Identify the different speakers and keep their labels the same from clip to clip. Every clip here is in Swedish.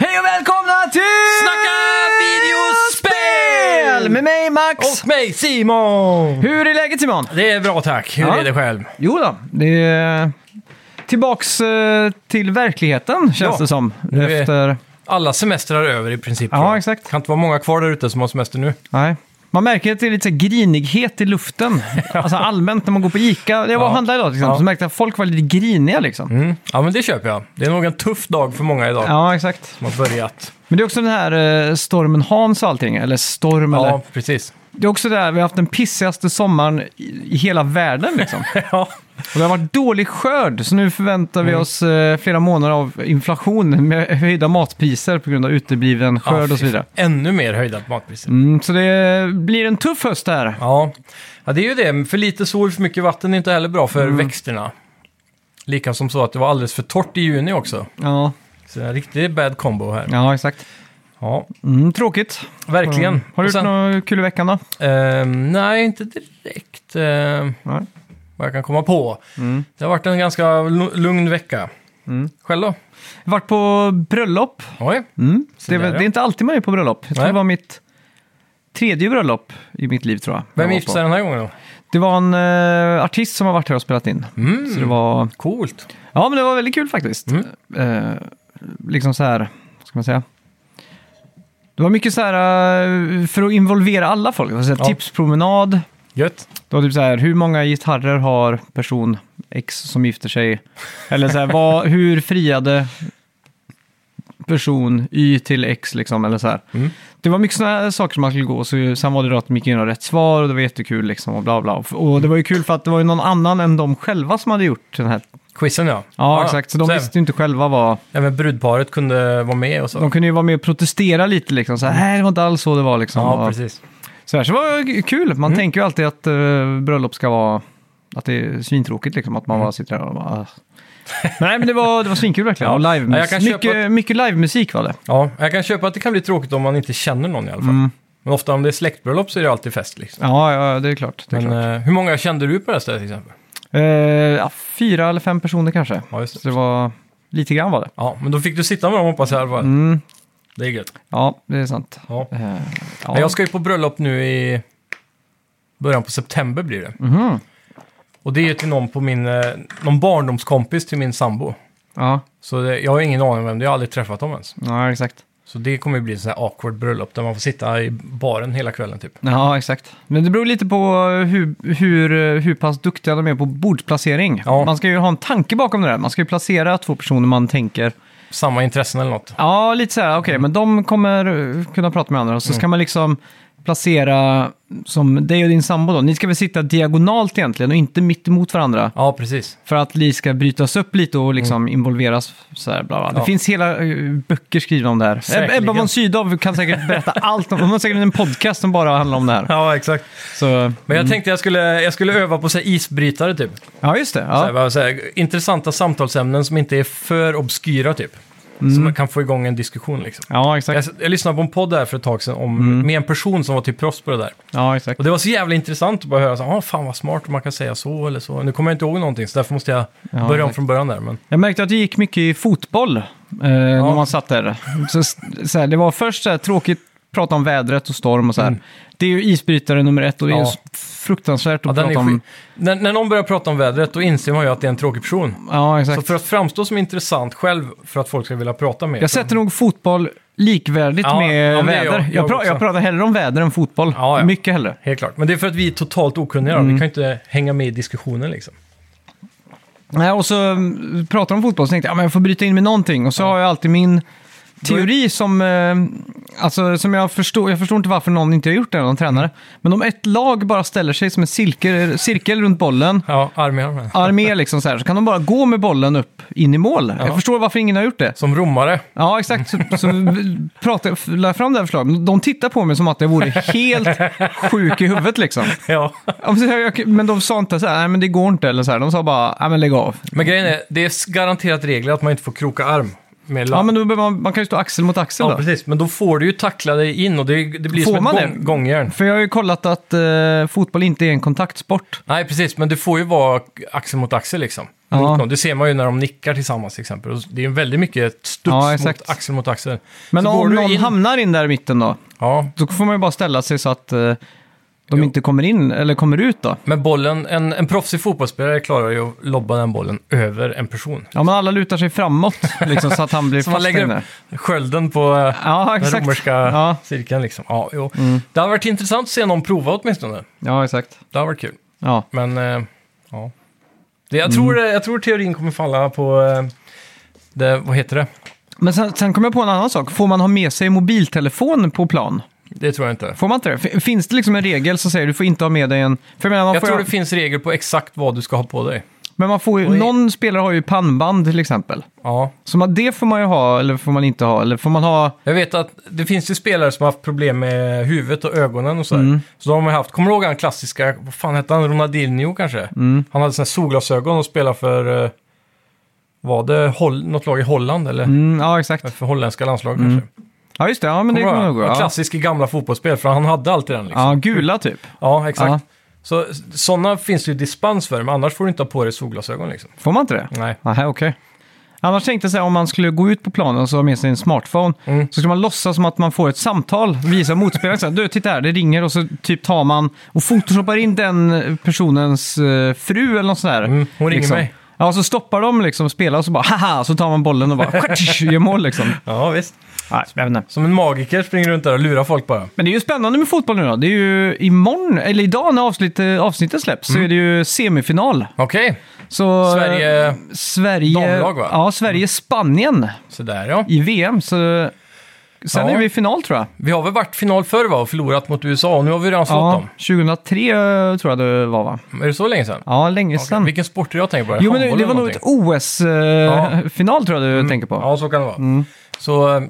Speaker 1: Hej och välkomna till
Speaker 2: Snacka videospel!
Speaker 1: Med mig Max!
Speaker 2: Och mig Simon!
Speaker 1: Hur är läget Simon?
Speaker 2: Det är bra tack, hur
Speaker 1: Ja.
Speaker 2: är det själv?
Speaker 1: Jo då, det är eh, tillbaks eh, till verkligheten känns
Speaker 2: Ja,
Speaker 1: det som.
Speaker 2: nu är-
Speaker 1: Efter...
Speaker 2: Alla semestrar är över i princip.
Speaker 1: Ja,
Speaker 2: tror jag.
Speaker 1: exakt.
Speaker 2: kan inte vara många kvar där ute som har semester nu.
Speaker 1: Nej. Man märker att det är lite så här grinighet i luften. Alltså allmänt när man går på Ica. Jag var och
Speaker 2: Ja.
Speaker 1: handlade idag till exempel,
Speaker 2: Ja.
Speaker 1: så märkte jag att folk var lite griniga liksom.
Speaker 2: Mm. Ja men det köper jag. Det är nog en tuff dag för många idag
Speaker 1: Ja, exakt.
Speaker 2: som har börjat.
Speaker 1: Men det är också den här eh, stormen Hans och allting, eller storm eller...
Speaker 2: Ja, precis.
Speaker 1: Det är också det här, vi har haft den pissigaste sommaren i i hela världen liksom.
Speaker 2: Ja.
Speaker 1: Och det har varit dålig skörd, så nu förväntar
Speaker 2: Mm.
Speaker 1: vi oss eh, flera månader av inflation med höjda matpriser på grund av utebliven skörd
Speaker 2: Ja,
Speaker 1: och så vidare.
Speaker 2: Ännu mer höjda matpriser.
Speaker 1: Mm, så det blir en tuff höst det här.
Speaker 2: Ja. ja, det är ju det. För lite sol, för mycket vatten är inte heller bra
Speaker 1: Mm.
Speaker 2: för växterna. Lika som så att det var alldeles för torrt i juni också.
Speaker 1: Ja,
Speaker 2: Så en riktig bad combo här.
Speaker 1: ja exakt.
Speaker 2: Ja,
Speaker 1: Mm, tråkigt.
Speaker 2: verkligen.
Speaker 1: Mm. Har du
Speaker 2: Och
Speaker 1: gjort
Speaker 2: sen-
Speaker 1: något kul i veckan då?
Speaker 2: Ehm, nej, inte direkt. ehm,
Speaker 1: Nej.
Speaker 2: vad jag kan komma på.
Speaker 1: Mm.
Speaker 2: Det har varit en ganska lu- lugn vecka.
Speaker 1: Mm.
Speaker 2: Själv då?
Speaker 1: Varit på bröllop.
Speaker 2: Oj.
Speaker 1: Mm.
Speaker 2: Så
Speaker 1: Det, är,
Speaker 2: där,
Speaker 1: väl-
Speaker 2: ja.
Speaker 1: det är inte alltid man är på bröllop. Jag tror
Speaker 2: Nej.
Speaker 1: det var mitt tredje bröllop i mitt liv tror jag. jag
Speaker 2: Vem
Speaker 1: var
Speaker 2: gifte
Speaker 1: på.
Speaker 2: sig den här gången då?
Speaker 1: Det var en eh, artist som har varit här och spelat in. Så det
Speaker 2: Mm.
Speaker 1: var...
Speaker 2: Coolt.
Speaker 1: Ja, men det var väldigt kul faktiskt.
Speaker 2: Mm.
Speaker 1: Eh, liksom så här, vad ska man säga? Det var mycket så här eh, för att involvera alla folk. Det var så här,
Speaker 2: Ja.
Speaker 1: Tipspromenad.
Speaker 2: Gött.
Speaker 1: Det var typ så här, hur många gitarrer har person X som gifter sig? Eller så här, vad, hur friade person Y till X liksom? Eller så här.
Speaker 2: Mm.
Speaker 1: Det var mycket sådana här saker som man skulle gå. Så, sen var det då att de gick in och rätt svar och det var jättekul liksom och bla bla. Och, och det var ju kul för att det var ju någon annan än de själva som hade gjort den här
Speaker 2: Quizen ja.
Speaker 1: Ja, exakt. Så de
Speaker 2: så
Speaker 1: visste ju inte själva vad...
Speaker 2: Även brudparet kunde vara med och så.
Speaker 1: De kunde ju vara med och protestera lite liksom. Så här, nej, det var inte alls så det var liksom.
Speaker 2: ja,
Speaker 1: Och
Speaker 2: precis. Mm.
Speaker 1: så, här, så det var ju kul. Man tänker ju alltid att eh, bröllop ska vara... Att det är svintråkigt liksom. Att man
Speaker 2: Mm.
Speaker 1: bara sitter där och bara... ah. Men nej, men det var, det var svinkul verkligen.
Speaker 2: Ja.
Speaker 1: Och live
Speaker 2: Ja, jag kan köpa
Speaker 1: mycket, mycket livemusik var det.
Speaker 2: Ja, jag kan köpa att det kan bli tråkigt om man inte känner någon i alla fall.
Speaker 1: Mm.
Speaker 2: Men ofta om det är släktbröllop så är det alltid fest liksom.
Speaker 1: Ja, ja, det är klart. Det är
Speaker 2: Men
Speaker 1: klart.
Speaker 2: eh, hur många kände du på det här stället till exempel?
Speaker 1: Eh, ja, fyra eller fem personer kanske.
Speaker 2: Ja, just
Speaker 1: Så
Speaker 2: det.
Speaker 1: det var... Lite grann var det.
Speaker 2: Ja, men då fick du sitta med dem hoppas jag i alla fall.
Speaker 1: Mm.
Speaker 2: Det är gött.
Speaker 1: Ja, det är sant.
Speaker 2: Ja.
Speaker 1: Eh, ja.
Speaker 2: Men jag ska ju på bröllop nu i början på september blir det.
Speaker 1: Mhm.
Speaker 2: Och det är ju till någon på min, eh, någon barndomskompis till min sambo.
Speaker 1: Ja,
Speaker 2: Så det, jag har ingen aning om vem det är, jag har aldrig träffat dem ens.
Speaker 1: ja, exakt.
Speaker 2: Så det kommer ju bli en sån här awkward bröllop där man får sitta i baren hela kvällen typ.
Speaker 1: Ja, exakt. Men det beror lite på hur, hur, hur pass duktiga de är på bordsplacering.
Speaker 2: Ja.
Speaker 1: Man ska ju ha en tanke bakom det där. Man ska ju placera två personer man tänker,
Speaker 2: Samma intressen eller något.
Speaker 1: ja, lite så här, okej,
Speaker 2: Mm.
Speaker 1: men de kommer eh, kunna prata med andra. Och så ska man liksom placera, som dig och din sambo då, ni ska väl sitta diagonalt egentligen och inte mitt emot varandra.
Speaker 2: Ja, precis.
Speaker 1: För att ni ska brytas upp lite och liksom involveras. Så här, bla bla. Det
Speaker 2: Mm. Ja.
Speaker 1: finns hela eh, böcker skrivna om det här. Eb-
Speaker 2: Säkerligen.
Speaker 1: Ebba von Sydow kan säkert berätta allt om det. Hon har säkert en podcast som bara handlar om det här.
Speaker 2: Ja, exakt.
Speaker 1: Så,
Speaker 2: Men jag tänkte jag skulle, jag skulle öva på så här isbrytare typ.
Speaker 1: ja, just det. Ja.
Speaker 2: Så här, bara så här, intressanta samtalsämnen som inte är för obskyra typ. Så man kan få igång en diskussion liksom.
Speaker 1: Ja, exakt.
Speaker 2: Jag, jag lyssnade på en podd där för ett tag sedan om, med en person som var typ proffs på det där.
Speaker 1: Ja, exakt.
Speaker 2: Och det var så jävla intressant att bara höra så här, ah, fan vad smart man kan säga så eller så. Nu kommer jag inte ihåg någonting så därför måste jag
Speaker 1: Ja,
Speaker 2: börja om
Speaker 1: exakt.
Speaker 2: från början där. Men,
Speaker 1: Jag märkte att det gick mycket i fotboll eh, när man satt där. Så, så här, det var först så här, tråkigt att prata om vädret och storm och så här.
Speaker 2: Mm.
Speaker 1: Det är ju isbrytare nummer ett och det är ju
Speaker 2: Ja.
Speaker 1: så fruktansvärt
Speaker 2: ja,
Speaker 1: att
Speaker 2: den är
Speaker 1: prata om.
Speaker 2: skit. när, när någon börjar prata om vädret då inser man ju att det är en tråkig person.
Speaker 1: Ja, exakt.
Speaker 2: Så för att framstå som intressant själv för att folk ska vilja prata med
Speaker 1: Jag sätter nog fotboll likvärdigt
Speaker 2: Ja,
Speaker 1: med
Speaker 2: ja, men det är
Speaker 1: väder.
Speaker 2: jag-
Speaker 1: Jag,
Speaker 2: jag
Speaker 1: pra-
Speaker 2: också.
Speaker 1: jag pratar hellre om väder än fotboll.
Speaker 2: Ja, ja.
Speaker 1: Mycket hellre.
Speaker 2: Helt klart. Men det är för att vi är totalt okunniga då. Vi
Speaker 1: Mm.
Speaker 2: kan ju inte hänga med i diskussionen liksom.
Speaker 1: Nej, och så mm, pratar de om fotboll så tänkte jag att jag får bryta in med någonting. Och så har jag alltid min teori som, eh, alltså, som jag förstår, jag förstår inte varför någon inte har gjort det, någon tränare. Men om ett lag bara ställer sig som en cirkel, cirkel runt bollen,
Speaker 2: Ja, arm i arm.
Speaker 1: armé liksom så här, så kan de bara gå med bollen upp in i mål.
Speaker 2: Ja.
Speaker 1: Jag förstår varför ingen har gjort det.
Speaker 2: Som romare.
Speaker 1: Ja, exakt. Så, så vi pratade, la fram det här förslaget. De tittar på mig som att jag vore helt sjuk i huvudet liksom.
Speaker 2: Ja.
Speaker 1: Ja, men så jag- Men de sa inte så här, nej men det går inte eller så här. De sa bara, nej men lägg av.
Speaker 2: Men grejen är, det är garanterat regler att man inte får kroka arm. Med
Speaker 1: Ja, men då behöver man, man kan ju stå axel mot axel
Speaker 2: ja,
Speaker 1: då.
Speaker 2: precis. Men då får du ju tackla dig in och det, det blir
Speaker 1: Får
Speaker 2: som
Speaker 1: man
Speaker 2: ett
Speaker 1: det?
Speaker 2: gång, gångjärn.
Speaker 1: För jag har ju kollat att eh, fotboll inte är en kontaktsport.
Speaker 2: Nej, precis. Men du får ju vara axel mot axel liksom.
Speaker 1: Ja.
Speaker 2: Mot någon. Det ser man ju när de nickar tillsammans till exempel. Och Det är ju väldigt mycket studs
Speaker 1: Ja,
Speaker 2: mot
Speaker 1: exakt.
Speaker 2: axel mot axel.
Speaker 1: Men
Speaker 2: Så går
Speaker 1: om
Speaker 2: du
Speaker 1: någon
Speaker 2: in-
Speaker 1: hamnar in där i mitten då,
Speaker 2: Ja,
Speaker 1: då får man ju bara ställa sig så att eh, de
Speaker 2: Jo.
Speaker 1: inte kommer in eller kommer ut då.
Speaker 2: men bollen, en, en proffsig fotbollsspelare klarar ju att lobba den bollen över en person.
Speaker 1: Ja, men alla lutar sig framåt liksom, så att han blir
Speaker 2: Så man
Speaker 1: fast
Speaker 2: lägger
Speaker 1: in
Speaker 2: upp
Speaker 1: där.
Speaker 2: skölden på eh,
Speaker 1: Ja,
Speaker 2: den
Speaker 1: exakt.
Speaker 2: romerska
Speaker 1: Ja. Mm.
Speaker 2: cirkeln liksom. Ja, jo. Det hade varit intressant att se någon prova åtminstone.
Speaker 1: ja, exakt.
Speaker 2: Det hade varit kul.
Speaker 1: Ja.
Speaker 2: Men eh, ja. Det,
Speaker 1: Mm.
Speaker 2: jag, tror, eh, jag tror teorin kommer falla på... eh, Det, vad heter det?
Speaker 1: Men sen, sen kom jag på en annan sak. Får man ha med sig mobiltelefon på plan?
Speaker 2: Det tror jag inte.
Speaker 1: Får man inte det? Fin- Finns det liksom en regel som säger du får inte ha med dig en... För jag menar, man
Speaker 2: Jag
Speaker 1: får
Speaker 2: tror
Speaker 1: ju,
Speaker 2: det finns regler på exakt vad du ska ha på dig.
Speaker 1: Men man får ju,
Speaker 2: Oj.
Speaker 1: någon spelare har ju pannband till exempel.
Speaker 2: Ja.
Speaker 1: Så man, det får man ju ha, eller får man inte ha, eller får man ha...
Speaker 2: Jag vet att det finns ju spelare som har haft problem med huvudet och ögonen och sådär.
Speaker 1: Mm.
Speaker 2: Så de har man haft, kommer du ihåg han klassiska, vad fan hette han, Ronaldinho kanske?
Speaker 1: Mm.
Speaker 2: Han hade sådana solglasögon och spelade för, eh, var det Hol- något lag i Holland eller?
Speaker 1: Mm, ja, exakt.
Speaker 2: För holländska landslag kanske.
Speaker 1: Ja, just det. Ja, men det
Speaker 2: Kommer
Speaker 1: kommer
Speaker 2: du
Speaker 1: nog
Speaker 2: ihåg
Speaker 1: gå.
Speaker 2: han? En
Speaker 1: Ja.
Speaker 2: klassisk i gamla fotbollsspel, för han hade alltid den liksom.
Speaker 1: ja, gula typ.
Speaker 2: Ja, exakt.
Speaker 1: Ja.
Speaker 2: Så sådana finns det ju dispens för, men annars får du inte ha på dig solglasögon liksom.
Speaker 1: Får man inte det?
Speaker 2: Nej.
Speaker 1: Nähä, okej. Annars tänkte jag säga om man skulle gå ut på planen och så ha med sig en smartphone.
Speaker 2: Mm.
Speaker 1: Så skulle man låtsas som att man får ett samtal, visa motspelaren så här, du titta här, det ringer och så typ tar man och photoshoppar in den personens eh, fru eller något sånt där.
Speaker 2: Mm, hon ringer
Speaker 1: liksom.
Speaker 2: mig.
Speaker 1: Ja, och så stoppar de liksom spelar och så bara haha, så tar man bollen och bara gör mål liksom.
Speaker 2: Ja, visst.
Speaker 1: Nej, spännande.
Speaker 2: Som en magiker springer runt där och lurar folk bara.
Speaker 1: Men det är ju spännande med fotboll nu då. Det är ju imorgon, eller idag när avsnitt, avsnittet släpps, så är det ju semifinal.
Speaker 2: Okej,
Speaker 1: Så,
Speaker 2: Mm. Sverige-
Speaker 1: Sverige...
Speaker 2: Damlag, va? Mm.
Speaker 1: Ja, Sverige-Spanien
Speaker 2: sådär ja.
Speaker 1: i VM. Så sen
Speaker 2: Ja.
Speaker 1: är vi i final tror jag.
Speaker 2: Vi har väl varit final förr va, och förlorat mot USA och nu har vi redan slått
Speaker 1: Ja,
Speaker 2: dem.
Speaker 1: 2003 tror jag det var va?
Speaker 2: Är det så länge sedan?
Speaker 1: Ja, länge sedan.
Speaker 2: Vilken sport är det jag tänker på? Är
Speaker 1: Jo, men det,
Speaker 2: handboll
Speaker 1: det
Speaker 2: eller
Speaker 1: var nog ett
Speaker 2: någonting? Ja.
Speaker 1: OS-final tror jag du tänker på. Mm.
Speaker 2: Ja, så kan det vara. Så eh,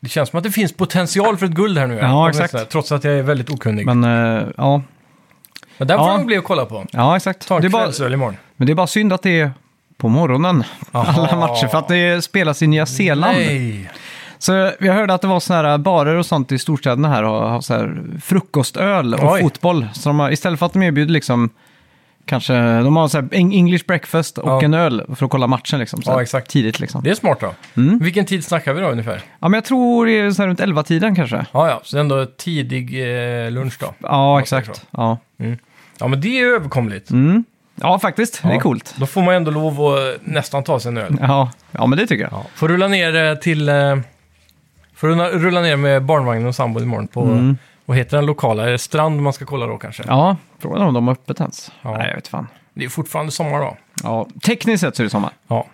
Speaker 2: det känns som att det finns potential för ett guld här nu.
Speaker 1: Ja,
Speaker 2: Åtminstone,
Speaker 1: exakt.
Speaker 2: Trots att jag är väldigt okunnig. Men,
Speaker 1: Men eh, ja,
Speaker 2: den får
Speaker 1: Ja.
Speaker 2: jag nog bli och kolla på.
Speaker 1: ja exakt.
Speaker 2: Ta
Speaker 1: Det är
Speaker 2: en
Speaker 1: bara,
Speaker 2: kvällsöl imorgon.
Speaker 1: men det är bara synd att det är på morgonen. Alla matcher, för att det spelas i Nya Zeeland.
Speaker 2: Nej.
Speaker 1: Så jag hörde att det var såna här barer och sånt i storstäderna här och har så här frukostöl och
Speaker 2: Oj.
Speaker 1: fotboll. Så de har, istället för att de erbjuder liksom kanske, de har så här en English breakfast och
Speaker 2: Ja.
Speaker 1: en öl för att kolla matchen liksom. Så
Speaker 2: Ja,
Speaker 1: här
Speaker 2: exakt.
Speaker 1: Tidigt liksom.
Speaker 2: Det är smart då. Vilken tid snackar vi då ungefär?
Speaker 1: Ja, men jag tror det är så här runt 11-tiden kanske.
Speaker 2: Ja, ja, så det är ändå tidig eh, lunch då.
Speaker 1: Ja,
Speaker 2: säger
Speaker 1: exakt. Ja.
Speaker 2: Ja, men det är överkomligt.
Speaker 1: Mm. ja, faktiskt. Det är
Speaker 2: Ja.
Speaker 1: coolt.
Speaker 2: Då får man ändå lov att eh, nästan ta sig en öl.
Speaker 1: Ja. ja, men det tycker jag.
Speaker 2: Ja. Får rulla ner eh, till... eh, Får rulla, rulla ner med barnvagnen och sambon imorgon på...
Speaker 1: Mm.
Speaker 2: Vad heter den lokala? Är det strand man ska kolla då kanske?
Speaker 1: Ja, frågan är om de har öppet ens.
Speaker 2: Ja.
Speaker 1: Nej, jag vet fan.
Speaker 2: Det är fortfarande sommar då.
Speaker 1: Ja, tekniskt sett så är det sommar.
Speaker 2: Ja,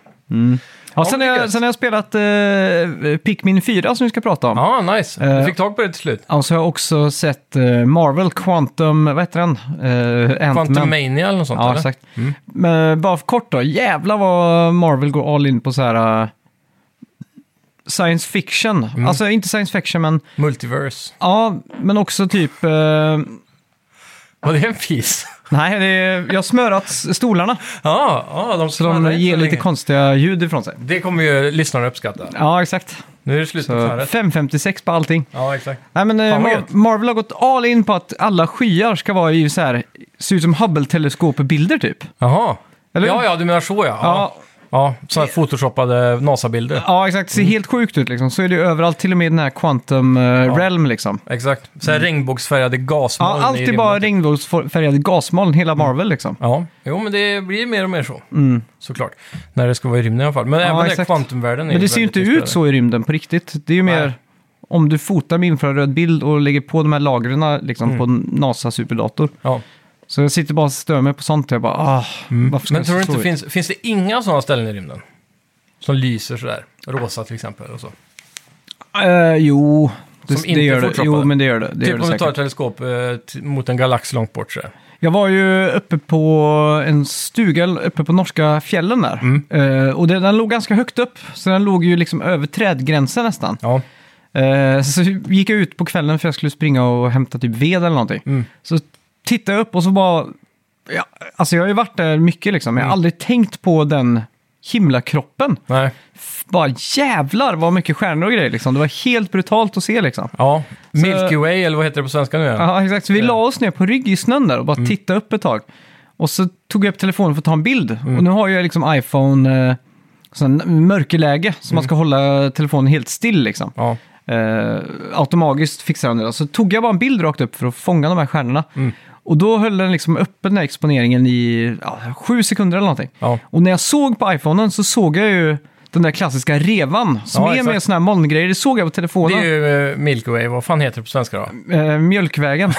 Speaker 1: Ja, sen, har
Speaker 2: men det är
Speaker 1: jag,
Speaker 2: gött.
Speaker 1: sen har jag spelat eh, Pikmin 4 som vi ska prata om.
Speaker 2: ja nice.
Speaker 1: Eh,
Speaker 2: Du fick tag på det till slut.
Speaker 1: Ja, så har Alltså, jag också sett eh, Marvel Quantum, vad heter den? Eh,
Speaker 2: Quantum
Speaker 1: Ant-Man.
Speaker 2: Mania eller Mm. något sånt
Speaker 1: Ja,
Speaker 2: eller?
Speaker 1: exakt. Men eh, bara för kort då, jävla vad Marvel går all in på så här eh, science fiction.
Speaker 2: Mm.
Speaker 1: Alltså inte science fiction, men,
Speaker 2: Multiverse.
Speaker 1: ja, men också typ... Eh,
Speaker 2: Var det en fis?
Speaker 1: nej, det är, jag har smörat s- stolarna
Speaker 2: ja, ja, de
Speaker 1: så de ger lite konstiga ljud ifrån sig.
Speaker 2: Det kommer ju lyssnarna uppskatta.
Speaker 1: Ja, exakt.
Speaker 2: Nu är det slut
Speaker 1: Så
Speaker 2: på knarret.
Speaker 1: 5.56 på allting.
Speaker 2: Ja, exakt.
Speaker 1: Nej, men, eh,
Speaker 2: Fan, vad
Speaker 1: Mar-
Speaker 2: gött.
Speaker 1: Marvel har gått all in på att alla skyar ska vara i så här, se ut som Hubble-teleskopbilder typ.
Speaker 2: Jaha.
Speaker 1: Eller?
Speaker 2: Ja, ja, du menar så ja. Ja,
Speaker 1: Ja,
Speaker 2: ja sådana här photoshoppade NASA-bilder.
Speaker 1: ja exakt. Ser helt sjukt ut liksom. Så är det ju överallt, till och med i den här Quantum eh, Realm liksom.
Speaker 2: Exakt. Så här regnbågsfärgade gasmoln
Speaker 1: Ja,
Speaker 2: i
Speaker 1: allt är
Speaker 2: rymden. typ. Mm.
Speaker 1: bara regnbågsfärgade gasmoln, hela Marvel liksom.
Speaker 2: Ja, jo, men det blir mer och mer så. Såklart. När det ska vara i rymden i alla fall. Men även den
Speaker 1: Mm. exakt.
Speaker 2: kvantumvärlden är
Speaker 1: Men
Speaker 2: ju
Speaker 1: det ser ju inte
Speaker 2: väldigt
Speaker 1: ut
Speaker 2: inspirerande.
Speaker 1: så i rymden på riktigt. Det är ju mer
Speaker 2: Nej.
Speaker 1: om du fotar med infraröd bild och lägger på de här lagren liksom,
Speaker 2: Mm.
Speaker 1: på NASA superdator.
Speaker 2: Ja.
Speaker 1: Så jag sitter bara och stör mig på sånt. Jag bara, ah, varför ska
Speaker 2: Mm. Men
Speaker 1: det
Speaker 2: tror du
Speaker 1: se
Speaker 2: inte
Speaker 1: så
Speaker 2: det
Speaker 1: ut?
Speaker 2: finns, finns det inga sådana ställen i rymden? Som lyser sådär? Rosa till exempel och så.
Speaker 1: Eh, jo, det,
Speaker 2: Som
Speaker 1: det
Speaker 2: inte
Speaker 1: gör det.
Speaker 2: fortdroppade.
Speaker 1: Jo, men det gör det. det,
Speaker 2: typ
Speaker 1: gör
Speaker 2: om
Speaker 1: det
Speaker 2: du tar
Speaker 1: säkert.
Speaker 2: ett teleskop eh, t- mot en galax långt bort. Så.
Speaker 1: Jag var ju uppe på en stuga uppe på norska fjällen där.
Speaker 2: Mm.
Speaker 1: Eh, och det, den låg ganska högt upp, så den låg ju liksom över trädgränsen nästan.
Speaker 2: Ja.
Speaker 1: Eh, så gick jag ut på kvällen för jag skulle springa och hämta typ ved eller någonting.
Speaker 2: Mm.
Speaker 1: Så tittade jag upp och så bara... Ja, alltså jag har ju varit där mycket liksom, men jag har
Speaker 2: Mm.
Speaker 1: aldrig tänkt på den himlakroppen.
Speaker 2: Nej.
Speaker 1: F- Bara jävlar vad mycket stjärnor och grejer liksom. Det var helt brutalt att se liksom.
Speaker 2: Ja. Milky Way, eller vad heter det på svenska nu?
Speaker 1: Ja, exakt. Så vi
Speaker 2: Ja. Eh. Mm.
Speaker 1: la oss ner på rygg i snön där och bara tittade upp ett tag. Och så tog jag upp telefonen för att ta en bild.
Speaker 2: Mm.
Speaker 1: Och nu har jag liksom iPhone, eh, sån mörkerläge, så
Speaker 2: Mm.
Speaker 1: man ska hålla telefonen helt still liksom.
Speaker 2: Ja.
Speaker 1: Eh, automatiskt fixar den det. då. Så tog jag bara en bild rakt upp för att fånga de här stjärnorna.
Speaker 2: Mm.
Speaker 1: Och då höll den liksom öppen den här exponeringen i ja, sju sekunder eller någonting.
Speaker 2: Ja.
Speaker 1: Och när jag såg på iPhonen så såg jag ju den där klassiska revan som
Speaker 2: Ja,
Speaker 1: är
Speaker 2: exakt.
Speaker 1: med sådana här molngrejer. Det såg jag på
Speaker 2: Det
Speaker 1: telefonen.
Speaker 2: är ju eh, Milky Way, vad fan heter det på svenska då?
Speaker 1: Eh, mjölkvägen.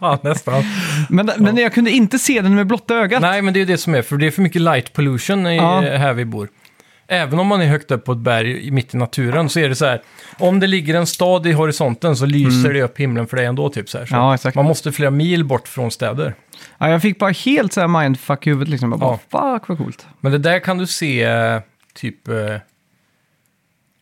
Speaker 2: Ja, nästan.
Speaker 1: Men, men jag kunde inte se den med blotta ögat.
Speaker 2: Nej, men det är ju det som är, för det är för mycket light pollution i, eh,
Speaker 1: Ja.
Speaker 2: här vi bor. Även om man är högt upp på ett berg i- mitt i naturen så är det så här, om det ligger en stad i horisonten så lyser det upp himlen för dig ändå. Typ så här. Så
Speaker 1: Mm. Ja, exakt.
Speaker 2: Man måste flera mil bort från städer.
Speaker 1: Ja, jag fick bara helt så här mindfuck i huvudet liksom. Jag bara, fuck vad coolt.
Speaker 2: Men det där kan du se eh, typ... eh,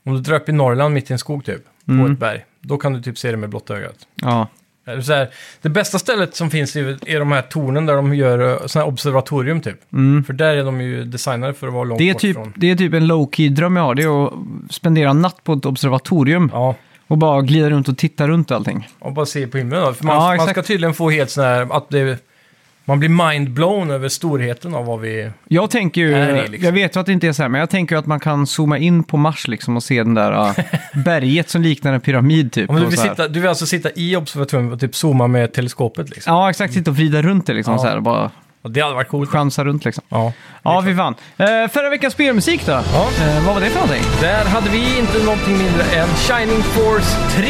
Speaker 2: Om du drar upp i Norrland mitt i en skog typ, på
Speaker 1: Mm.
Speaker 2: ett berg. Då kan du typ se det med blotta ögat.
Speaker 1: Ja,
Speaker 2: Eller Så här, det bästa stället som finns är, är de här tornen där de gör sådana här observatorium typ. För där är de ju designade för att vara långt
Speaker 1: Mm. det är,
Speaker 2: bort
Speaker 1: typ,
Speaker 2: från.
Speaker 1: det är typ en low-key dröm jag har. Det är att spendera en natt på ett observatorium
Speaker 2: Ja,
Speaker 1: och bara glida runt och titta runt allting.
Speaker 2: och bara se på himlen. då. För man,
Speaker 1: Ja,
Speaker 2: man ska
Speaker 1: exakt.
Speaker 2: tydligen få helt sån här, att det, man blir mind-blown över storheten av vad vi...
Speaker 1: Jag tänker ju,
Speaker 2: Är det liksom?
Speaker 1: jag vet ju att det inte är så här, men jag tänker ju att man kan zooma in på Mars liksom och se den där ah, berget som liknar en pyramid typ.
Speaker 2: Om du,
Speaker 1: och
Speaker 2: vill
Speaker 1: så här.
Speaker 2: sitta, du vill alltså sitta i observatoriet och typ zooma med teleskopet liksom.
Speaker 1: Ja, exakt. Sitta och vrida runt det liksom
Speaker 2: Ja.
Speaker 1: så här och bara
Speaker 2: Och det hade varit coolt.
Speaker 1: chansa runt liksom.
Speaker 2: Ja.
Speaker 1: Ja, fy fan. Eh, förra veckans spelmusik då?
Speaker 2: Ja.
Speaker 1: Eh, vad var det för någonting?
Speaker 2: Där hade vi inte någonting mindre än Shining Force 3.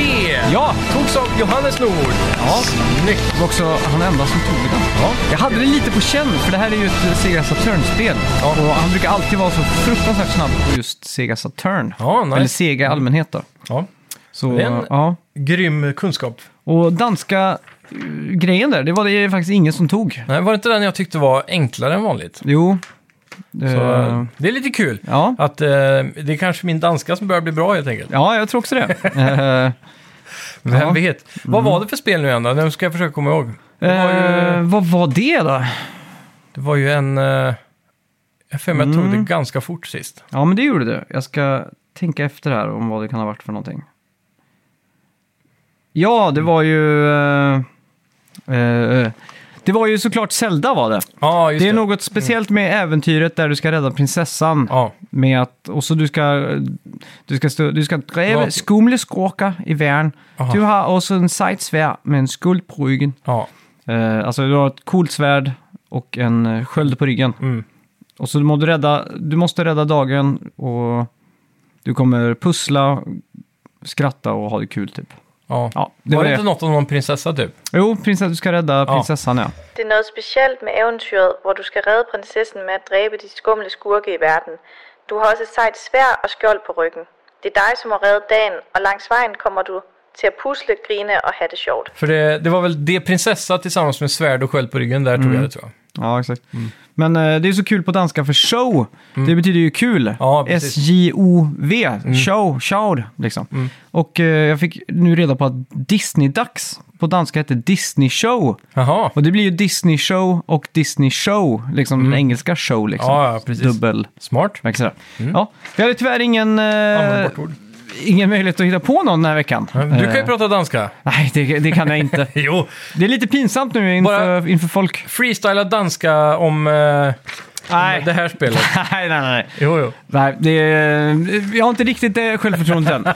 Speaker 1: Ja!
Speaker 2: Togs av Johannes Nord.
Speaker 1: Ja.
Speaker 2: Snyggt.
Speaker 1: Det var också han enda som tog den.
Speaker 2: Ja.
Speaker 1: Jag hade det lite på känn, för det här är ju ett Sega Saturn-spel.
Speaker 2: Ja.
Speaker 1: Och han brukar alltid vara så fruktansvärt snabb på just Sega Saturn.
Speaker 2: Ja, nice.
Speaker 1: Eller Sega i allmänhet då.
Speaker 2: Ja.
Speaker 1: Så,
Speaker 2: Det är en-
Speaker 1: ja.
Speaker 2: Grym kunskap.
Speaker 1: Och danska eh, grejen där, det var det faktiskt ingen som tog.
Speaker 2: Nej, var det inte den jag tyckte var enklare än vanligt?
Speaker 1: Jo. Det-
Speaker 2: Så,
Speaker 1: Eh.
Speaker 2: eh. Det är lite kul.
Speaker 1: ja.
Speaker 2: Att eh, det är kanske min danska som börjar bli bra helt enkelt.
Speaker 1: ja, jag tror också det. Eh,
Speaker 2: Vem
Speaker 1: Ja.
Speaker 2: vet? Vad var det för spel nu igen då? Nu ska jag försöka komma ihåg. Det var
Speaker 1: eh,
Speaker 2: ju,
Speaker 1: vad var det då?
Speaker 2: det var ju en... Eh, jag för mig jag tog det ganska fort sist.
Speaker 1: Ja, men det gjorde det. Jag ska tänka efter här om vad det kan ha varit för någonting. Ja, det var ju... eh, eh, det var ju såklart Zelda var det.
Speaker 2: Ja, just
Speaker 1: det
Speaker 2: det.
Speaker 1: är något speciellt med äventyret där du ska rädda prinsessan.
Speaker 2: Ja,
Speaker 1: Med att, och så du ska... Du ska, stå, du ska driva
Speaker 2: Ja.
Speaker 1: skumleskråka i världen.
Speaker 2: Aha.
Speaker 1: Du har också en sajtsvärd med en skuld på ryggen.
Speaker 2: ja.
Speaker 1: Eh, alltså du har ett coolt svärd och en eh, sköld på ryggen.
Speaker 2: Mm.
Speaker 1: Och så måste du, rädda, du måste rädda dagen och du kommer pussla, skratta och ha det kul typ.
Speaker 2: ja.
Speaker 1: Ja, det
Speaker 2: det var
Speaker 1: var
Speaker 2: det
Speaker 1: det.
Speaker 2: inte något om någon prinsessa typ?
Speaker 1: Jo, prinsess, du ska rädda
Speaker 2: Ja.
Speaker 1: prinsessan ja.
Speaker 3: Det er noget specielt med eventyret, hvor du skal redde prinsessen med at dræbe de skumle skurke i verden. Du har også et sejt svær og skjold på ryggen. Det er dig, som har reddet dagen, og langs vejen kommer du til at pusle, grine og have det sjovt.
Speaker 2: För det, det var väl det prinsessa tillsammans med svärd och sköld på ryggen, där tog jag det tror jag.
Speaker 1: Ja, exakt.
Speaker 2: Mm.
Speaker 1: Men eh, det är så kul på danska för show. Det betyder ju kul.
Speaker 2: Ja, precis. Mm.
Speaker 1: S-J-O-V. Show, show liksom. Och eh, jag fick nu reda på att Disney-dags på danska heter Disney show.
Speaker 2: Jaha,
Speaker 1: Och det blir ju Disney show och Disney show. Liksom den engelska show liksom.
Speaker 2: Mm. Ja, ja, precis.
Speaker 1: Dubbel.
Speaker 2: smart.
Speaker 1: Märks det? Ja, vi hade tyvärr ingen, eh,
Speaker 2: Användbart Mm. ord.
Speaker 1: ingen möjlighet att hitta på någon den här veckan.
Speaker 2: Du kan ju
Speaker 1: Eh,
Speaker 2: prata danska.
Speaker 1: Nej, det, det kan jag inte.
Speaker 2: Jo.
Speaker 1: Det är lite pinsamt nu inför, inför folk.
Speaker 2: Freestyla danska om eh,
Speaker 1: Nej.
Speaker 2: det här spelet.
Speaker 1: Nej, nej, nej.
Speaker 2: Jo, jo.
Speaker 1: nej det, eh, jag har inte riktigt det självförtroendet än.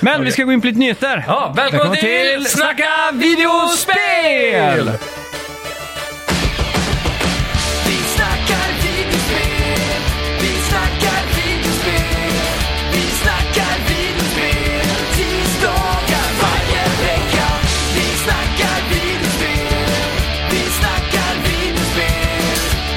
Speaker 1: Men vi ska gå in på lite nyheter.
Speaker 2: Ja, välkommen,
Speaker 1: Välkommen
Speaker 2: till,
Speaker 1: till
Speaker 2: Snacka videospel!
Speaker 4: Vi snackar videospel, vi snackar videospel, vi snackar videospel tisdagar varje vecka. Vi snackar videospel, vi snackar videospel,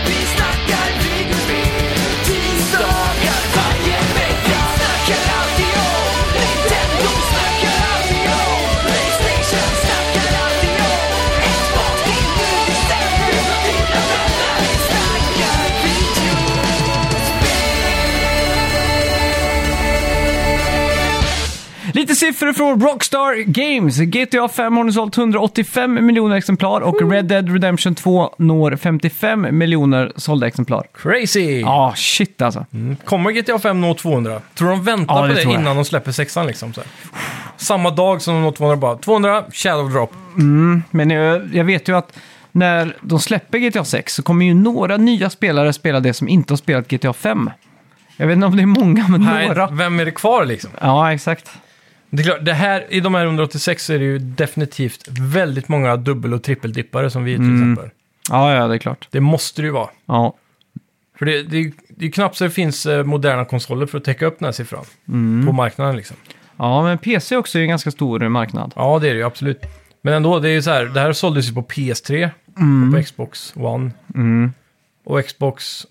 Speaker 4: vi snackar videospel tisdagar varje vecka. Vi snackar alltid om
Speaker 1: siffror från Rockstar Games. GTA 5 har nu sålt 185 miljoner exemplar och Red Dead Redemption 2 når 55 miljoner sålda exemplar.
Speaker 2: Crazy!
Speaker 1: Ja, shit alltså.
Speaker 2: Kommer GTA 5 nå 200? Tror de väntar
Speaker 1: Ja,
Speaker 2: på
Speaker 1: det
Speaker 2: det
Speaker 1: tror jag.
Speaker 2: innan de släpper sexan liksom? Så här. Samma dag som de når 200 bara, 200, shadow drop.
Speaker 1: Men jag, jag vet ju att när de släpper GTA 6 så kommer ju några nya spelare spela det som inte har spelat GTA 5. Jag vet inte om det är många, men
Speaker 2: Nej,
Speaker 1: några.
Speaker 2: vem är det kvar liksom?
Speaker 1: Ja, exakt.
Speaker 2: Det är klart, det här, i de här 186 så är det ju definitivt väldigt många dubbel och trippeldippare som vi till
Speaker 1: Mm.
Speaker 2: exempel.
Speaker 1: Ja, ja, det är klart.
Speaker 2: Det måste det ju vara.
Speaker 1: Ja,
Speaker 2: För det, det, är ju- det är ju knappt så det finns eh, moderna konsoler för att täcka upp den här siffran
Speaker 1: Mm.
Speaker 2: på marknaden liksom.
Speaker 1: ja men PC också är ju en ganska stor marknad.
Speaker 2: Ja, det är det ju absolut. Men ändå, det är ju så här, det här såldes ju på PS3
Speaker 1: Mm.
Speaker 2: och på Xbox One. Och Xbox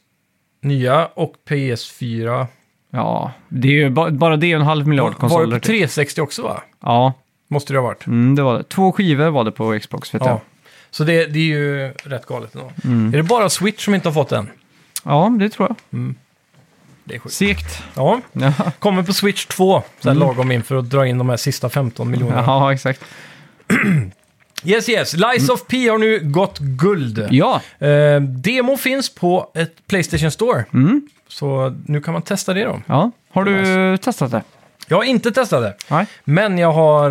Speaker 2: nya och PS4.
Speaker 1: Ja, det är ju ba- bara det är en halv miljard
Speaker 2: Var det
Speaker 1: konsoler.
Speaker 2: på
Speaker 1: typ.
Speaker 2: 360 också va?
Speaker 1: Ja,
Speaker 2: Måste det ha varit.
Speaker 1: mm, det var det. Två skivor var det på Xbox, vet jag.
Speaker 2: Ja. Så det, det är ju rätt galet ändå.
Speaker 1: Mm.
Speaker 2: Är det bara Switch som inte har fått den?
Speaker 1: Ja, det tror jag.
Speaker 2: Det är sjukt.
Speaker 1: Segt.
Speaker 2: Ja.
Speaker 1: Ja,
Speaker 2: Kommer på Switch 2, så här
Speaker 1: Mm.
Speaker 2: lagom inför att dra in de här sista 15 miljonerna.
Speaker 1: ja exakt.
Speaker 2: Yes, yes. Lies of P har nu gått guld.
Speaker 1: Ja,
Speaker 2: Eh, demo finns på ett Playstation Store.
Speaker 1: Mm.
Speaker 2: Så nu kan man testa det då.
Speaker 1: ja. Har du testat det?
Speaker 2: Jag har inte testat det,
Speaker 1: Nej.
Speaker 2: men jag har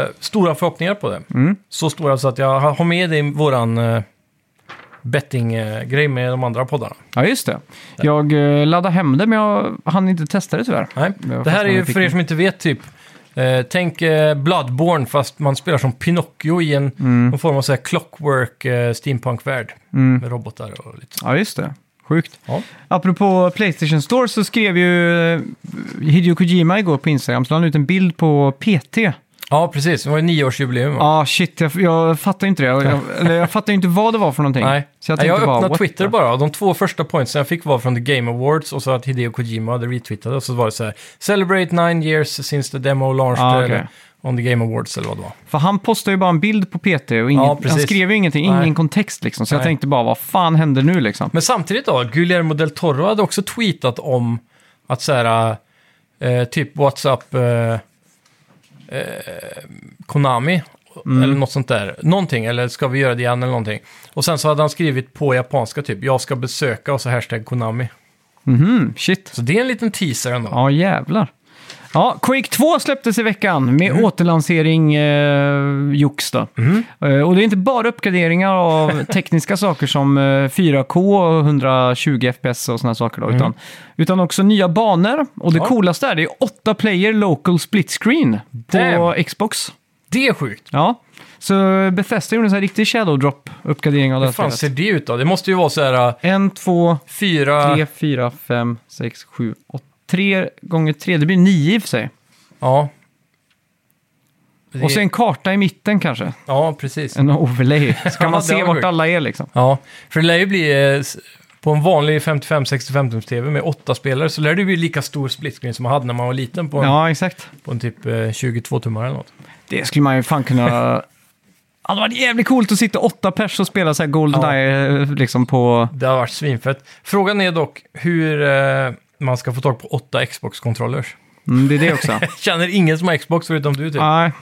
Speaker 2: eh, stora förhoppningar på det. Så stora så att jag har har med det i våran eh, bettinggrej med de andra poddarna.
Speaker 1: Ja, just det. Jag eh, laddade hem det, men jag hann inte testa det tyvärr.
Speaker 2: Nej.
Speaker 1: Jag
Speaker 2: Det här är ju
Speaker 1: fastnade i
Speaker 2: för er som inte vet typ, eh, tänk eh, Bloodborne fast man spelar som Pinocchio i en någon form av så här clockwork eh, steampunk-värld med robotar och lite så.
Speaker 1: Ja, just det. Sjukt.
Speaker 2: Mm. Ja.
Speaker 1: Apropå Playstation Store så skrev ju eh, Hideo Kojima igår på Instagram, så la han ut en bild på PT. Ja,
Speaker 2: ja, precis. Det var ju nioårsjubileum. va?
Speaker 1: ah, shit, jag, jag fattar inte det. Jag, jag, eller jag fattar inte vad det var för någonting.
Speaker 2: Nej,
Speaker 1: Så jag
Speaker 2: Nej,
Speaker 1: tänkte
Speaker 2: jag
Speaker 1: bara,
Speaker 2: öppnade
Speaker 1: what
Speaker 2: Twitter
Speaker 1: the-
Speaker 2: bara och de två första pointsen jag fick var från The Game Awards och så att Hideo Kojima hade retweetat och så var det så här “Celebrate nine years since the demo launched”
Speaker 1: Ah, okej.
Speaker 2: eller on the Game Awards eller vad det var.
Speaker 1: För han postade ju bara en bild på PT och ingen,
Speaker 2: Ja, precis.
Speaker 1: han skrev ju ingenting,
Speaker 2: Nej.
Speaker 1: ingen kontext liksom. Så jag
Speaker 2: Nej.
Speaker 1: tänkte bara, vad fan händer nu liksom?
Speaker 2: Men samtidigt då, Guillermo del Toro hade också tweetat om att så här, eh, typ WhatsApp eh, eh, Konami
Speaker 1: Mm.
Speaker 2: eller något sånt där. Någonting, eller ska vi göra det igen eller någonting. Och sen så hade han skrivit på japanska typ, jag ska besöka och så hashtag Konami.
Speaker 1: Mhm, shit.
Speaker 2: Så det är en liten teaser ändå.
Speaker 1: Ja, jävlar. Ja, Quake 2 släpptes i veckan
Speaker 2: Mm.
Speaker 1: med återlansering eh, jox då. Eh, och det är inte bara uppgraderingar av tekniska saker som eh, 4K och 120 FPS och sådana saker då, utan, utan också nya banor. Och det
Speaker 2: Mm. Ja.
Speaker 1: coolaste är det är 8 player local split screen på
Speaker 2: Damn.
Speaker 1: Xbox.
Speaker 2: Det är sjukt.
Speaker 1: Ja, så Bethesda gjorde en sån här riktig shadow drop uppgradering av det
Speaker 2: Hur fan
Speaker 1: här
Speaker 2: ser
Speaker 1: spelet.
Speaker 2: det ut då? Det måste ju vara så här äh,
Speaker 1: 1, 2,
Speaker 2: fyra...
Speaker 1: 3, 4, 5, 6, 7, 8. 3 gånger 3, det blir 9 i och för sig.
Speaker 2: Ja. Det-
Speaker 1: Och så en karta i mitten kanske.
Speaker 2: Ja, precis.
Speaker 1: En overlay. Så
Speaker 2: Ja,
Speaker 1: kan man
Speaker 2: det
Speaker 1: se
Speaker 2: var
Speaker 1: vart
Speaker 2: sjukt.
Speaker 1: alla är liksom.
Speaker 2: Ja, för det lär ju bli... eh, s- På en vanlig 55-65 tums TV med åtta spelare så lär det bli lika stor split screen som man hade när man var liten på en,
Speaker 1: Ja, exakt.
Speaker 2: på en typ eh, 22-tummare eller något.
Speaker 1: Det skulle man ju fan kunna... Ja, det var jävligt coolt att sitta åtta pers och spela så här Goldeneye eh, liksom på...
Speaker 2: Det har varit svinfett. Frågan är dock hur eh, man ska få tag på åtta Xbox-controllers.
Speaker 1: Mm, det är det också.
Speaker 2: Känner ingen som har Xbox förutom du typ.
Speaker 1: Nej.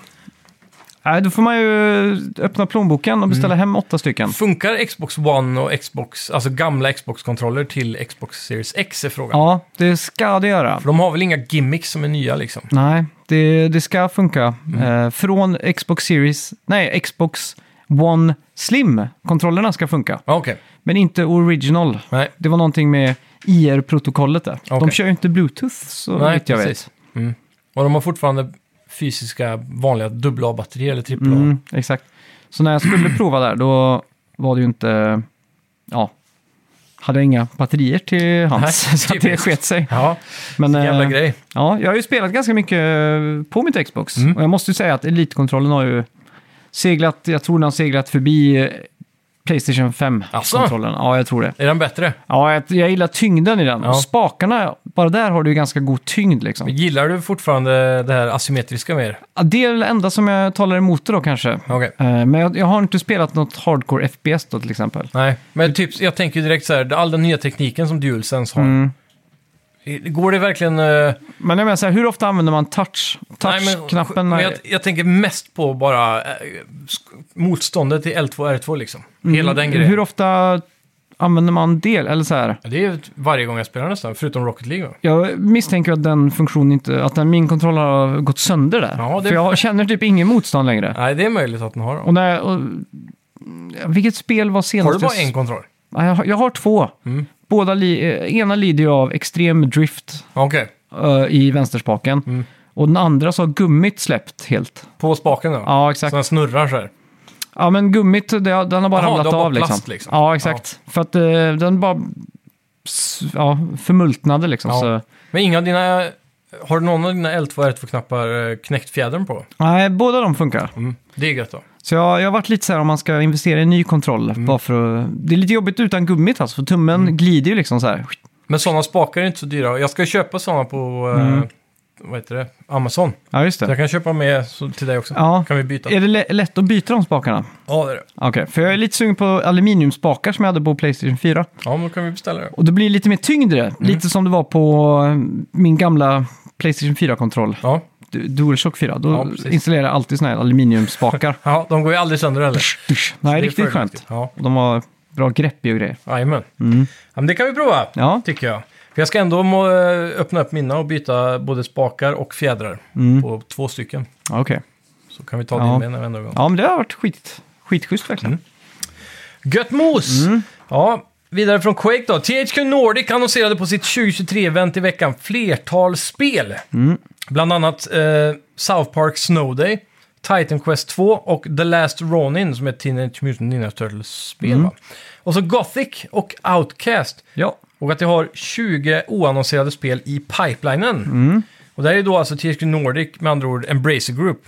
Speaker 1: Nej, då får man ju öppna plånboken och beställa hem åtta stycken.
Speaker 2: Funkar Xbox One och Xbox, alltså gamla Xbox-controller till Xbox Series X är frågan.
Speaker 1: Ja, det ska det göra.
Speaker 2: För de har väl inga gimmicks som är nya liksom?
Speaker 1: Nej, det, det ska funka. Eh, från Xbox Series... Nej, Xbox One Slim-kontrollerna ska funka.
Speaker 2: Ja, Okej.
Speaker 1: Men inte original.
Speaker 2: Nej.
Speaker 1: Det var någonting med IR-protokollet där.
Speaker 2: Okej.
Speaker 1: De kör ju inte Bluetooth så
Speaker 2: Nej,
Speaker 1: vitt jag
Speaker 2: precis. Mm. Och de har fortfarande fysiska vanliga dubbla A-batterier eller
Speaker 1: vet.
Speaker 2: trippla A.
Speaker 1: Mm, exakt. Så när jag skulle prova där, då var det ju inte... Ja, hade jag inga batterier till hands,
Speaker 2: Nej,
Speaker 1: så att det
Speaker 2: typiskt.
Speaker 1: sket sig.
Speaker 2: Ja,
Speaker 1: Men
Speaker 2: jävla
Speaker 1: eh,
Speaker 2: grej.
Speaker 1: ja, jag har ju spelat ganska mycket eh, på mitt Xbox.
Speaker 2: Mm.
Speaker 1: Och jag måste ju säga att Elite-kontrollen har ju seglat, jag tror den har seglat förbi eh, Playstation 5-kontrollen. Ja, jag tror det.
Speaker 2: Är den bättre?
Speaker 1: Ja, jag, jag gillar tyngden i den.
Speaker 2: Ja.
Speaker 1: Och spakarna, bara där har du ju ganska god tyngd liksom.
Speaker 2: Gillar du fortfarande det här asymmetriska mer?
Speaker 1: Ja, Det är väl det enda som jag talar emot det då kanske.
Speaker 2: Okej.
Speaker 1: Eh, Men jag, jag har inte spelat något hardcore FPS då till exempel. Mm.
Speaker 2: Nej, men typ, jag tänker ju direkt så här, all den nya tekniken som DualSense har Går det verkligen... eh,
Speaker 1: Men jag menar så här, hur ofta använder man touch?
Speaker 2: nej,
Speaker 1: Touch-knappen?
Speaker 2: Men
Speaker 1: är-
Speaker 2: jag, jag tänker mest på bara eh, sk- motståndet till L2 R2 liksom. Hela den grejen.
Speaker 1: Mm. Hur ofta använder man del? Eller så här,
Speaker 2: Det är ju varje gång jag spelar nästan, förutom Rocket League. va?
Speaker 1: jag misstänker att den funktionen inte, att den, min kontroll har gått sönder där.
Speaker 2: Ja, det-
Speaker 1: För jag känner typ ingen motstånd längre.
Speaker 2: Nej, det är möjligt att den har.
Speaker 1: Och när, och, vilket spel var senast?
Speaker 2: Har du bara
Speaker 1: jag-
Speaker 2: en Mm. kontroll?
Speaker 1: Nej, Jag, har- jag har två. Båda li, eh, ena lider ju av extrem drift
Speaker 2: Ja, Okej,
Speaker 1: eh, i vänsterspaken.
Speaker 2: Mm.
Speaker 1: Och den andra så har gummit släppt helt.
Speaker 2: på spaken då?
Speaker 1: Ja, exakt.
Speaker 2: Så den snurrar så här.
Speaker 1: Ja, men gummit, det, den har bara
Speaker 2: Jaha,
Speaker 1: ramlat
Speaker 2: det har bara
Speaker 1: av liksom.
Speaker 2: plast, liksom.
Speaker 1: Ja, exakt. För att eh, den bara s- ja, förmultnade liksom.
Speaker 2: Ja.
Speaker 1: Så.
Speaker 2: Men inga av dina... Har någon av dina L2 R2-knappar eh, knäckt fjädern på?
Speaker 1: Nej, båda de funkar.
Speaker 2: Mm. Det är gött då.
Speaker 1: Så jag, jag har varit lite så här om man ska investera i en ny kontroll.
Speaker 2: Mm.
Speaker 1: Bara för att, det är lite jobbigt utan gummit alltså, för tummen glider ju liksom så här.
Speaker 2: Men sådana spakar är inte så dyra. Jag ska köpa sådana på... eh,
Speaker 1: Mm.
Speaker 2: Vad heter det? Amazon.
Speaker 1: Ja, just
Speaker 2: Så jag
Speaker 1: det.
Speaker 2: kan köpa med så, till dig också.
Speaker 1: Ja.
Speaker 2: Kan vi byta?
Speaker 1: Är det lä- lätt att byta de spakarna?
Speaker 2: Ja, det är det.
Speaker 1: Okej, för jag är lite sugen på aluminiumspakar som jag hade på Playstation 4.
Speaker 2: Ja, men då kan vi beställa det.
Speaker 1: Och det blir lite mer tyngd i det.
Speaker 2: Mm.
Speaker 1: Lite som det var på eh, min gamla Playstation 4-kontroll.
Speaker 2: Ja.
Speaker 1: Du- DualShock 4. Då
Speaker 2: Ja, precis.
Speaker 1: installerade jag alltid såna här aluminiumspakar.
Speaker 2: ja, de går ju aldrig sönder eller?
Speaker 1: Dusch, dusch. Nej,
Speaker 2: Det är
Speaker 1: riktigt
Speaker 2: fördelaktigt.
Speaker 1: skönt. Mm.
Speaker 2: Ja,
Speaker 1: Och de har bra grepp i och grejer.
Speaker 2: jajamän. Ja, men det kan vi prova,
Speaker 1: Ja.
Speaker 2: tycker jag. För jag ska ändå må, eh, öppna upp mina och byta både spakar och fjädrar på två stycken.
Speaker 1: Ja, Okej.
Speaker 2: Så kan vi ta
Speaker 1: Ja.
Speaker 2: din med en enda gång.
Speaker 1: Ja, men det har varit skit, skitschysst verkligen.
Speaker 2: Mm. Gött mos! Ja, vidare från Quake då. THQ Nordic annonserade på sitt 2023-event i veckan flertal spel. Bland annat eh, South Park Snow Day, Titan Quest 2 och The Last Ronin som är ett Teenage Mutant Ninja Turtles-spel. va? Och så Gothic och Outcast.
Speaker 1: Ja.
Speaker 2: Och att de har 20 oannonserade spel i pipelinen. Och det här är då alltså THQ Nordic, med andra ord Embracer Group.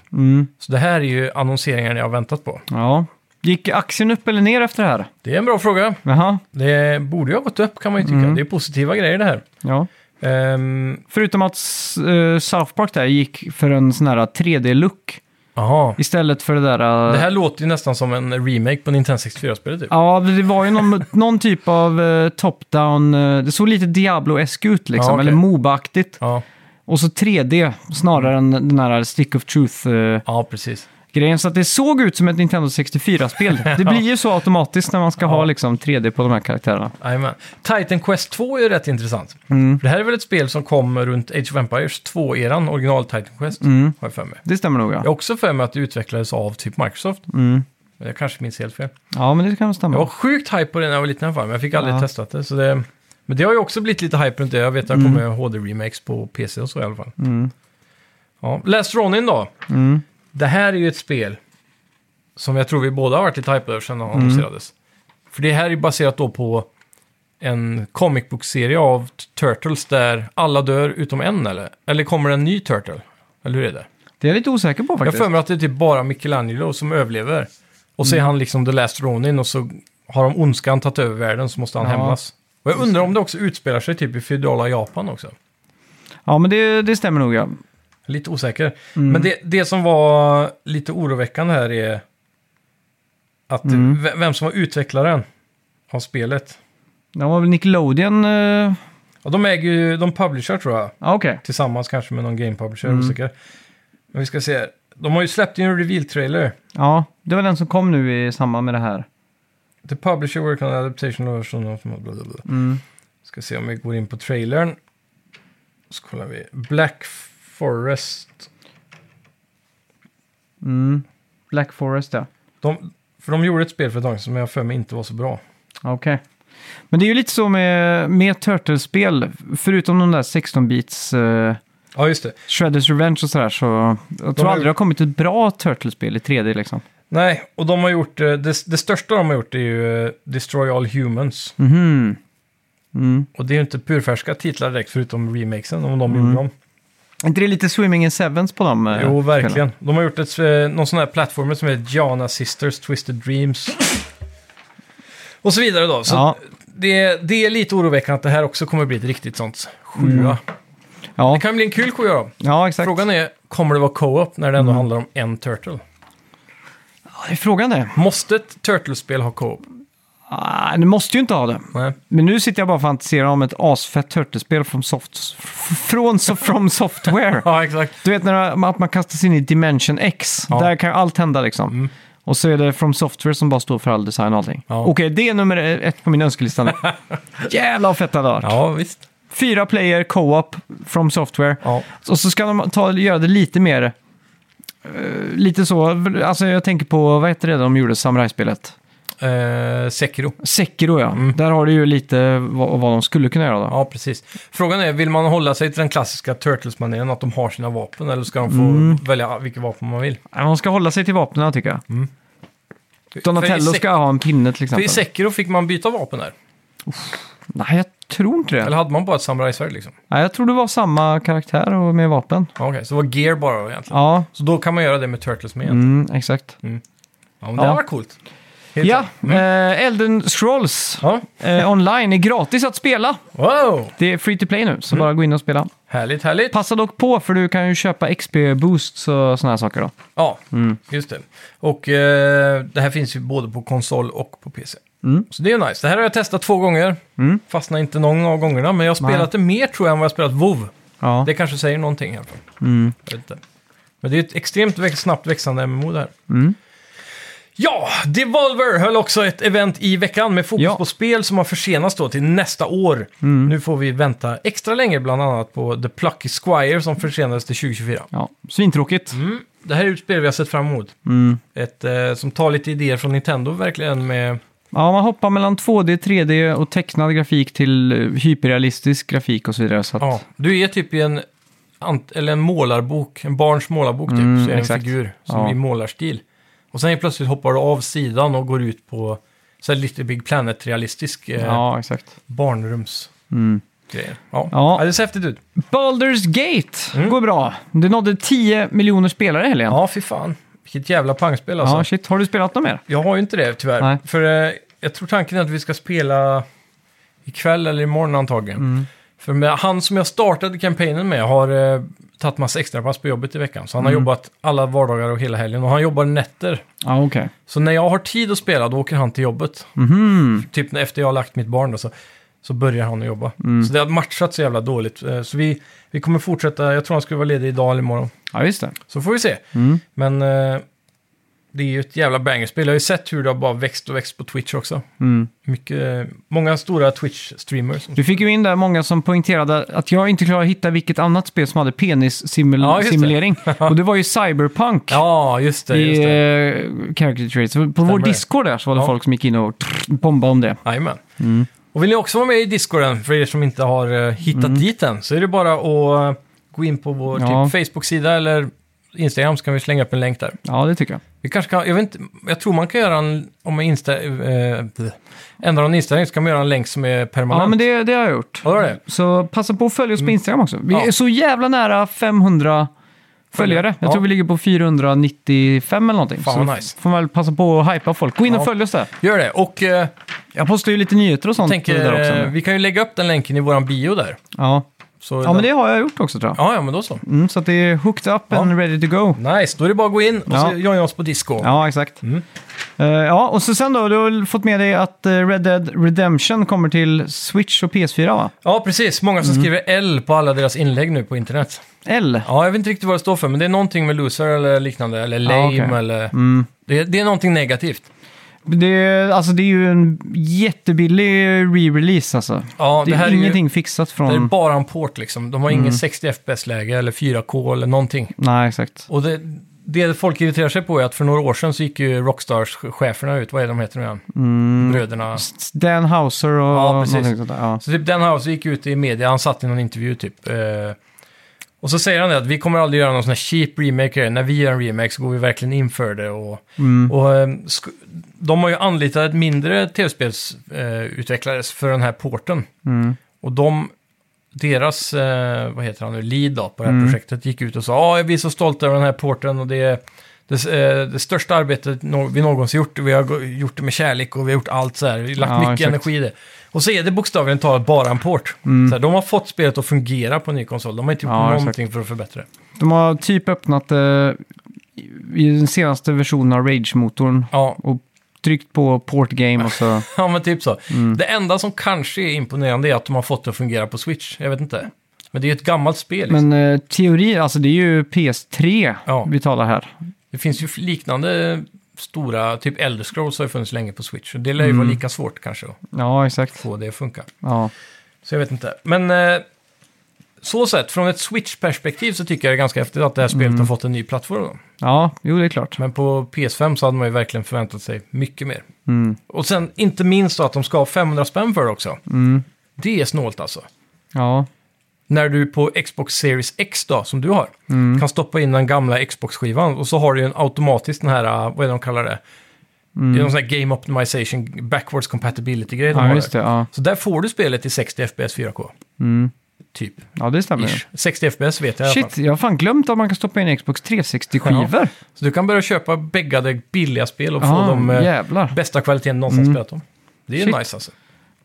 Speaker 2: Så det här är ju annonseringarna jag har väntat på.
Speaker 1: Mm, ja. Gick aktien upp eller ner efter det här?
Speaker 2: Det är en bra fråga.
Speaker 1: Jaha.
Speaker 2: Det borde ju ha gått upp kan man ju tycka. Det är positiva grejer det här.
Speaker 1: Ja.
Speaker 2: Ehm,
Speaker 1: Förutom att s- eh, South Park där gick för en sån här 3D-look
Speaker 2: Jaha.
Speaker 1: istället för det där... eh,
Speaker 2: Det här låter ju nästan som en remake på Nintendo 64-spelet typ.
Speaker 1: Ja, det var ju någon, någon typ av eh, top-down. eh, det såg lite Diablo-esk ut liksom,
Speaker 2: Ja, okej.
Speaker 1: eller Moba-aktigt.
Speaker 2: Ja,
Speaker 1: Och så 3D snarare
Speaker 2: Mm.
Speaker 1: än den här Stick of Truth-grejen.
Speaker 2: ja precis.
Speaker 1: så att det såg ut som ett Nintendo 64-spel. Det blir ju så automatiskt när man ska ha liksom 3D på de här karaktärerna.
Speaker 2: Jajamän. Titan Quest 2 är ju rätt intressant. För det här är väl ett spel som kom runt Age of Empires 2-eran, original Titan Quest, har jag för mig.
Speaker 1: Det stämmer nog ja.
Speaker 2: Jag har också för mig att det utvecklades av typ Microsoft. Men Jag kanske minns helt fel.
Speaker 1: Ja, men det kan nog stämma.
Speaker 2: Jag var sjukt hype på det när jag var liten i alla fall, men jag fick aldrig
Speaker 1: Ja.
Speaker 2: testat det, så det. Men det har ju också blivit lite hype runt det. Jag vet att det har kommit HD-remakes på PC och så i alla fall. Ja. Last Ronin då. Det här är ju ett spel som jag tror vi båda har varit lite hype över sedan det annonserades. För det här är baserat då på en comic book-serie av t- Turtles där alla dör utom en eller? Eller kommer det en ny Turtle? Eller hur är det?
Speaker 1: Det är jag lite osäker på
Speaker 2: Jag
Speaker 1: faktiskt. Mm.
Speaker 2: för mig att det är typ bara Michelangelo som överlever. Och så är han liksom The Last Ronin och så har de ondskan tagit över världen så måste han
Speaker 1: Ja.
Speaker 2: hämnas. Och jag undrar om det också utspelar sig typ i feodala Japan också.
Speaker 1: Ja, men det, det stämmer nog ja.
Speaker 2: Lite osäker.
Speaker 1: Mm.
Speaker 2: Men det, det som var lite oroväckande här är att
Speaker 1: Mm.
Speaker 2: v- vem som var utvecklaren av spelet.
Speaker 1: Det var väl Nickelodeon... eh,
Speaker 2: Ja, de äger ju, de publishar tror jag.
Speaker 1: Ja, okej.
Speaker 2: Tillsammans kanske med någon game publisher,
Speaker 1: Mm.
Speaker 2: osäker. Men vi ska se. här. De har ju släppt en reveal-trailer.
Speaker 1: Ja, det var den som kom nu i samband med det här.
Speaker 2: The publisher work on adaptation version of... Blablabla.
Speaker 1: Mm.
Speaker 2: Ska se om vi går in på trailern. Så kollar vi. Black Forest.
Speaker 1: Mm. Black Forest ja.
Speaker 2: De, för de gjorde ett spel för ett tag sedan som jag för mig inte var så bra.
Speaker 1: Okej. Men det är ju lite så med, med Turtles-spel, förutom de där 16-bits eh,
Speaker 2: Ja, just det.
Speaker 1: Shredders Revenge och sådär, så jag tror
Speaker 2: har-
Speaker 1: aldrig det har kommit ett bra Turtles-spel i 3D liksom.
Speaker 2: Nej, och de har gjort... eh, Det, det största de har gjort är ju eh, Destroy All Humans.
Speaker 1: Mhm. Mm.
Speaker 2: Och det är ju inte purfärska titlar direkt, förutom remakesen, om de gjorde dem.
Speaker 1: Är inte det lite Swimming in Sevens på dem? eh,
Speaker 2: Jo,
Speaker 1: spelen?
Speaker 2: verkligen. De har gjort ett, eh, någon sån här plattform som heter Gianna Sisters Twisted Dreams. Och så vidare då. Så
Speaker 1: Ja.
Speaker 2: det, det är lite oroväckande att det här också kommer bli ett riktigt sånt sjua.
Speaker 1: Ja.
Speaker 2: Det kan bli en kul sjua då.
Speaker 1: ja, exakt.
Speaker 2: Frågan är, kommer det vara co-op när det ändå handlar om en Turtle?
Speaker 1: Ja, det är frågan det.
Speaker 2: Måste ett Turtle-spel ha co-op?
Speaker 1: Ah, det måste ju inte ha det.
Speaker 2: Nej.
Speaker 1: Men nu sitter jag bara och fantiserar om ett asfett turtlespel från, soft, från so- from Software.
Speaker 2: Ja, exakt.
Speaker 1: Du vet när man, att man kastas in i Dimension X.
Speaker 2: Ja. Mm.
Speaker 1: Där kan ju allt hända liksom. Och så är det From Software som bara står för all design och allting.
Speaker 2: Ja.
Speaker 1: Okej, det är nummer ett på min önskelista nu. Jävlar vad fett det hade varit.
Speaker 2: Ja, visst.
Speaker 1: Fyra player, co-op, From Software.
Speaker 2: Ja.
Speaker 1: Och så ska de ta, göra det lite mer... eh, lite så, alltså jag tänker på, vad heter det de gjorde, samurajspelet?
Speaker 2: Eh, Sekiro.
Speaker 1: Sekiro ja,
Speaker 2: Mm.
Speaker 1: där har du ju lite vad, vad de skulle kunna göra då.
Speaker 2: Ja, precis. Frågan är, vill man hålla sig till den klassiska Turtles-maneren, att de har sina vapen, eller ska de få välja vilket vapen man vill?
Speaker 1: Nej, Man ska hålla sig till vapnen tycker jag.
Speaker 2: För
Speaker 1: Donatello
Speaker 2: Mm. i Sek-
Speaker 1: ska ha en pinne till
Speaker 2: För i
Speaker 1: exempel.
Speaker 2: Sekiro fick man byta vapen där.
Speaker 1: Nej, jag tror inte det.
Speaker 2: Eller hade man bara ett samurajsvärd liksom?
Speaker 1: Nej, jag tror det var samma karaktär och med vapen.
Speaker 2: Ja, Okej, så det var gear bara då, egentligen.
Speaker 1: Ja,
Speaker 2: Så då kan man göra det med Turtles med egentligen.
Speaker 1: mm, exakt.
Speaker 2: Ja, men det
Speaker 1: Ja.
Speaker 2: var coolt. Helt
Speaker 1: Ja,
Speaker 2: klart.
Speaker 1: eh, Elden Scrolls
Speaker 2: Ja.
Speaker 1: eh, online är gratis att spela.
Speaker 2: Wow!
Speaker 1: Det är free to play nu, så bara gå in och spela.
Speaker 2: Härligt, härligt.
Speaker 1: Passa dock på, för du kan ju köpa XP-boosts och sådana här saker då.
Speaker 2: Ja, just det. Och eh, det här finns ju både på konsol och på PC. Så det är ju nice. Det här har jag testat två gånger. Mm. Fastnar inte någon av gångerna, men jag har spelat det mer tror jag än vad jag har spelat WoW.
Speaker 1: Ja,
Speaker 2: Det kanske säger någonting i alla fall. Jag vet inte. Men det är ett extremt väx- snabbt växande MMO det här. Ja, Devolver höll också ett event i veckan med fokus
Speaker 1: Ja.
Speaker 2: på spel som har försenats då till nästa år. Nu får vi vänta extra länge bland annat på The Plucky Squire som försenades till 2024.
Speaker 1: ja. svintråkigt. Mm.
Speaker 2: Mm. Det här är ett spel vi har sett fram emot. Ett, eh, som tar lite idéer från Nintendo verkligen med...
Speaker 1: Ja, man hoppar mellan 2D, 3D och tecknad grafik till eh, hyperrealistisk grafik och så vidare. Så att,
Speaker 2: Ja, du är typ i en, ant, eller en målarbok, en barns målarbok typ.
Speaker 1: Mm,
Speaker 2: så är det en
Speaker 1: exakt.
Speaker 2: figur som
Speaker 1: Ja.
Speaker 2: i målarstil. Och sen helt plötsligt hoppar du av sidan och går ut på så här Little Big Planet-realistisk eh,
Speaker 1: ja exakt.
Speaker 2: barnrums...
Speaker 1: Mm.
Speaker 2: Grejer. Ja.
Speaker 1: Ja.
Speaker 2: ja, det ser häftigt ut.
Speaker 1: Baldur's Gate går bra. Det nådde 10 miljoner spelare i helgen.
Speaker 2: Ja, fy fan. Vilket jävla pangspel alltså.
Speaker 1: Ja, shit. Har du spelat något mer?
Speaker 2: Jag har ju inte det tyvärr.
Speaker 1: Nej.
Speaker 2: För eh, jag tror tanken är att vi ska spela ikväll eller imorgon antagligen. För med, han som jag startade kampanjen med har eh, tagit massa extrapass på jobbet i veckan. Så han har jobbat alla vardagar och hela helgen. Och han jobbar nätter.
Speaker 1: Ja, okej.
Speaker 2: Så när jag har tid att spela då åker han till jobbet. Typ när- efter jag har lagt mitt barn då, så, så börjar han att jobba. Så det har matchat så jävla dåligt. Eh, Så vi, vi kommer fortsätta. Jag tror han skulle vara ledig idag eller imorgon.
Speaker 1: Ja, just det.
Speaker 2: Så får vi se.
Speaker 1: Mm.
Speaker 2: Men eh, det är ju ett jävla bangerspel. Jag har ju sett hur det har bara växt och växt på Twitch också.
Speaker 1: Mm.
Speaker 2: Mycket, eh, många stora Twitch-streamers.
Speaker 1: Du fick ju in där många som poängterade att jag inte klarar att hitta vilket annat spel som hade
Speaker 2: Ja, just det.
Speaker 1: penissimulering. och det var ju Cyberpunk.
Speaker 2: Ja, just det. Just
Speaker 1: I
Speaker 2: det.
Speaker 1: eh, Character Traits. På vår
Speaker 2: det.
Speaker 1: Discord där så var det
Speaker 2: Ja.
Speaker 1: folk som gick in och bombade om det.
Speaker 2: Jajamän.
Speaker 1: Mm.
Speaker 2: Och vill ni också vara med i Discorden, för er som inte har eh, hittat dit än, så är det bara att eh, gå in på vår
Speaker 1: Mm. Ja.
Speaker 2: typ, Facebook-sida eller Instagram så kan vi slänga upp en länk där.
Speaker 1: Ja, det tycker jag.
Speaker 2: Vi kanske kan, jag, vet inte, jag tror man kan göra en, om man insta, eh, ändrar en inställning så kan man göra en länk som är permanent.
Speaker 1: Ja, men det, det har jag gjort.
Speaker 2: Ja, det var det.
Speaker 1: Så passa på att följa oss på Instagram också. Vi
Speaker 2: Ja.
Speaker 1: är så jävla nära 500 följare. Jag
Speaker 2: Ja.
Speaker 1: tror vi ligger på 495 eller någonting.
Speaker 2: Fan,
Speaker 1: så
Speaker 2: vad nice.
Speaker 1: får man väl passa på att hypa folk. Gå in
Speaker 2: Ja.
Speaker 1: och följ oss där.
Speaker 2: Gör det. Och... Eh,
Speaker 1: Jag postar ju lite nyheter och sånt
Speaker 2: tänker,
Speaker 1: där också.
Speaker 2: eh, vi kan ju lägga upp den länken i våran bio där.
Speaker 1: Ja.
Speaker 2: Så
Speaker 1: ja, men det
Speaker 2: den-
Speaker 1: har jag gjort också tror jag.
Speaker 2: ja, ja, men då så.
Speaker 1: Mm, så att det är hooked up and ready to go.
Speaker 2: Nice, då är det bara att gå in och
Speaker 1: Ja.
Speaker 2: så joina oss på Disco.
Speaker 1: Ja, exakt.
Speaker 2: Mm.
Speaker 1: Eh, ja, och så sen då, du har fått med dig att eh, Red Dead Redemption kommer till Switch och PS4 va?
Speaker 2: Ja, precis. Många
Speaker 1: Mm.
Speaker 2: som skriver L på alla deras inlägg nu på internet.
Speaker 1: L?
Speaker 2: Ja, jag vet inte riktigt vad det står för, men det är någonting med loser eller liknande, eller lame
Speaker 1: Ja, okej. Mm.
Speaker 2: eller... Det, det är någonting negativt.
Speaker 1: Det, alltså, det är ju en jättebillig re-release alltså.
Speaker 2: Ja,
Speaker 1: det,
Speaker 2: det, här
Speaker 1: är
Speaker 2: är ju,
Speaker 1: ingenting Mm. fixat
Speaker 2: det är
Speaker 1: från...
Speaker 2: bara en port liksom. De har ingen 60 FPS-läge eller 4K eller någonting.
Speaker 1: Nej, exakt.
Speaker 2: Och det, det folk irriterar sig på är att för några år sedan så gick ju Rockstars-cheferna ut, vad är de heter nu igen?
Speaker 1: Mm.
Speaker 2: Bröderna...
Speaker 1: Dan Houser och
Speaker 2: Ja, precis.
Speaker 1: någonting sånt där. Ja.
Speaker 2: Så typ den här så gick ut i media, han satt i någon intervju typ. Eh, och så säger han det att vi kommer aldrig göra någon sån här cheap remake. här. När vi gör en remake så går vi verkligen in för det. Och,
Speaker 1: Mm.
Speaker 2: och, eh, sk- de har ju anlitat ett mindre tv-spelsutvecklare eh, utvecklare för den här porten.
Speaker 1: Mm.
Speaker 2: Och de, deras, eh, vad heter han nu, lead då, på det
Speaker 1: Mm.
Speaker 2: här projektet gick ut och sa ja, vi är så stolta över den här porten och det är det, eh, det största arbetet nå- vi någonsin gjort. Vi har gå- gjort det med kärlek och vi har gjort allt så här. Vi har lagt
Speaker 1: Ja,
Speaker 2: mycket
Speaker 1: exakt.
Speaker 2: energi i det. Och så är det bokstavligen talat bara en port. Så här, de har fått spelet att fungera på en ny konsol. De har inte gjort
Speaker 1: Mm. Ja, exakt.
Speaker 2: någonting för att förbättra det.
Speaker 1: De har typ öppnat eh, i i den senaste versionen av Rage-motorn
Speaker 2: Ja,
Speaker 1: och tryckt på port game och så...
Speaker 2: Ja, men typ så.
Speaker 1: Mm.
Speaker 2: Det enda som kanske är imponerande är att de har fått det att fungera på Switch. Jag vet inte. Men det är ju ett gammalt spel. Liksom.
Speaker 1: Men eh, teori, alltså det är ju PS3
Speaker 2: Ja.
Speaker 1: vi talar här.
Speaker 2: Det finns ju liknande stora, typ Elder Scrolls har ju funnits länge på Switch. Och det lär ju
Speaker 1: Mm.
Speaker 2: vara lika svårt kanske att
Speaker 1: Ja, exakt.
Speaker 2: få det att funka.
Speaker 1: Ja.
Speaker 2: Så jag vet inte. Men eh, så sett, från ett Switch-perspektiv så tycker jag det är ganska häftigt att det här spelet
Speaker 1: Mm.
Speaker 2: har fått en ny plattform. Då.
Speaker 1: ja, jo det är klart.
Speaker 2: Men på PS5 så hade man ju verkligen förväntat sig mycket mer.
Speaker 1: Mm.
Speaker 2: Och sen inte minst då att de ska ha 500 spänn för det också.
Speaker 1: Mm.
Speaker 2: Det är snålt alltså.
Speaker 1: Ja,
Speaker 2: När du på Xbox Series X då, som du har,
Speaker 1: Mm.
Speaker 2: kan stoppa in den gamla Xbox-skivan och så har du ju en automatisk den här, uh, vad är det de kallar det? Det är någon sån här Game Optimization Backwards Compatibility-grej de
Speaker 1: Mm. ja
Speaker 2: har
Speaker 1: just
Speaker 2: där.
Speaker 1: det. Ja, Mm.
Speaker 2: Så där får du spelet i 60 FPS 4K. Typ.
Speaker 1: ja det stämmer.
Speaker 2: Ish. 60 FPS vet jag i alla
Speaker 1: Shit,
Speaker 2: fall.
Speaker 1: jag har fan glömt att man kan stoppa in Xbox 360-skivor.
Speaker 2: Så du kan börja köpa bäggade billiga spel och
Speaker 1: Ja,
Speaker 2: få de eh,
Speaker 1: jävlar.
Speaker 2: bästa kvaliteten någonsin spelat om. Det är
Speaker 1: Mm. Shit.
Speaker 2: nice alltså.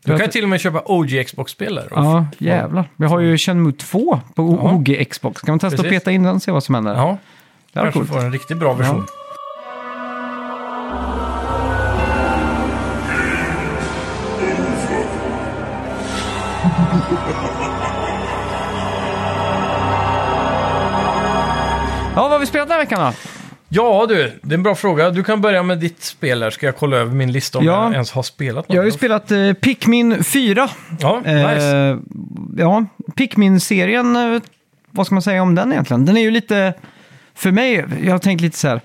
Speaker 1: Jag
Speaker 2: Du kan ju
Speaker 1: t-
Speaker 2: till och med köpa OG Xbox-spel där. Och-
Speaker 1: Ja, jävlar. Vi har ju Shenmue 2 på O-
Speaker 2: Ja.
Speaker 1: OG Xbox. Kan man testa att
Speaker 2: Precis.
Speaker 1: peta in den och se vad som händer?
Speaker 2: ja
Speaker 1: det här är
Speaker 2: kanske
Speaker 1: coolt.
Speaker 2: får en riktigt bra version.
Speaker 1: Ja, vad har vi spelat den här veckan då?
Speaker 2: Ja du, det är en bra fråga. Du kan börja med ditt spel här. Ska jag kolla över min lista om
Speaker 1: Ja.
Speaker 2: jag ens har spelat något?
Speaker 1: Jag har ju spelat eh, Pikmin 4.
Speaker 2: Ja, nice.
Speaker 1: Eh, ja, Pikmin-serien, eh, vad ska man säga om den egentligen? Den är ju lite, för mig, jag har tänkt lite så här,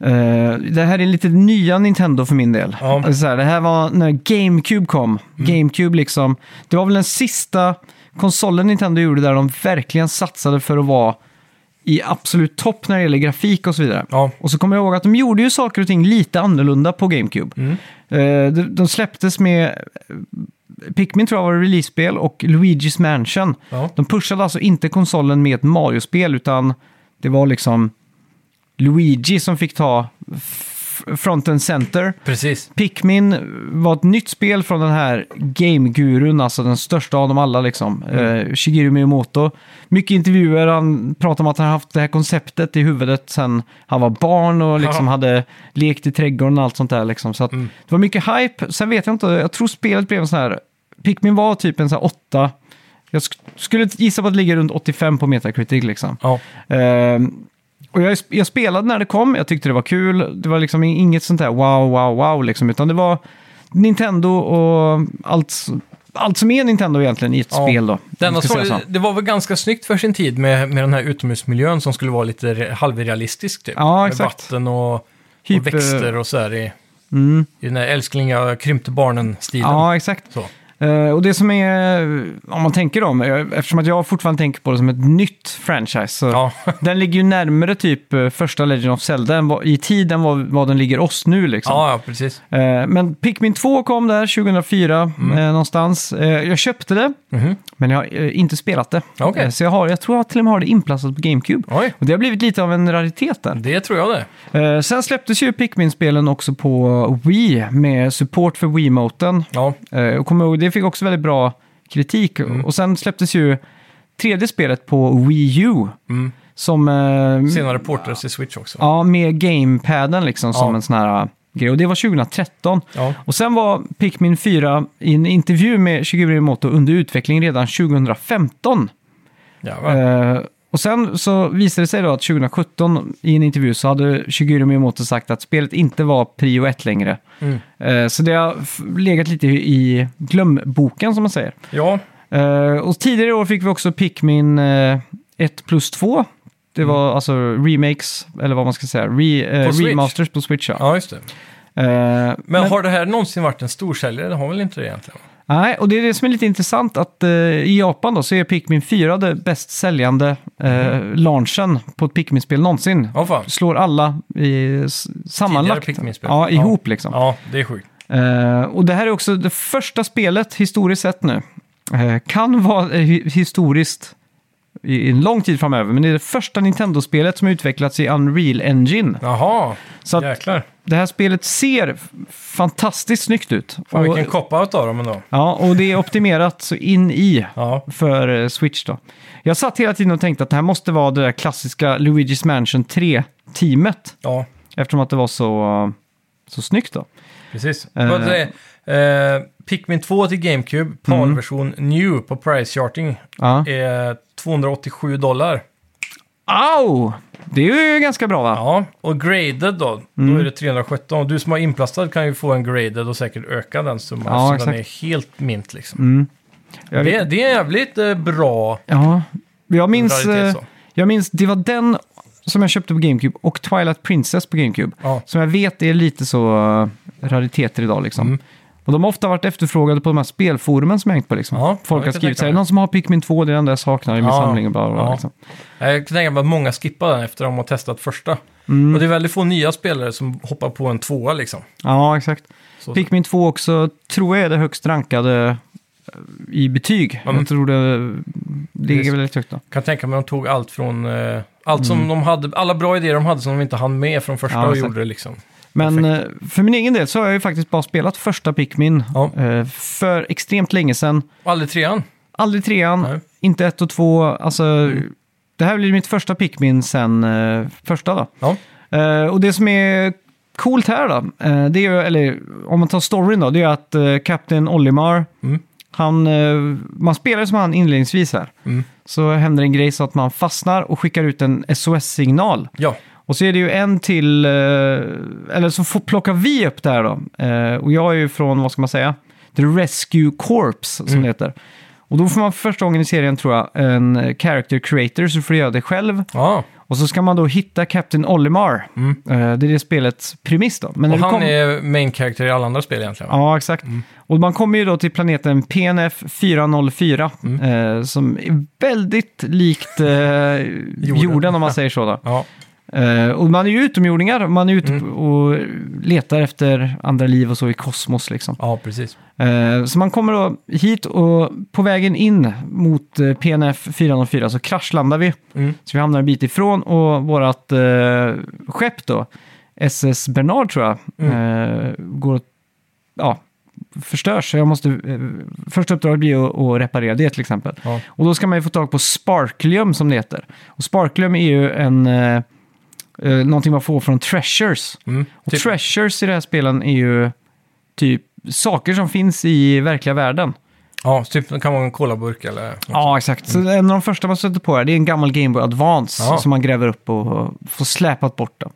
Speaker 1: eh, det här är lite nya Nintendo för min del.
Speaker 2: Ja. Mm.
Speaker 1: Alltså Så här, det här var när GameCube kom. GameCube liksom, det var väl den sista konsolen Nintendo gjorde där de verkligen satsade för att vara i absolut topp när det gäller grafik och så vidare.
Speaker 2: Ja.
Speaker 1: Och så kommer jag ihåg att de gjorde ju saker och ting lite annorlunda på GameCube. Eh, de, de släpptes med eh, Pikmin tror jag var release-spel och Luigi's Mansion.
Speaker 2: Ja.
Speaker 1: De pushade alltså inte konsolen med ett Mario-spel utan det var liksom Luigi som fick ta f- front and center.
Speaker 2: Precis.
Speaker 1: Pikmin var ett nytt spel från den här game-gurun, alltså den största av dem alla liksom. Eh, Shigeru Miyamoto. Mycket intervjuer, han pratar om att han har haft det här konceptet i huvudet sen han var barn och liksom
Speaker 2: Ja.
Speaker 1: hade lekt i trädgården och allt sånt där liksom. Så att det var mycket hype. Sen vet jag inte, jag tror spelet blev en sån här... Pikmin var typ en sån här åtta. Jag sk- skulle gissa på att det ligger runt 85 på Metacritic liksom.
Speaker 2: Ja.
Speaker 1: Ehm, och jag, jag spelade när det kom, jag tyckte det var kul. Det var liksom inget sånt där wow, wow, wow, liksom, utan det var Nintendo och allt, s- allt som är Nintendo egentligen i ett
Speaker 2: Ja.
Speaker 1: spel. Då, om
Speaker 2: Det, enda
Speaker 1: jag ska
Speaker 2: som,
Speaker 1: säga så.
Speaker 2: det var väl ganska snyggt för sin tid med, med den här utomhusmiljön som skulle vara lite re- halvrealistisk typ.
Speaker 1: Ja,
Speaker 2: med
Speaker 1: exakt. Typ, eh,
Speaker 2: vatten och,
Speaker 1: Hyper-
Speaker 2: och växter och så här i, i den här älskling jag krympte barnen-stilen.
Speaker 1: mm. Ja, exakt.
Speaker 2: Så.
Speaker 1: Eh, och det som är, om man tänker om, jag- eftersom att jag fortfarande tänker på det som ett nytt franchise, så
Speaker 2: Ja.
Speaker 1: den ligger ju närmare typ eh, första Legend of Zelda än vad- i tiden vad, vad den ligger oss nu. Liksom.
Speaker 2: ja, ja, precis.
Speaker 1: Eh, Men Pikmin 2 kom där 2004
Speaker 2: Mm.
Speaker 1: eh, någonstans. Eh, Jag köpte det, men jag har eh, inte spelat det.
Speaker 2: Mhm. Okej.
Speaker 1: Eh, Så jag, har, jag tror jag till och med har det inplastat på GameCube.
Speaker 2: Oj.
Speaker 1: Och det har blivit lite av en raritet där.
Speaker 2: Det tror jag det.
Speaker 1: Eh, Sen släpptes ju Pikmin-spelen också på Wii med support för Wiimoten.
Speaker 2: Ja,
Speaker 1: Eh, Och kom ihåg, det fick också väldigt bra kritik.
Speaker 2: Mm.
Speaker 1: Och sen släpptes ju tredje spelet på Wii U.
Speaker 2: Mm.
Speaker 1: Som... eh,
Speaker 2: senare portades till Switch också.
Speaker 1: Ja, med gamepaden liksom som
Speaker 2: Ja.
Speaker 1: en sån här grej. Och det var 2013.
Speaker 2: Ja.
Speaker 1: Och sen var Pikmin 4 i en intervju med Shigeru Miyamoto under utveckling redan 2015.
Speaker 2: Ja, va?
Speaker 1: Eh, och sen så visade det sig då att 2017 i en intervju så hade Shigeru Miyamoto sagt att spelet inte var prio 1 längre.
Speaker 2: Mm.
Speaker 1: Eh, så det har f- legat lite i glömboken som man säger.
Speaker 2: ja.
Speaker 1: Eh, och tidigare i år fick vi också Pikmin eh, 1 plus 2. Det var alltså remakes, eller vad man ska säga, re, eh,
Speaker 2: Mm. På Switch.
Speaker 1: remasters på Switch. Ja.
Speaker 2: ja, just det.
Speaker 1: Eh,
Speaker 2: Men,
Speaker 1: men-
Speaker 2: har det här någonsin varit en storsäljare? Det har väl inte det egentligen?
Speaker 1: Nej, och det är det som är lite intressant att eh, i Japan då så är Pikmin 4 det bäst säljande eh, launchen på ett Pikmin-spel någonsin.
Speaker 2: Mm. Ja, fan.
Speaker 1: Slår alla i, s- sammanlagt.
Speaker 2: Pikmin-spel.
Speaker 1: Ja,
Speaker 2: Ja.
Speaker 1: ihop liksom.
Speaker 2: Ja, det är sjukt.
Speaker 1: Eh, och det här är också det första spelet historiskt sett nu. Eh, kan vara eh, hi- historiskt i, i en lång tid framöver, men det är det första Nintendo-spelet som utvecklats i Unreal Engine.
Speaker 2: Jaha,
Speaker 1: Så att
Speaker 2: jäklar.
Speaker 1: det här spelet ser f- fantastiskt snyggt ut.
Speaker 2: Fan,
Speaker 1: Och-
Speaker 2: vilken cop-out av dem ändå.
Speaker 1: Ja, och det är optimerat så in i
Speaker 2: Ja.
Speaker 1: för eh, Switch då. Jag satt hela tiden och tänkte att det här måste vara det där klassiska Luigi's Mansion 3-teamet.
Speaker 2: Ja,
Speaker 1: Eftersom att det var så eh, Så snyggt då.
Speaker 2: Precis.
Speaker 1: Eh. Mm.
Speaker 2: Vad det är, eh, Pikmin 2 till GameCube, PAL-version New på price charting,
Speaker 1: Ja.
Speaker 2: är 287 dollar.
Speaker 1: Au! Det är ju ganska bra va?
Speaker 2: Ja, och graded då, då
Speaker 1: Mm.
Speaker 2: är det 317. Och du som har inplastad kan ju få en graded och säkert öka den summan.
Speaker 1: Ja,
Speaker 2: så den
Speaker 1: exakt. Mm.
Speaker 2: är helt mint liksom.
Speaker 1: Jag
Speaker 2: Det, det är jävligt eh, bra
Speaker 1: Ja, jag minns,
Speaker 2: Raritet
Speaker 1: eh,
Speaker 2: så.
Speaker 1: jag minns, det var den som jag köpte på GameCube och Twilight Princess på GameCube.
Speaker 2: Ja.
Speaker 1: Som jag vet är lite så eh, rariteter idag liksom.
Speaker 2: Mm.
Speaker 1: Och de har ofta varit efterfrågade på de här spelforumen som jag hängt på liksom.
Speaker 2: Ja,
Speaker 1: Folk
Speaker 2: jag
Speaker 1: har
Speaker 2: kan
Speaker 1: skrivit
Speaker 2: tänka
Speaker 1: så här,
Speaker 2: mig.
Speaker 1: någon som har Pikmin 2, det är den där jag saknar i min
Speaker 2: Ja,
Speaker 1: samling. och Bla, bla, bla,
Speaker 2: ja.
Speaker 1: liksom.
Speaker 2: Jag kan tänka mig att många skippar den efter att de har testat första.
Speaker 1: Mm.
Speaker 2: Och det är väldigt få nya spelare som hoppar på en tvåa liksom.
Speaker 1: ja exakt.
Speaker 2: Så,
Speaker 1: Pikmin 2 också, tror jag är det högst rankade eh, i betyg.
Speaker 2: Mm.
Speaker 1: Jag tror det ligger
Speaker 2: Just.
Speaker 1: väldigt högt då.
Speaker 2: kan tänka mig att de tog allt från... eh, allt som de hade, alla bra idéer de hade som de inte hann med från första
Speaker 1: Mm. Ja,
Speaker 2: och
Speaker 1: exakt.
Speaker 2: gjorde det liksom.
Speaker 1: Men eh, för min egen del så har jag ju faktiskt bara spelat första Pikmin
Speaker 2: Ja.
Speaker 1: eh, för extremt länge sedan.
Speaker 2: Och Aldrig trean.
Speaker 1: Aldrig trean,
Speaker 2: Nej.
Speaker 1: inte ett och två. Alltså, Det här blir mitt första Pikmin sen eh, första då.
Speaker 2: Ja.
Speaker 1: Eh, och det som är coolt här då, eh, det är ju, eller om man tar storyn då, det är att eh, Captain Olimar,
Speaker 2: Mm.
Speaker 1: han, eh, man spelar som han inledningsvis här.
Speaker 2: Mm.
Speaker 1: Så händer en grej så att man fastnar och skickar ut en SOS-signal.
Speaker 2: ja.
Speaker 1: Och så är det ju en till, eh, eller så får, plockar vi upp det här då. Eh, och jag är ju från, vad ska man säga, The Rescue Corps som
Speaker 2: Mm.
Speaker 1: det heter. Och då får man för första gången i serien, tror jag, en eh, character creator, så du får göra det själv.
Speaker 2: ja.
Speaker 1: Och så ska man då hitta Captain Olimar. Eh, det är det spelets premiss då. Men när
Speaker 2: Mm. Och
Speaker 1: du
Speaker 2: han
Speaker 1: kom-
Speaker 2: är Mm. main character i alla andra spel egentligen.
Speaker 1: Ja, exakt. Och man kommer ju då till planeten PNF 404,
Speaker 2: Mm.
Speaker 1: eh, som är väldigt likt eh, jorden. om man säger så. Då.
Speaker 2: Ja.
Speaker 1: Eh, och man är ju utomjordingar, man är ute och letar efter andra liv och så i kosmos liksom.
Speaker 2: ja, precis.
Speaker 1: Eh, så man kommer då hit och på vägen in mot eh, PNF 404 så kraschlandar vi.
Speaker 2: Mm.
Speaker 1: Så vi hamnar en bit ifrån och vårt eh, skepp då, SS Bernard tror jag, eh, går och, ja, förstörs. Så jag måste, eh, första uppdraget blir att, att reparera det till exempel.
Speaker 2: Ja.
Speaker 1: Och då ska man ju få tag på Sparklium som det heter. Och Sparklium är ju en, eh, eh, någonting man får från Treasures.
Speaker 2: Mm.
Speaker 1: Och
Speaker 2: Typ,
Speaker 1: Treasures i den här spelen är ju typ saker som finns i verkliga världen.
Speaker 2: ja, typ det kan vara en colaburk eller...
Speaker 1: Ja, exakt. Så en av de första man stöter på här, det är en gammal Game Boy Advance
Speaker 2: Ja.
Speaker 1: som man gräver upp och får släpat bort. Då.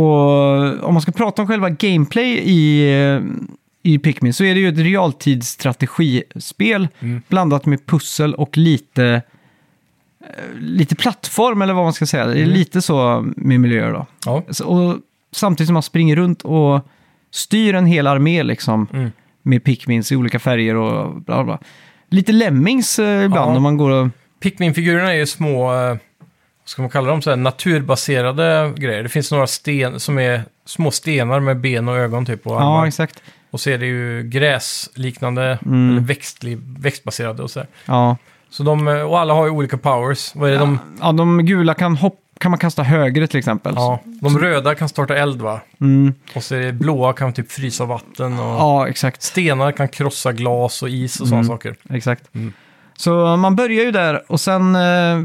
Speaker 1: Och om man ska prata om själva gameplay i, eh, i Pikmin så är det ju ett realtidsstrategispel blandat med pussel och lite, eh, lite plattform eller vad man ska säga. Det är lite så med miljöer då.
Speaker 2: Ja.
Speaker 1: Så- Och samtidigt som man springer runt och styr en hel armé liksom.
Speaker 2: Mm.
Speaker 1: Med Pikmins i olika färger och bla bla, bla. Lite lemmings eh, ibland
Speaker 2: Ja.
Speaker 1: om man går och...
Speaker 2: Pikmin-figurerna är ju små, eh, vad ska man kalla dem, så här, naturbaserade grejer. Det finns några sten som är små stenar med ben och ögon typ och
Speaker 1: Ja,
Speaker 2: armar.
Speaker 1: exakt.
Speaker 2: Och så är det ju gräsliknande,
Speaker 1: Mm.
Speaker 2: eller växtli, växtbaserade och sådär.
Speaker 1: Ja.
Speaker 2: Så de, eh, och alla har ju olika powers. Vad är det de,
Speaker 1: ja, de gula kan, hopp, kan man kasta högre till exempel.
Speaker 2: ja, de röda kan starta eld va?
Speaker 1: Mm.
Speaker 2: Och så är det blåa kan typ frysa vatten och
Speaker 1: ja Mm. exakt.
Speaker 2: stenar kan krossa glas och is och sådana saker.
Speaker 1: Exakt.
Speaker 2: Mm.
Speaker 1: Så man börjar ju där och sen eh,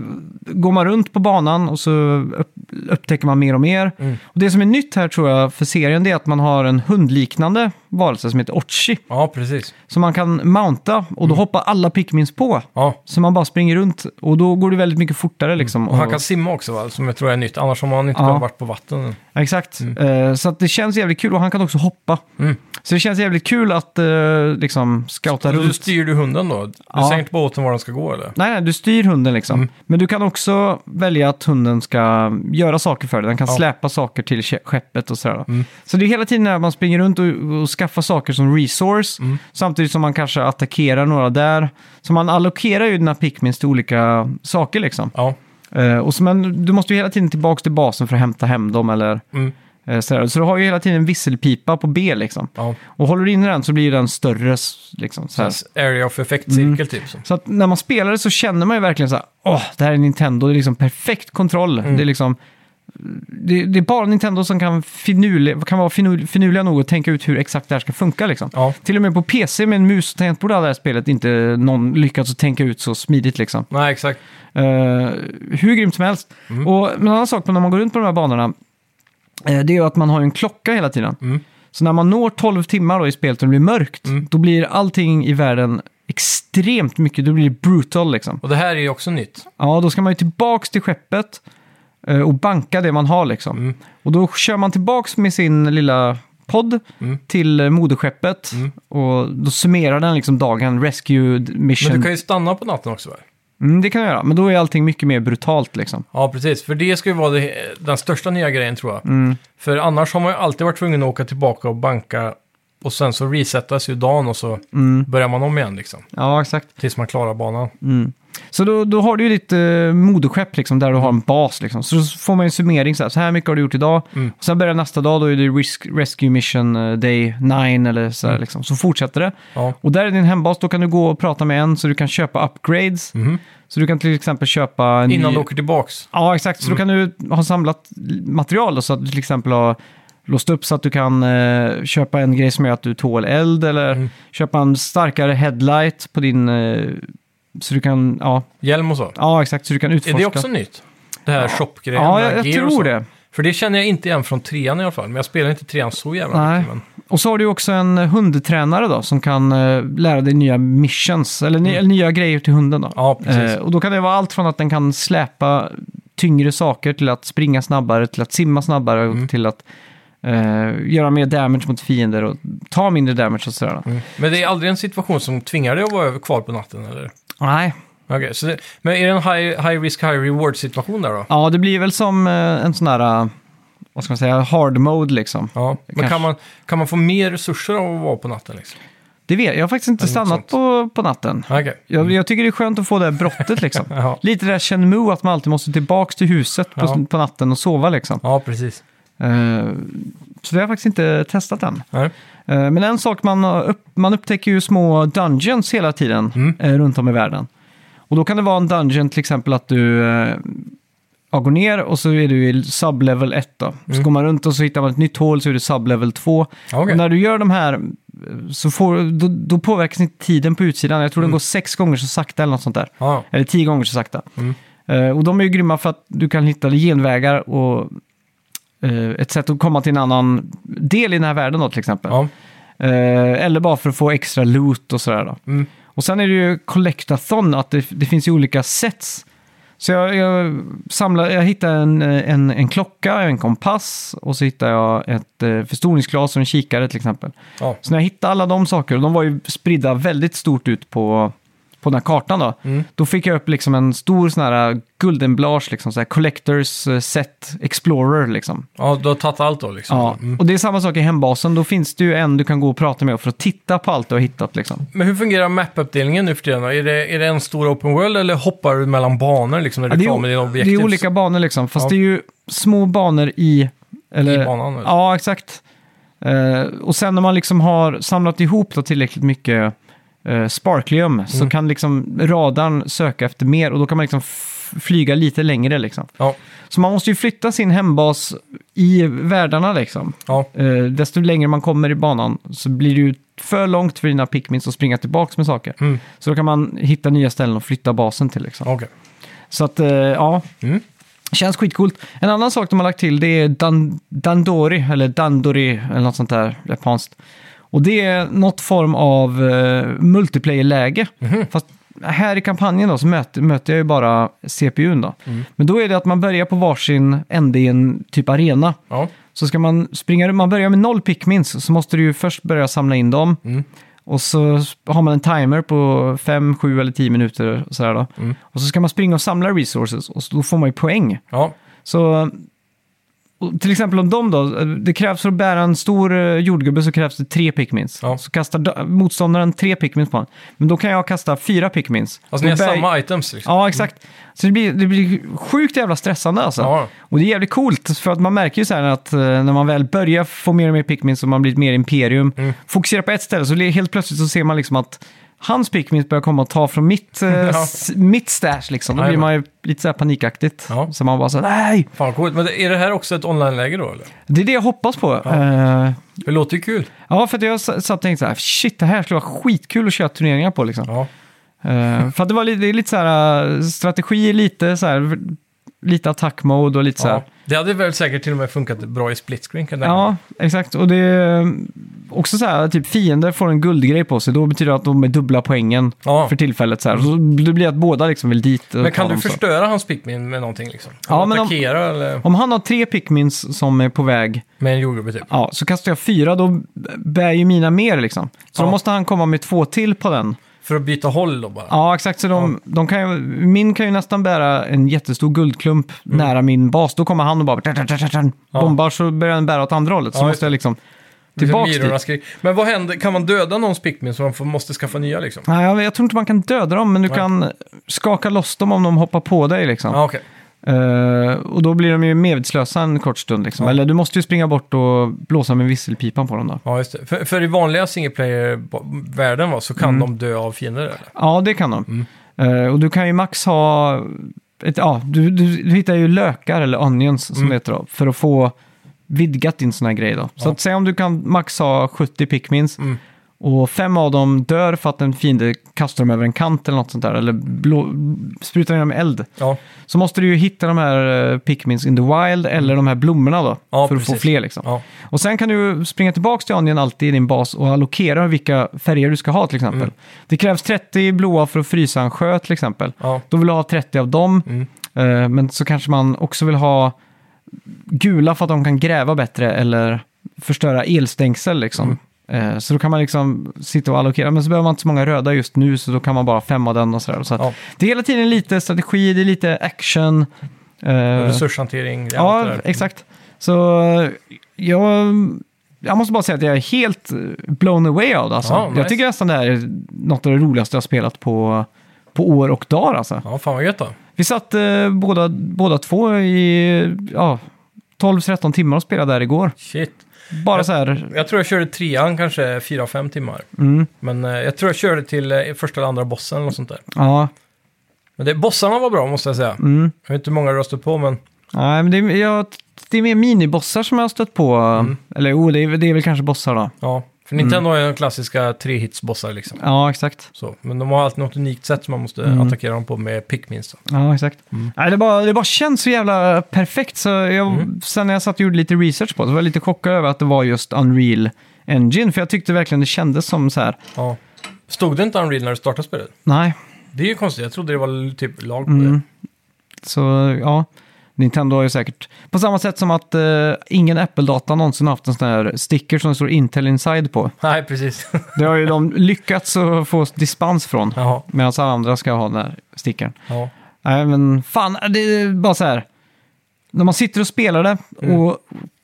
Speaker 1: går man runt på banan och så upp, upptäcker man mer och mer.
Speaker 2: Mm.
Speaker 1: Och det som är nytt här tror jag för serien det är att man har en hundliknande varelse som heter Ochi.
Speaker 2: Ja, precis.
Speaker 1: Som man kan mounta och
Speaker 2: Mm.
Speaker 1: då hoppar alla Pikmins på.
Speaker 2: Ja.
Speaker 1: Så man bara springer runt och då går det väldigt mycket fortare liksom.
Speaker 2: Och han kan simma också va? Som jag tror är nytt. Annars har man inte
Speaker 1: Ja.
Speaker 2: kunnat varit på vatten.
Speaker 1: Exakt. Eh, så att det känns jävligt kul och han kan också hoppa.
Speaker 2: Mm.
Speaker 1: Så det känns jävligt kul att eh, liksom scouta
Speaker 2: Du
Speaker 1: runt.
Speaker 2: styr du hunden då? Du
Speaker 1: Ja.
Speaker 2: säger inte på åt den var den ska gå eller?
Speaker 1: Nej, nej, du styr hunden liksom.
Speaker 2: Mm.
Speaker 1: Men du kan också välja att hunden ska göra saker för dig. Den kan
Speaker 2: Ja. Mm.
Speaker 1: släpa saker till ke- skeppet och sådär. då. Så det är hela tiden när man springer runt och, och skaffar saker som resource.
Speaker 2: Mm.
Speaker 1: Samtidigt som man kanske attackerar några där. Så man allokerar ju dina pickmins till olika saker liksom.
Speaker 2: Ja.
Speaker 1: Eh, och så, men du måste ju hela tiden tillbaka till basen för att hämta hem dem eller
Speaker 2: Mm.
Speaker 1: eh, sådär. Så du har ju hela tiden en visselpipa på B liksom.
Speaker 2: ja.
Speaker 1: Och håller du in i den så blir ju den större. s- Liksom, så här.
Speaker 2: Yes. Area of
Speaker 1: Mm.
Speaker 2: effect-cirkel typ. Så.
Speaker 1: Så att när man spelar det så känner man ju verkligen så här, åh, det här är Nintendo, det är liksom perfekt kontroll.
Speaker 2: Mm.
Speaker 1: Det, är liksom, det, det är bara Nintendo som kan, finurli, kan vara finur, finurliga nog att tänka ut hur exakt det här ska funka. Liksom.
Speaker 2: Ja.
Speaker 1: Till och med på PC med en mus och tangentbord hade det här spelet inte någon lyckats att tänka ut så smidigt. Liksom.
Speaker 2: Nej, exakt.
Speaker 1: Eh, hur grymt som helst.
Speaker 2: Mm. Mm.
Speaker 1: Och en annan sak när man går runt på de här banorna, eh, det är ju att man har ju en klocka hela tiden. Så när man når 12 timmar då i spelet och det blir mörkt, då blir allting i världen extremt mycket, då blir det brutal liksom.
Speaker 2: Och det här är ju också nytt.
Speaker 1: Ja, då ska man ju tillbaks till skeppet eh, och banka det man har liksom.
Speaker 2: Mm.
Speaker 1: Och då kör man tillbaks med sin lilla podd
Speaker 2: Mm.
Speaker 1: till eh, moderskeppet och då summerar den liksom dagen, rescue mission.
Speaker 2: Men du kan ju stanna på natten också va?
Speaker 1: mm, det kan jag göra, men då är allting mycket mer brutalt liksom.
Speaker 2: Ja, precis. För det ska ju vara det, den största nya grejen tror jag.
Speaker 1: Mm.
Speaker 2: För annars har man ju alltid varit tvungen att åka tillbaka och banka och sen så resetas ju dagen och så
Speaker 1: Mm.
Speaker 2: börjar man om igen liksom.
Speaker 1: Ja, exakt.
Speaker 2: Tills man klarar banan.
Speaker 1: Så då, då har du ju ditt eh, moderskepp liksom, där du har en bas. Liksom. Så då får man ju en summering, så här, så här mycket har du gjort idag.
Speaker 2: Mm.
Speaker 1: Och sen börjar nästa dag, då är det risk, Rescue Mission eh, Day 9 eller så
Speaker 2: Mm.
Speaker 1: här, liksom. Så fortsätter det.
Speaker 2: Ja.
Speaker 1: Och där är din hembas, då kan du gå och prata med en så du kan köpa upgrades. Så du kan till exempel köpa... En
Speaker 2: Mm-hmm. Innan
Speaker 1: ny...
Speaker 2: du åker Mm. tillbaks.
Speaker 1: Ja, exakt. Så då kan du ha samlat material då, så att du till exempel har låst upp så att du kan eh, köpa en grej som gör att du tål eld eller
Speaker 2: Mm.
Speaker 1: köpa en starkare headlight på din... Eh, så du kan, ja,
Speaker 2: Hjälm och så.
Speaker 1: Ja, exakt. Så du kan
Speaker 2: Är
Speaker 1: utforska.
Speaker 2: det också nytt? Det här shopgrejen?
Speaker 1: Ja,
Speaker 2: det här
Speaker 1: jag, jag
Speaker 2: gear och så.
Speaker 1: tror det.
Speaker 2: För det känner jag inte igen från trean i alla fall. Men jag spelar inte trean så jävla
Speaker 1: Nej.
Speaker 2: mycket. Men...
Speaker 1: Och så har du också en hundtränare då, som kan eh, lära dig nya missions, eller, ny, eller nya grejer till hunden. Då.
Speaker 2: Mm. Ja, precis.
Speaker 1: Eh, och då kan det vara allt från att den kan släpa tyngre saker till att springa snabbare, till att simma snabbare
Speaker 2: Mm.
Speaker 1: och till att eh, göra mer damage mot fiender och ta mindre damage och sådär. då.
Speaker 2: Men det är aldrig en situation som tvingar dig att vara över kvar på natten eller?
Speaker 1: Nej,
Speaker 2: Okej, så det... Men är det en high, high risk, high reward situation där då?
Speaker 1: ja det blir väl som eh, en sån här, eh, vad ska man säga, hard mode liksom.
Speaker 2: Ja, men
Speaker 1: Kanske.
Speaker 2: kan man, kan man få mer resurser av att vara på natten liksom?
Speaker 1: Det vet, jag har faktiskt inte
Speaker 2: Eller något
Speaker 1: stannat på, på natten.
Speaker 2: Okej.
Speaker 1: Jag, jag tycker det är skönt att få det här brottet liksom.
Speaker 2: Ja.
Speaker 1: Lite det där Chenmu att man alltid måste tillbaka till huset på,
Speaker 2: Ja.
Speaker 1: på natten och sova liksom.
Speaker 2: Ja, precis.
Speaker 1: Eh, så det har jag faktiskt inte testat än.
Speaker 2: Nej.
Speaker 1: Eh, men en sak man, har upp, man upptäcker ju små dungeons hela tiden
Speaker 2: Mm.
Speaker 1: eh, runt om i världen. Och då kan det vara en dungeon till exempel att du eh, ja, går ner och så är du i sublevel 1 då. Så går man runt och så hittar man ett nytt hål så är du sublevel 2.
Speaker 2: Mm. Okej.
Speaker 1: Och när du gör de här eh, så får, då, då påverkas inte tiden på utsidan. Jag tror
Speaker 2: Mm.
Speaker 1: den går sex gånger så sakta eller något sånt där.
Speaker 2: Ja,
Speaker 1: Eller tio gånger så sakta.
Speaker 2: Mm.
Speaker 1: Eh, och de är ju grymma för att du kan hitta genvägar och eh, ett sätt att komma till en annan del i den här världen då till exempel.
Speaker 2: ja.
Speaker 1: Eh, eller bara för att få extra loot och sådär då.
Speaker 2: Mm.
Speaker 1: Och sen är det ju Collectathon, att det, det finns ju olika sets. Så jag, jag, samlar, jag hittade en, eh, en, en klocka, en kompass och så hittade jag ett eh, förstoringsglas och en kikare till exempel.
Speaker 2: ja.
Speaker 1: Så när jag hittade alla de saker, och de var ju spridda väldigt stort ut på, på den här kartan då,
Speaker 2: Mm.
Speaker 1: då fick jag upp liksom en stor sån här guldenblage, liksom så här collectors eh, set explorer liksom.
Speaker 2: ja du har tagit allt då liksom.
Speaker 1: Ja.
Speaker 2: Mm.
Speaker 1: Och det är samma sak i hembasen, då finns det ju en du kan gå och prata med för att titta på allt du har hittat liksom.
Speaker 2: Men hur fungerar mappuppdelningen nu för tiden? då? Är det, är det en stor open world eller hoppar du mellan banor liksom när du
Speaker 1: Ja,
Speaker 2: är
Speaker 1: det, är,
Speaker 2: klar med dina
Speaker 1: o-
Speaker 2: objektiv?
Speaker 1: det är olika banor liksom, fast
Speaker 2: Ja.
Speaker 1: det är ju små banor i... Eller,
Speaker 2: I banan, eller?
Speaker 1: Ja, exakt. Eh, och sen när man liksom har samlat ihop då tillräckligt mycket uh, sparklium
Speaker 2: Mm.
Speaker 1: så kan liksom radarn söka efter mer och då kan man liksom f- flyga lite längre liksom.
Speaker 2: Ja,
Speaker 1: Så man måste ju flytta sin hembas i världarna liksom.
Speaker 2: ja.
Speaker 1: Eh, desto längre man kommer i banan så blir det ju för långt för dina pickmins att springa tillbaka med saker.
Speaker 2: Mm.
Speaker 1: Så då kan man hitta nya ställen och flytta basen till liksom.
Speaker 2: okej.
Speaker 1: Så att, eh, ja.
Speaker 2: Mm.
Speaker 1: Känns skitcoolt. En annan sak de har lagt till det är dan- Dandori, eller Dandori, eller något sånt där japanskt. Och det är något form av eh, multiplayer-läge. Fast här i kampanjen då så möter, möter jag ju bara CPUn då. Men då är det att man börjar på varsin ände i en typ arena.
Speaker 2: Ja.
Speaker 1: Så ska man springa, man börjar med noll pickmins, så måste du ju först börja samla in dem.
Speaker 2: Mm.
Speaker 1: Och så har man en timer på 5, 7 eller 10 minuter. Och, sådär då.
Speaker 2: Mm.
Speaker 1: och så ska man springa och samla resources och så, då får man ju poäng.
Speaker 2: ja,
Speaker 1: Så och till exempel om dem då, det krävs för att bära en stor eh, jordgubbe så krävs det tre pickmins.
Speaker 2: Ja.
Speaker 1: Så kastar da- motståndaren tre pickmins på honom. Men då kan jag kasta fyra pickmins.
Speaker 2: alltså ni har
Speaker 1: Och bär-
Speaker 2: samma items liksom.
Speaker 1: Ja, exakt. Så det blir, det blir sjukt jävla stressande alltså.
Speaker 2: Ja.
Speaker 1: Och det är jävligt coolt, för att man märker ju så här att eh, när man väl börjar få mer och mer pickmins och man blir ett mer imperium,
Speaker 2: Mm.
Speaker 1: fokusera på ett ställe så li- helt plötsligt så ser man liksom att hans pickmins börjar komma och ta från mitt, eh, s- mitt stash liksom. Då blir
Speaker 2: Jajamän.
Speaker 1: man ju lite så här panikaktigt.
Speaker 2: Ja.
Speaker 1: Så man bara så här, nej!
Speaker 2: Fan vad coolt. Men det- är det här också ett online-läge då eller?
Speaker 1: Det är det jag hoppas på. Ja,
Speaker 2: Det låter ju kul.
Speaker 1: ja för att jag s- satt och tänkte så här, shit, det här skulle vara skitkul att köra turneringar på liksom.
Speaker 2: Ja.
Speaker 1: Eh, för att det var lite, det är lite så här, eh, strategi, lite så här, lite attackmode och lite så här.
Speaker 2: Ja. Det hade väl säkert till och med funkat bra i split screen kan jag
Speaker 1: Ja, exakt. Och det är eh, också så här, typ fiender får en guldgrej på sig. Då betyder det att de är dubbla poängen
Speaker 2: Ja.
Speaker 1: för tillfället. Så här. Så det blir att båda liksom vill dit. och
Speaker 2: Men
Speaker 1: ta
Speaker 2: kan du
Speaker 1: dem, så.
Speaker 2: förstöra hans Pikmin med någonting liksom?
Speaker 1: Ja,
Speaker 2: Ja,
Speaker 1: men om-
Speaker 2: attackera eller
Speaker 1: Om han har tre Pikmins som är på väg,
Speaker 2: med en jordgubbe typ?
Speaker 1: ja, så kastar jag fyra, då bär ju mina mer liksom. Så
Speaker 2: Ja.
Speaker 1: då måste han komma med två till på den.
Speaker 2: För att byta håll då bara?
Speaker 1: Ja, exakt. Så de, de kan ju, min kan ju nästan bära en jättestor guldklump nära min bas. Då kommer han och bara tar, tar, tar, tar, tar.
Speaker 2: Mm. Ja.
Speaker 1: bombar så börjar den bära åt andra hållet. Så
Speaker 2: Ja, just
Speaker 1: måste jag liksom
Speaker 2: Liksom
Speaker 1: tillbaks
Speaker 2: myrorna
Speaker 1: dit.
Speaker 2: skri- Men vad händer, kan man döda någons Pikmin så man får, måste skaffa nya liksom?
Speaker 1: Nej, jag, jag tror inte man kan döda dem, men du
Speaker 2: Nej.
Speaker 1: kan skaka loss dem om de hoppar på dig. Liksom.
Speaker 2: Ja, okej.
Speaker 1: Eh, och då blir de ju medvetslösa en kort stund. Liksom.
Speaker 2: Ja.
Speaker 1: Eller du måste ju springa bort och blåsa med visselpipan på dem. Då.
Speaker 2: Ja, just det. För, för i vanliga singleplayer-världen va, så kan
Speaker 1: Mm.
Speaker 2: de dö av fiender eller?
Speaker 1: Ja, det kan de.
Speaker 2: Mm.
Speaker 1: Eh, och du kan ju max ha... Ett, ja, du, du, du hittar ju lökar, eller onions
Speaker 2: Mm.
Speaker 1: som det heter, då, för att få vidgat din sån här grej. Då. Så
Speaker 2: Ja.
Speaker 1: att säg om du kan max ha 70 pickmins
Speaker 2: Mm.
Speaker 1: och fem av dem dör för att en fiende kastar dem över en kant eller något sånt där, eller blå, sprutar genom eld.
Speaker 2: Ja,
Speaker 1: Så måste du ju hitta de här eh, pickmins in the wild eller de här blommorna då,
Speaker 2: Ja,
Speaker 1: för att få
Speaker 2: precis.
Speaker 1: fler liksom.
Speaker 2: ja.
Speaker 1: Och sen kan du springa tillbaka till Onion alltid i din bas och allokera vilka färger du ska ha till exempel.
Speaker 2: Mm.
Speaker 1: Det krävs 30 blåa för att frysa en sjö till exempel.
Speaker 2: ja.
Speaker 1: Då vill du ha 30 av dem,
Speaker 2: Mm.
Speaker 1: eh, men så kanske man också vill ha gula för att de kan gräva bättre eller förstöra elstängsel
Speaker 2: Mm.
Speaker 1: liksom. Eh, Så då kan man liksom sitta och allokera, men så behöver man inte så många röda just nu, så då kan man bara ha fem av den och sådär. Så att
Speaker 2: Ja.
Speaker 1: Det är hela tiden lite strategi, det är lite action. eh,
Speaker 2: Resurshantering, det är allt
Speaker 1: Ja,
Speaker 2: det där.
Speaker 1: exakt. Så eh, jag, jag måste bara säga att jag är helt eh, blown away av det. Alltså.
Speaker 2: Ja, nice.
Speaker 1: Jag tycker nästan det här är något av det roligaste jag spelat på, på år och dagar. Alltså.
Speaker 2: Ja, fan vad gött då.
Speaker 1: Vi satt eh, båda, båda två i eh, ja, 12-13 timmar och spelade där igår.
Speaker 2: Shit.
Speaker 1: Bara
Speaker 2: Jag-
Speaker 1: så här,
Speaker 2: Jag tror jag körde trean kanske fyra fem timmar.
Speaker 1: mm,
Speaker 2: Men eh, jag tror jag körde till eh, första eller andra bossen eller något sånt där.
Speaker 1: ja,
Speaker 2: Men det, bossarna var bra måste jag säga.
Speaker 1: mm.
Speaker 2: Jag vet inte hur många röster på, men
Speaker 1: Nej, men det, är- jag, det är mer minibossar som jag har stött på.
Speaker 2: Mm.
Speaker 1: Eller oh, det, är, det är väl kanske bossar då.
Speaker 2: ja. För
Speaker 1: Mm.
Speaker 2: Nintendo har ju de klassiska tre-hits-bossar liksom.
Speaker 1: Ja, exakt.
Speaker 2: Så. Men de har alltid något unikt sätt som man måste
Speaker 1: Mm.
Speaker 2: attackera dem på med Pikmins. Då.
Speaker 1: Ja, exakt.
Speaker 2: Mm.
Speaker 1: Nej, det, bara, det bara känns så jävla perfekt. Så jag,
Speaker 2: Mm.
Speaker 1: Sen när jag satt och gjorde lite research på det så var jag lite chockad över att det var just Unreal Engine. För jag tyckte verkligen det kändes som så här,
Speaker 2: Ja. Stod det inte Unreal när du startade spelet?
Speaker 1: nej.
Speaker 2: Det är ju konstigt, jag trodde det var typ lag på det.
Speaker 1: Mm. Så ja, Nintendo har ju säkert... På samma sätt som att eh, ingen Apple-data någonsin haft en sån här sticker som det står Intel Inside på.
Speaker 2: Nej, precis.
Speaker 1: Det har ju de lyckats att få dispens från.
Speaker 2: Jaha.
Speaker 1: Medan alla andra ska ha den här stickern.
Speaker 2: Ja.
Speaker 1: Nej, men fan, det är bara så här. När man sitter och spelar det och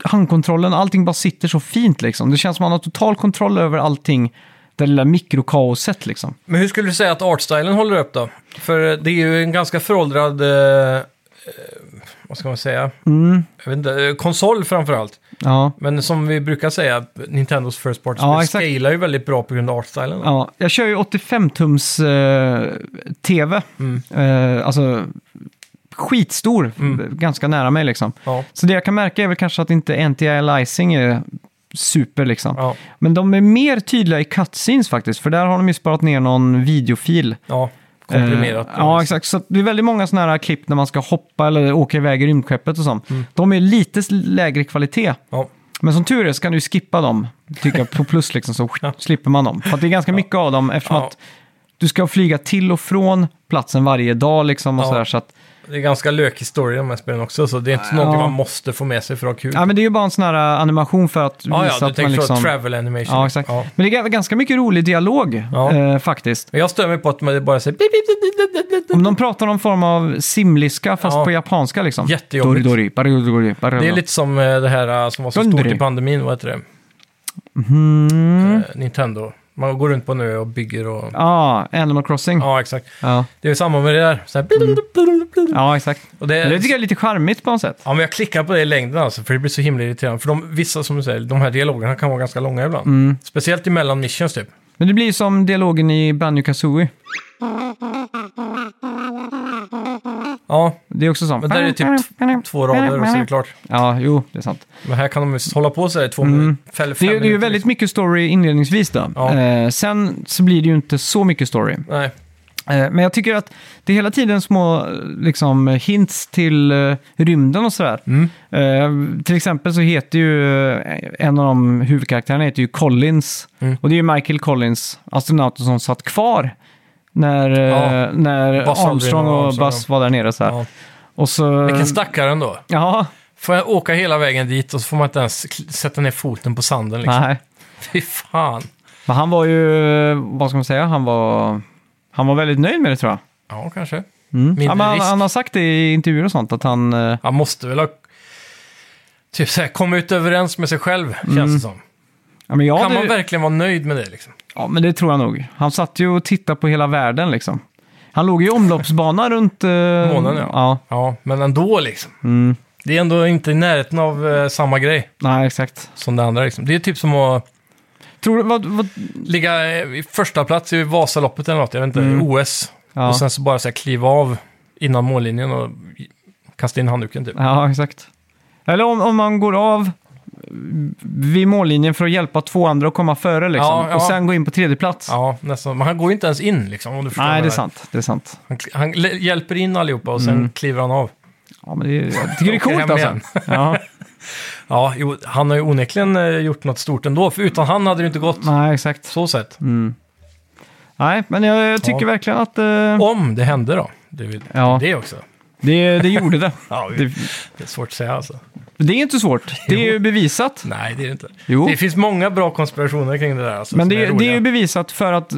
Speaker 1: handkontrollen, allting bara sitter så fint liksom. Det känns som man har total kontroll över allting. Det lilla mikrokaoset liksom.
Speaker 2: Men hur skulle du säga att artstylen håller upp då? För det är ju en ganska föråldrad, eh, eh, vad ska man säga,
Speaker 1: Mm,
Speaker 2: jag vet inte, eh, konsol framförallt.
Speaker 1: ja.
Speaker 2: Men som vi brukar säga, Nintendos First Party
Speaker 1: Ja,
Speaker 2: ja,
Speaker 1: exakt.
Speaker 2: scalar ju väldigt bra på grund av artstylen. Ja.
Speaker 1: ja. Jag kör ju 85-tums eh, tv.
Speaker 2: Mm.
Speaker 1: Eh, alltså skitstor,
Speaker 2: Mm.
Speaker 1: ganska nära mig liksom.
Speaker 2: Ja.
Speaker 1: Så det jag kan märka är väl kanske att inte anti-aliasing är super liksom.
Speaker 2: Ja.
Speaker 1: Men de är mer tydliga i cutscenes faktiskt, för där har de ju sparat ner någon videofil.
Speaker 2: komprimerat.
Speaker 1: Eh, ja, exakt. Så att det är väldigt många sådana här klipp när man ska hoppa eller åka iväg i rymdskeppet och sånt.
Speaker 2: Mm.
Speaker 1: De är lite s- lägre kvalitet.
Speaker 2: Ja.
Speaker 1: Men som tur är så kan du ju skippa dem, tycker jag, på plus liksom, så slipper man dem. För att det är ganska mycket av dem eftersom
Speaker 2: Ja.
Speaker 1: att du ska flyga till och från platsen varje dag liksom och
Speaker 2: Ja.
Speaker 1: sådär. Så att,
Speaker 2: Det är ganska lökig story i de här spelen också, så det är inte
Speaker 1: Ja.
Speaker 2: något man måste få med sig för att ha kul.
Speaker 1: ja, men det är ju bara en sån här eh, animation för att
Speaker 2: Ja,
Speaker 1: visa
Speaker 2: ja, du
Speaker 1: att man
Speaker 2: tänker
Speaker 1: liksom...
Speaker 2: så travel animation.
Speaker 1: Ja, exakt.
Speaker 2: Ja.
Speaker 1: Men det är ga- ganska mycket rolig dialog
Speaker 2: Ja.
Speaker 1: eh, faktiskt.
Speaker 2: Men jag stör mig på att man bara säger bip, bip, bip, bip, bip, bip, bip.
Speaker 1: Om de pratar någon form av simliska fast
Speaker 2: Ja.
Speaker 1: på japanska liksom.
Speaker 2: Jättejobbigt.
Speaker 1: Dori, dori, barri, dori, barri.
Speaker 2: Det är lite som eh, det här eh, som var så
Speaker 1: Gundry.
Speaker 2: stort i pandemin, vad heter det?
Speaker 1: Mm.
Speaker 2: Eh, Nintendo. Man går runt på en ö och bygger och... Ja,
Speaker 1: Ja, Ah, Animal Crossing. Ja,
Speaker 2: exakt.
Speaker 1: ja.
Speaker 2: Det är samma med det där. Så här,
Speaker 1: exakt.
Speaker 2: och det,
Speaker 1: Men Mm. Det tycker jag är lite charmigt på något sätt.
Speaker 2: Ja, men jag klickar på det i längden alltså, för det blir så himla irriterande. För de, vissa, som du säger, de här dialogerna kan vara ganska långa ibland.
Speaker 1: Mm.
Speaker 2: Speciellt emellan missions typ.
Speaker 1: Men det blir som dialogen i Banjo Kazooie.
Speaker 2: Ja,
Speaker 1: Det är också sånt.
Speaker 2: men där är det typ t- två rader och så är det klart.
Speaker 1: Ja, jo, det är sant.
Speaker 2: Men här kan de ju hålla på så här i två minuter. eller
Speaker 1: Mm. Det
Speaker 2: fem
Speaker 1: är, ju- det är ju
Speaker 2: minuter,
Speaker 1: väldigt mycket story inledningsvis då.
Speaker 2: Ja.
Speaker 1: Eh, sen så blir det ju inte så mycket story.
Speaker 2: liksom. Nej,
Speaker 1: Eh, Men jag tycker att det är hela tiden små eh, liksom, hints till eh, rymden och sådär.
Speaker 2: Mm.
Speaker 1: Eh, till exempel så heter ju eh, en av de huvudkaraktärerna heter ju Collins.
Speaker 2: Mm.
Speaker 1: Och det är ju Michael Collins, astronauten som satt kvar när, eh,
Speaker 2: Ja.
Speaker 1: när
Speaker 2: Buzz Aldrin
Speaker 1: Armstrong
Speaker 2: och
Speaker 1: och
Speaker 2: Armstrong,
Speaker 1: Buzz var där nere. Så här.
Speaker 2: Ja.
Speaker 1: Och så...
Speaker 2: Vilken stackare ändå.
Speaker 1: Ja,
Speaker 2: Får jag åka hela vägen dit och så får man inte ens kl- sätta ner foten på sanden liksom.
Speaker 1: nej.
Speaker 2: Fy fan.
Speaker 1: Men han var ju, vad ska man säga, han var, han var väldigt nöjd med det tror jag.
Speaker 2: Ja, kanske.
Speaker 1: Mm.
Speaker 2: Mindre
Speaker 1: Ja, men han,
Speaker 2: risk.
Speaker 1: han har sagt det i intervjuer och sånt, att han... eh,
Speaker 2: Han måste väl ha... Typ såhär, komma ut överens med sig själv, känns det som.
Speaker 1: Ja, men jag
Speaker 2: kan
Speaker 1: hade-
Speaker 2: man verkligen vara nöjd med det liksom?
Speaker 1: Ja, men det tror jag nog. Han satt ju och tittade på hela världen liksom. Han låg i omloppsbana runt... eh,
Speaker 2: Månen, ja.
Speaker 1: ja.
Speaker 2: Ja, men ändå liksom. Det är ändå inte i närheten av eh, samma grej
Speaker 1: Nej, exakt.
Speaker 2: som det andra liksom. Det är typ som att
Speaker 1: Tror du... Vad, vad,
Speaker 2: ligga eh, i första plats i Vasaloppet eller något, jag vet inte, OS.
Speaker 1: ja.
Speaker 2: Och sen så bara så här, kliva av innan mållinjen och kasta in handduken typ.
Speaker 1: ja, exakt. Eller om, om man går av vid mållinjen för att hjälpa två andra att komma före liksom.
Speaker 2: Ja, ja.
Speaker 1: Och sen gå in på tredje plats.
Speaker 2: Ja, nästan. Men han går ju inte ens in liksom, om du förstår vad
Speaker 1: Nej,
Speaker 2: jag
Speaker 1: det är
Speaker 2: menar.
Speaker 1: sant. Det är sant.
Speaker 2: Han, kl- han l- hjälper in allihopa och sen kliver han av.
Speaker 1: Ja, men det är, jag tycker det är
Speaker 2: Åker hem
Speaker 1: coolt alltså.
Speaker 2: igen.
Speaker 1: Ja,
Speaker 2: Ja, jo, han har ju onekligen eh, gjort något stort ändå, för utan han hade det inte gått.
Speaker 1: nej, Mm. exakt.
Speaker 2: Så sett.
Speaker 1: Nej, men jag, jag tycker
Speaker 2: Ja.
Speaker 1: verkligen att eh,
Speaker 2: Om det hände då. Det är väl
Speaker 1: Ja.
Speaker 2: det också.
Speaker 1: det, det gjorde det.
Speaker 2: Ja, det,
Speaker 1: det.
Speaker 2: det är svårt att säga alltså.
Speaker 1: Det är inte svårt. Det är ju bevisat.
Speaker 2: Nej, det är det inte.
Speaker 1: Jo.
Speaker 2: Det finns många bra konspirationer kring det där. Alltså,
Speaker 1: Men
Speaker 2: som
Speaker 1: det, är- det är
Speaker 2: roliga.
Speaker 1: ju bevisat för att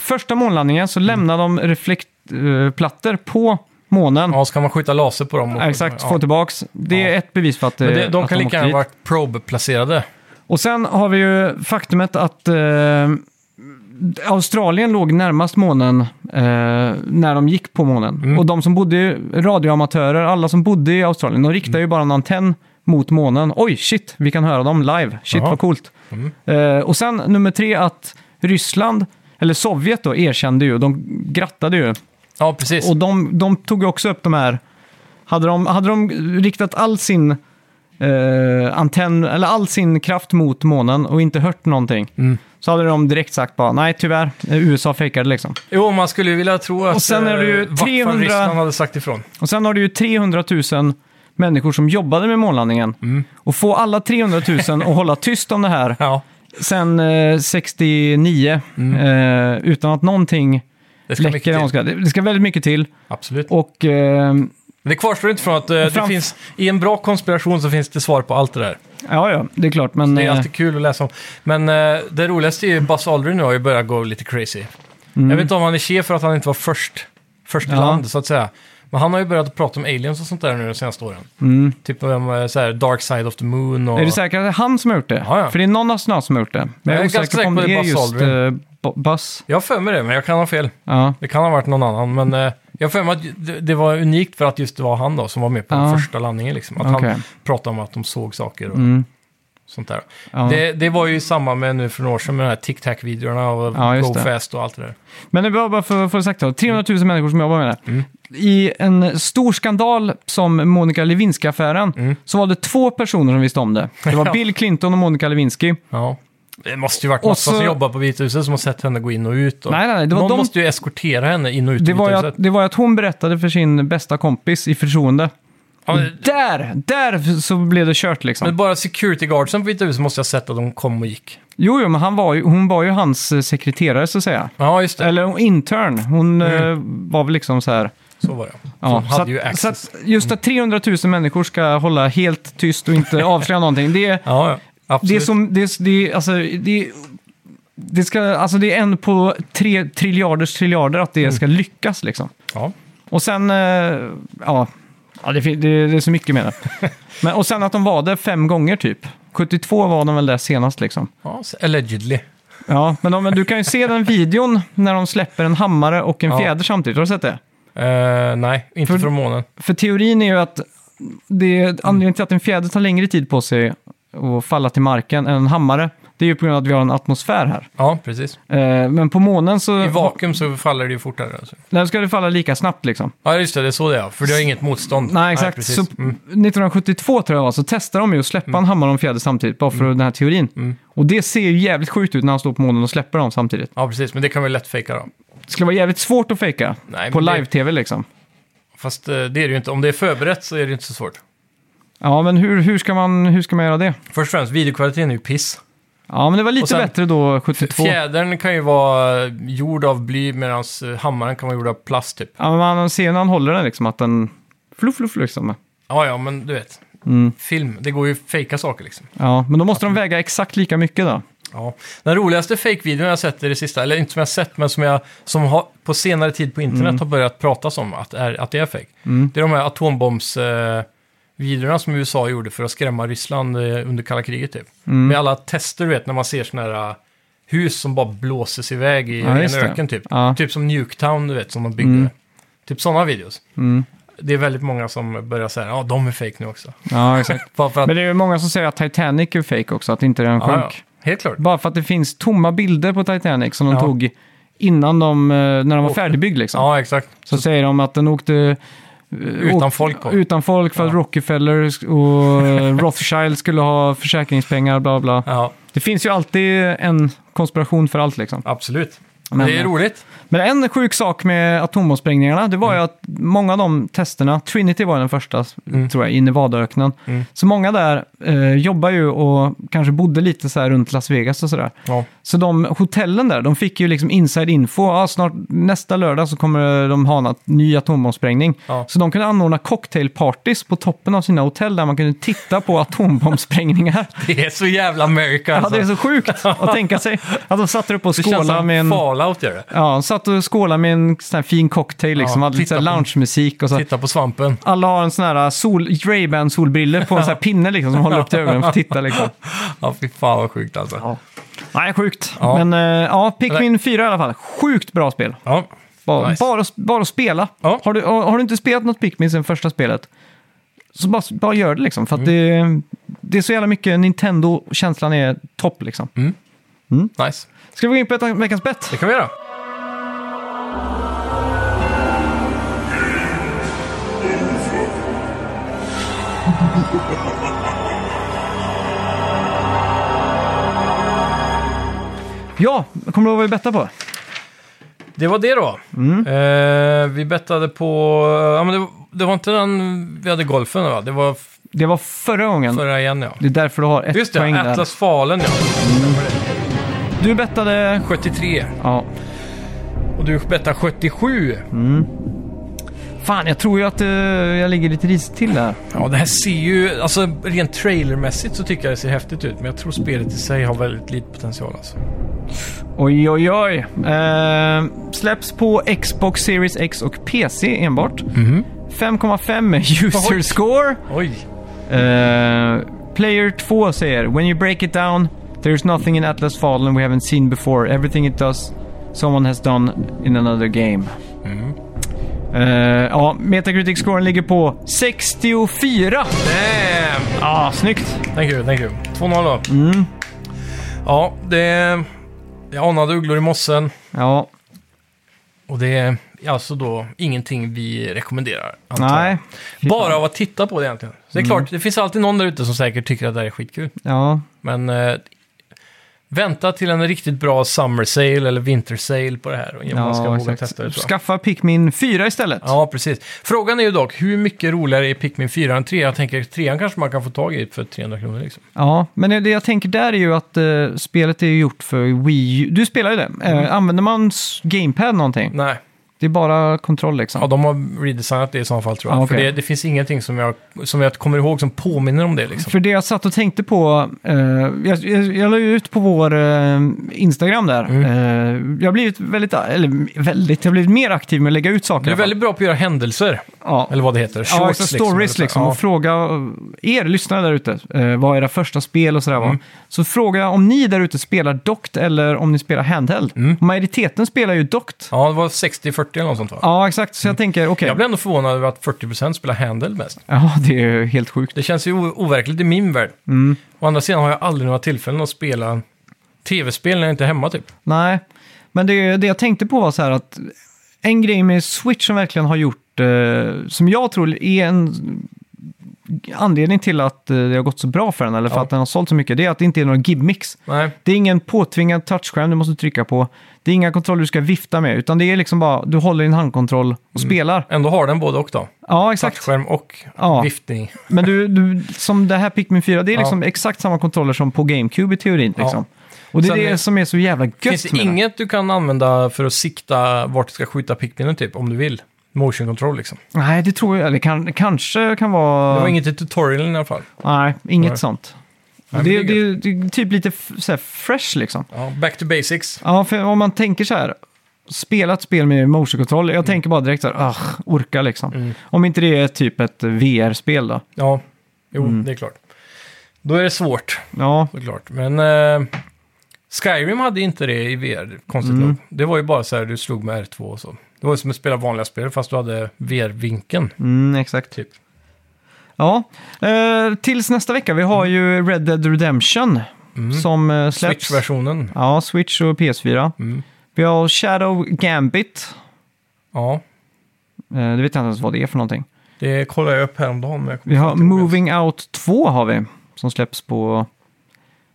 Speaker 1: första månlandningen så lämnade de reflektplattor på månen.
Speaker 2: Ja, så kan man skjuta laser på dem. och-
Speaker 1: Exakt,
Speaker 2: ja.
Speaker 1: få tillbaks. Det är
Speaker 2: Ja.
Speaker 1: ett bevis på att,
Speaker 2: Men
Speaker 1: eh,
Speaker 2: det, de
Speaker 1: att
Speaker 2: kan lika
Speaker 1: åkte
Speaker 2: gärna
Speaker 1: dit.
Speaker 2: varit probe-placerade.
Speaker 1: Och sen har vi ju faktumet att eh, Australien låg närmast månen eh, när de gick på månen. Och de som bodde, radioamatörer, alla som bodde i Australien, de riktade ju bara en antenn mot månen. Oj, shit, vi kan höra dem live. Shit,
Speaker 2: Jaha.
Speaker 1: vad coolt. Eh, och sen nummer tre, att Ryssland, eller Sovjet då, erkände ju, de grattade ju.
Speaker 2: Ja, precis.
Speaker 1: Och de, de tog ju också upp de här... Hade de, hade de riktat all sin eh, antenn, eller all sin kraft mot månen och inte hört någonting,
Speaker 2: Mm.
Speaker 1: så hade de direkt sagt bara nej tyvärr, eh, USA fejkade liksom.
Speaker 2: Jo, man skulle ju vilja tro att
Speaker 1: Och sen är det ju
Speaker 2: eh, vart fan
Speaker 1: 300
Speaker 2: Ryssland hade sagt ifrån.
Speaker 1: Och sen har du ju 300 000 människor som jobbade med månlandningen.
Speaker 2: Mm.
Speaker 1: Och få alla 300 000 att hålla tyst om det här
Speaker 2: Ja,
Speaker 1: sen eh, 69, eh, utan att någonting
Speaker 2: det ska Mm. mycket
Speaker 1: läcker.
Speaker 2: till.
Speaker 1: någon ska- Det det ska väldigt mycket till.
Speaker 2: Absolut.
Speaker 1: Och eh,
Speaker 2: Men Det kvarstår inte från att eh, det
Speaker 1: Framf-
Speaker 2: finns, i en bra konspiration så finns det svar på allt det där.
Speaker 1: ja, ja, det är klart. Men,
Speaker 2: Det är
Speaker 1: eh,
Speaker 2: alltid kul att läsa om. Men eh, det roligaste är ju Buzz Aldrin nu har ju börjat gå lite crazy. Jag vet inte om han är chef för att han inte var först, först i
Speaker 1: Mm. Ja.
Speaker 2: land så att säga. Men han har ju börjat prata om aliens och sånt där nu de senaste åren. Typ om eh, så här, Dark Side of the Moon och...
Speaker 1: Mm. Är du säker att det är han som har gjort det?
Speaker 2: Ja, ja.
Speaker 1: För det är någon astronaut som har gjort det. Men jag är
Speaker 2: ganska
Speaker 1: osäker på om
Speaker 2: säker på
Speaker 1: det är
Speaker 2: det är Buzz
Speaker 1: just
Speaker 2: Aldrin.
Speaker 1: uh, Buzz.
Speaker 2: Jag har för mig det, men jag kan ha fel.
Speaker 1: Ja.
Speaker 2: Det kan ha varit någon annan. Men eh, jag har för mig att det, det var unikt för att just det var han då som var med på
Speaker 1: Ja.
Speaker 2: den första landningen. Liksom. Att
Speaker 1: Okej.
Speaker 2: han pratade om att de såg saker och
Speaker 1: Mm.
Speaker 2: sånt där.
Speaker 1: Ja.
Speaker 2: Det, det var ju i samband med nu för några år sedan med de här Tic Tac-videorna och
Speaker 1: Ja, just
Speaker 2: Go
Speaker 1: det.
Speaker 2: Fast och allt det där.
Speaker 1: Men det var bara för att få det sagt då. 300 000 människor som jobbar med det.
Speaker 2: Mm.
Speaker 1: I en stor skandal som Monica Lewinsky-affären
Speaker 2: Mm.
Speaker 1: så var det två personer som visste om det. Det var Bill Clinton och Monica Lewinsky.
Speaker 2: Ja. Det måste ju varit
Speaker 1: Och
Speaker 2: massa
Speaker 1: så-
Speaker 2: som jobbar på Vita huset som har sett henne gå in och ut. Och
Speaker 1: Nej, nej, nej, det var
Speaker 2: Någon
Speaker 1: de-
Speaker 2: måste ju eskortera henne in och ut
Speaker 1: Det
Speaker 2: i
Speaker 1: var,
Speaker 2: Vita
Speaker 1: ju att,
Speaker 2: huset.
Speaker 1: det var ju att hon berättade för sin bästa kompis i förtroende.
Speaker 2: Ja, men-
Speaker 1: Där! Där så blev det kört liksom.
Speaker 2: men bara security guardsen på Vita huset måste jag ha sett att de kom och gick.
Speaker 1: Jo, jo, men han var ju, hon var ju hans eh, sekreterare så att säga.
Speaker 2: Ja, just det.
Speaker 1: Eller intern. Hon eh, var väl liksom så här...
Speaker 2: Så var det. Ja,
Speaker 1: Ja,
Speaker 2: de
Speaker 1: så
Speaker 2: Mm. hade
Speaker 1: att,
Speaker 2: ju
Speaker 1: så
Speaker 2: access. Mm.
Speaker 1: att just att 300 000 människor ska hålla helt tyst och inte avslöja någonting. Det är,
Speaker 2: Ja, ja. Absolut.
Speaker 1: det är som, det är, det är, alltså, det är, det ska, alltså det är en på tre triljarders triljarder att
Speaker 2: Mm.
Speaker 1: det ska lyckas liksom.
Speaker 2: ja.
Speaker 1: Och sen, eh, ja, ja det, fin- det, det är så mycket med det. Men, och sen att de var där fem gånger typ. 72 var de väl där senast liksom.
Speaker 2: ja, så- allegedly.
Speaker 1: Ja, men, de, men du kan ju se den videon när de släpper en hammare och en
Speaker 2: Ja.
Speaker 1: fjäder samtidigt. Har du sett det?
Speaker 2: Eh, nej, inte
Speaker 1: För-
Speaker 2: från månen.
Speaker 1: För teorin är ju att det är anledningen till att en fjäder tar längre tid på sig att falla till marken än en hammare. Det är ju på grund av att vi har en atmosfär här.
Speaker 2: Ja, precis.
Speaker 1: Eh, Men på månen
Speaker 2: I
Speaker 1: så
Speaker 2: vakuum så faller det ju fortare. Alltså.
Speaker 1: där ska det falla lika snabbt liksom.
Speaker 2: Ja, just det. Det är så det är. För det har inget motstånd.
Speaker 1: Nej, exakt.
Speaker 2: precis.
Speaker 1: så
Speaker 2: Mm.
Speaker 1: 1972 tror jag det var, så testade de ju att släppa en hammare och en fjäder samtidigt, bara för
Speaker 2: Mm.
Speaker 1: den här teorin. Och det ser ju jävligt sjukt ut när han står på månen och släpper dem samtidigt.
Speaker 2: Ja, precis. Men det kan vi lätt fejka då.
Speaker 1: Det skulle vara jävligt svårt att fejka
Speaker 2: Nej, men
Speaker 1: på
Speaker 2: det-
Speaker 1: live-tv liksom.
Speaker 2: Fast eh, det är det ju inte. Om det är förberett så är det ju inte så svårt.
Speaker 1: Ja, men hur, hur, ska man, hur ska man göra det?
Speaker 2: Först och främst, videokvaliteten är ju piss.
Speaker 1: Ja, men det var lite
Speaker 2: Och sen-
Speaker 1: bättre då, 72.
Speaker 2: Fjädern kan ju vara gjord av bly medan hammaren kan vara gjord av plast typ.
Speaker 1: Ja, men man ser ju när han håller den liksom att den... Fluff, fluff, liksom.
Speaker 2: Ja, ja, men du vet. Film, det går ju att fejka saker liksom.
Speaker 1: Ja, men då måste de väga exakt lika mycket då.
Speaker 2: Ja. Den roligaste fake-videon jag sett i det sista, eller inte som jag sett, men som jag som har, på senare tid på
Speaker 1: Mm.
Speaker 2: internet har börjat pratas om att, är, att det är fake. Det är de här atombombs-videorna eh, som USA gjorde för att skrämma Ryssland eh, under kalla kriget typ.
Speaker 1: Mm.
Speaker 2: Med alla tester, du vet, när man ser sådana här eh, hus som bara blåses iväg i
Speaker 1: Ja,
Speaker 2: en
Speaker 1: just det.
Speaker 2: öken typ.
Speaker 1: Ja. Mm.
Speaker 2: Typ som Nuketown, du vet, som de byggde. Typ sådana videos. Det är väldigt många som börjar säga, ja, de är fake nu också.
Speaker 1: Ja, exakt.
Speaker 2: Bara för att,
Speaker 1: men det är ju många som säger att Titanic är fake också, att inte den sjönk.
Speaker 2: ja, ja, helt klart.
Speaker 1: Bara för att det finns tomma bilder på Titanic som de
Speaker 2: Ja.
Speaker 1: tog innan de, eh, när den var färdigbyggd liksom.
Speaker 2: Ja, exakt.
Speaker 1: Så säger de att den åkte... eh,
Speaker 2: Utan folk kom.
Speaker 1: Utan folk för att
Speaker 2: Ja.
Speaker 1: Rockefeller sk- och eh, Rothschild skulle ha försäkringspengar, bla bla.
Speaker 2: Ja,
Speaker 1: Det finns ju alltid en konspiration för allt liksom.
Speaker 2: absolut.
Speaker 1: Men-
Speaker 2: det är roligt.
Speaker 1: Men en sjuk sak med atombombsprängningarna, det var
Speaker 2: Mm.
Speaker 1: ju att många av de testerna, Trinity var den första,
Speaker 2: Mm.
Speaker 1: tror jag, i Nevadaöknen. Så många där eh, jobbar ju och kanske bodde lite så här runt Las Vegas och sådär.
Speaker 2: Ja.
Speaker 1: Så de hotellen där, de fick ju liksom inside info. Ja, snart nästa lördag så kommer de ha en ny atombombsprängning.
Speaker 2: Ja.
Speaker 1: Så de kunde anordna cocktailpartys på toppen av sina hotell där man kunde titta på atombombsprängningar.
Speaker 2: Det är så jävla America
Speaker 1: Ja,
Speaker 2: alltså.
Speaker 1: det är så sjukt att tänka sig. Att de satt upp och
Speaker 2: Det känns
Speaker 1: skålade
Speaker 2: som
Speaker 1: med en...
Speaker 2: Fallout gör det.
Speaker 1: Ja, han satt och skålade med en sån här fin cocktail, liksom.
Speaker 2: Ja,
Speaker 1: hade lite
Speaker 2: titta
Speaker 1: så här
Speaker 2: på-
Speaker 1: loungemusik och så.
Speaker 2: Titta på svampen.
Speaker 1: Alla har en sån här uh, sol, Ray-Ban solbriller på en sån här pinne liksom, som håller upp till ögonen för att titta. Liksom.
Speaker 2: Ja, fy fan vad sjukt alltså. Ja,
Speaker 1: Nej, sjukt.
Speaker 2: Ja.
Speaker 1: Men eh, ja, Pikmin 4 i alla fall. Sjukt bra spel.
Speaker 2: ja.
Speaker 1: Bara,
Speaker 2: Nice.
Speaker 1: bara, bara att spela.
Speaker 2: Ja.
Speaker 1: Har, du, har har du inte spelat något Pikmin sen första spelet, så bara, bara gör det liksom. För
Speaker 2: Mm.
Speaker 1: att det, det är så jävla mycket Nintendo-känslan är topp liksom.
Speaker 2: Mm. nice.
Speaker 1: Ska vi gå in på ett- veckans bett?
Speaker 2: Det kan vi göra.
Speaker 1: Ja, kommer du ihåg vad vi bettade på?
Speaker 2: Det var det då.
Speaker 1: Mm.
Speaker 2: Eh, vi bettade på... Ja, men det, det var inte den vi hade golfen va? Det var
Speaker 1: Det var förra gången.
Speaker 2: förra igen ja.
Speaker 1: Det är därför du har ett
Speaker 2: Just
Speaker 1: poäng
Speaker 2: det,
Speaker 1: där.
Speaker 2: Atlas Fallen ja.
Speaker 1: Du bettade...
Speaker 2: 73.
Speaker 1: Ja.
Speaker 2: Och du bettade 77.
Speaker 1: Mm. Fan, jag tror ju att eh, jag ligger lite risigt till där.
Speaker 2: Ja, det här ser ju... Alltså rent trailermässigt så tycker jag det ser häftigt ut. Men jag tror spelet i sig har väldigt lite potential alltså.
Speaker 1: Oj, oj, oj. Eh, släpps på Xbox Series X och PC enbart. 5,5 user
Speaker 2: Mhm. Oj.
Speaker 1: score.
Speaker 2: Oj!
Speaker 1: Eh, player 2 säger “When you break it down, there's nothing in Atlas Fallen we haven't seen before. Everything it does, someone has done in another game.”
Speaker 2: Mhm.
Speaker 1: Eh, ja, Metacritic-scoren ligger på 64.
Speaker 2: Damn!
Speaker 1: Ja, snyggt.
Speaker 2: Thank you, thank you. 2-0 då.
Speaker 1: Mm.
Speaker 2: Ja, det... Jag anade ugglor i mossen.
Speaker 1: Ja,
Speaker 2: Och det är alltså då ingenting vi rekommenderar. antar jag.
Speaker 1: nej. Mm. Fy fan.
Speaker 2: Bara av att titta på det egentligen. Så det är klart, det finns alltid någon där ute som säkert tycker att det här är skitkul.
Speaker 1: Ja,
Speaker 2: Men eh, vänta till en riktigt bra summer sale eller winter sale på det här. Och man ska
Speaker 1: ja
Speaker 2: våga
Speaker 1: exakt.
Speaker 2: testa det tror jag.
Speaker 1: Skaffa Pikmin 4 istället.
Speaker 2: Ja, precis. Frågan är ju dock, hur mycket roligare är Pikmin 4 än 3? Jag tänker, 3 kanske man kan få tag i för 300 kronor liksom.
Speaker 1: Ja, men det jag tänker där är ju att eh, spelet är ju gjort för Wii U. Du spelar ju det.
Speaker 2: Mm.
Speaker 1: Eh, använder man s- GamePad någonting?
Speaker 2: Nej,
Speaker 1: Det är bara kontroll liksom.
Speaker 2: ja, de har redesignat det i så fall tror jag.
Speaker 1: Ja,
Speaker 2: För
Speaker 1: Ah, okej.
Speaker 2: det, det finns ingenting som jag, som jag kommer ihåg som påminner om det liksom.
Speaker 1: För det jag satt och tänkte på, eh, jag, jag, jag la ju ut på vår eh, Instagram där.
Speaker 2: Mm.
Speaker 1: Eh, jag har blivit väldigt, eller väldigt, jag har blivit mer aktiv med att lägga ut saker. i
Speaker 2: Du är
Speaker 1: alla fall.
Speaker 2: väldigt bra på att göra händelser,
Speaker 1: ja.
Speaker 2: eller vad det heter.
Speaker 1: Ja,
Speaker 2: Shorts,
Speaker 1: alltså stories
Speaker 2: eller så.
Speaker 1: liksom. Och fråga eh, er lyssnare där ute, eh, vad era första spel och sådär
Speaker 2: Mm.
Speaker 1: var. Så fråga om ni där ute spelar dokt eller om ni spelar handheld. Majoriteten spelar ju dokt. Ja,
Speaker 2: Mm. Ja, det var 60-40 eller något sånt va?
Speaker 1: exakt. Så jag tänker, Ah, okej.
Speaker 2: Jag blev ändå förvånad över att 40% spelar handel mest.
Speaker 1: Ja, det är ju helt sjukt. Mm.
Speaker 2: Det känns ju o- overkligt i min värld. Å andra sidan har jag aldrig några tillfällen att spela tv-spel när jag inte är hemma typ.
Speaker 1: Nej, men det, det jag tänkte på var så här att en grej med Switch som verkligen har gjort, eh, som jag tror är en anledning till att eh, det har gått så bra för den, eller för
Speaker 2: Ja.
Speaker 1: att den har sålt så mycket, det är att det inte är några gimmicks.
Speaker 2: Nej,
Speaker 1: Det är ingen påtvingad touchskärm du måste trycka på. Det är inga kontroller du ska vifta med, utan det är liksom bara du håller din handkontroll och
Speaker 2: Mm.
Speaker 1: spelar.
Speaker 2: ändå har den både och då.
Speaker 1: Ja, exakt.
Speaker 2: Touchskärm och
Speaker 1: Ja.
Speaker 2: viftning.
Speaker 1: Men du, du, som det här Pikmin 4, det är
Speaker 2: Ja.
Speaker 1: liksom exakt samma kontroller som på GameCube i teorin.
Speaker 2: Ja.
Speaker 1: Liksom. Och det är
Speaker 2: Sen är-
Speaker 1: det som är så jävla gött
Speaker 2: Finns det
Speaker 1: med den.
Speaker 2: inget du kan använda för att sikta vart du ska skjuta pickpinnen typ, om du vill? Motion control liksom.
Speaker 1: Nej, det tror jag. Eller kan, kanske kan
Speaker 2: Det
Speaker 1: vara...
Speaker 2: var inget i tutorialen i alla fall.
Speaker 1: Nej, inget
Speaker 2: Nej.
Speaker 1: sånt.
Speaker 2: Nej, men
Speaker 1: det,
Speaker 2: det
Speaker 1: det,
Speaker 2: är
Speaker 1: det, är ju typ lite f- så här fresh liksom.
Speaker 2: Ja, back to basics.
Speaker 1: Ja, för om man tänker så här, spela ett spel med motionkontroll, jag tänker bara direkt så här, ah, orka liksom. Om inte det är typ ett VR-spel då.
Speaker 2: Ja, jo,
Speaker 1: Mm.
Speaker 2: det är klart. Då är det svårt.
Speaker 1: Ja,
Speaker 2: Såklart, men eh, Skyrim hade inte det i VR, konstigt
Speaker 1: Mm.
Speaker 2: nog. Det var ju bara så här, du slog med R2 och så. Det var ju som att spela vanliga spel, fast du hade VR-vinkeln.
Speaker 1: mm, exakt.
Speaker 2: Typ.
Speaker 1: Ja, eh, tills nästa vecka, vi har ju Red Dead Redemption som eh, släpps.
Speaker 2: Mm. Switch-versionen.
Speaker 1: Ja, Switch och PS4.
Speaker 2: Mm.
Speaker 1: Vi har Shadow Gambit,
Speaker 2: Ja,
Speaker 1: eh, det vet jag inte ens vad det är för någonting.
Speaker 2: det kollade jag upp häromdagen. Men jag kommer
Speaker 1: Vi har
Speaker 2: inte ihåg ens.
Speaker 1: Moving Out 2 har vi, som släpps på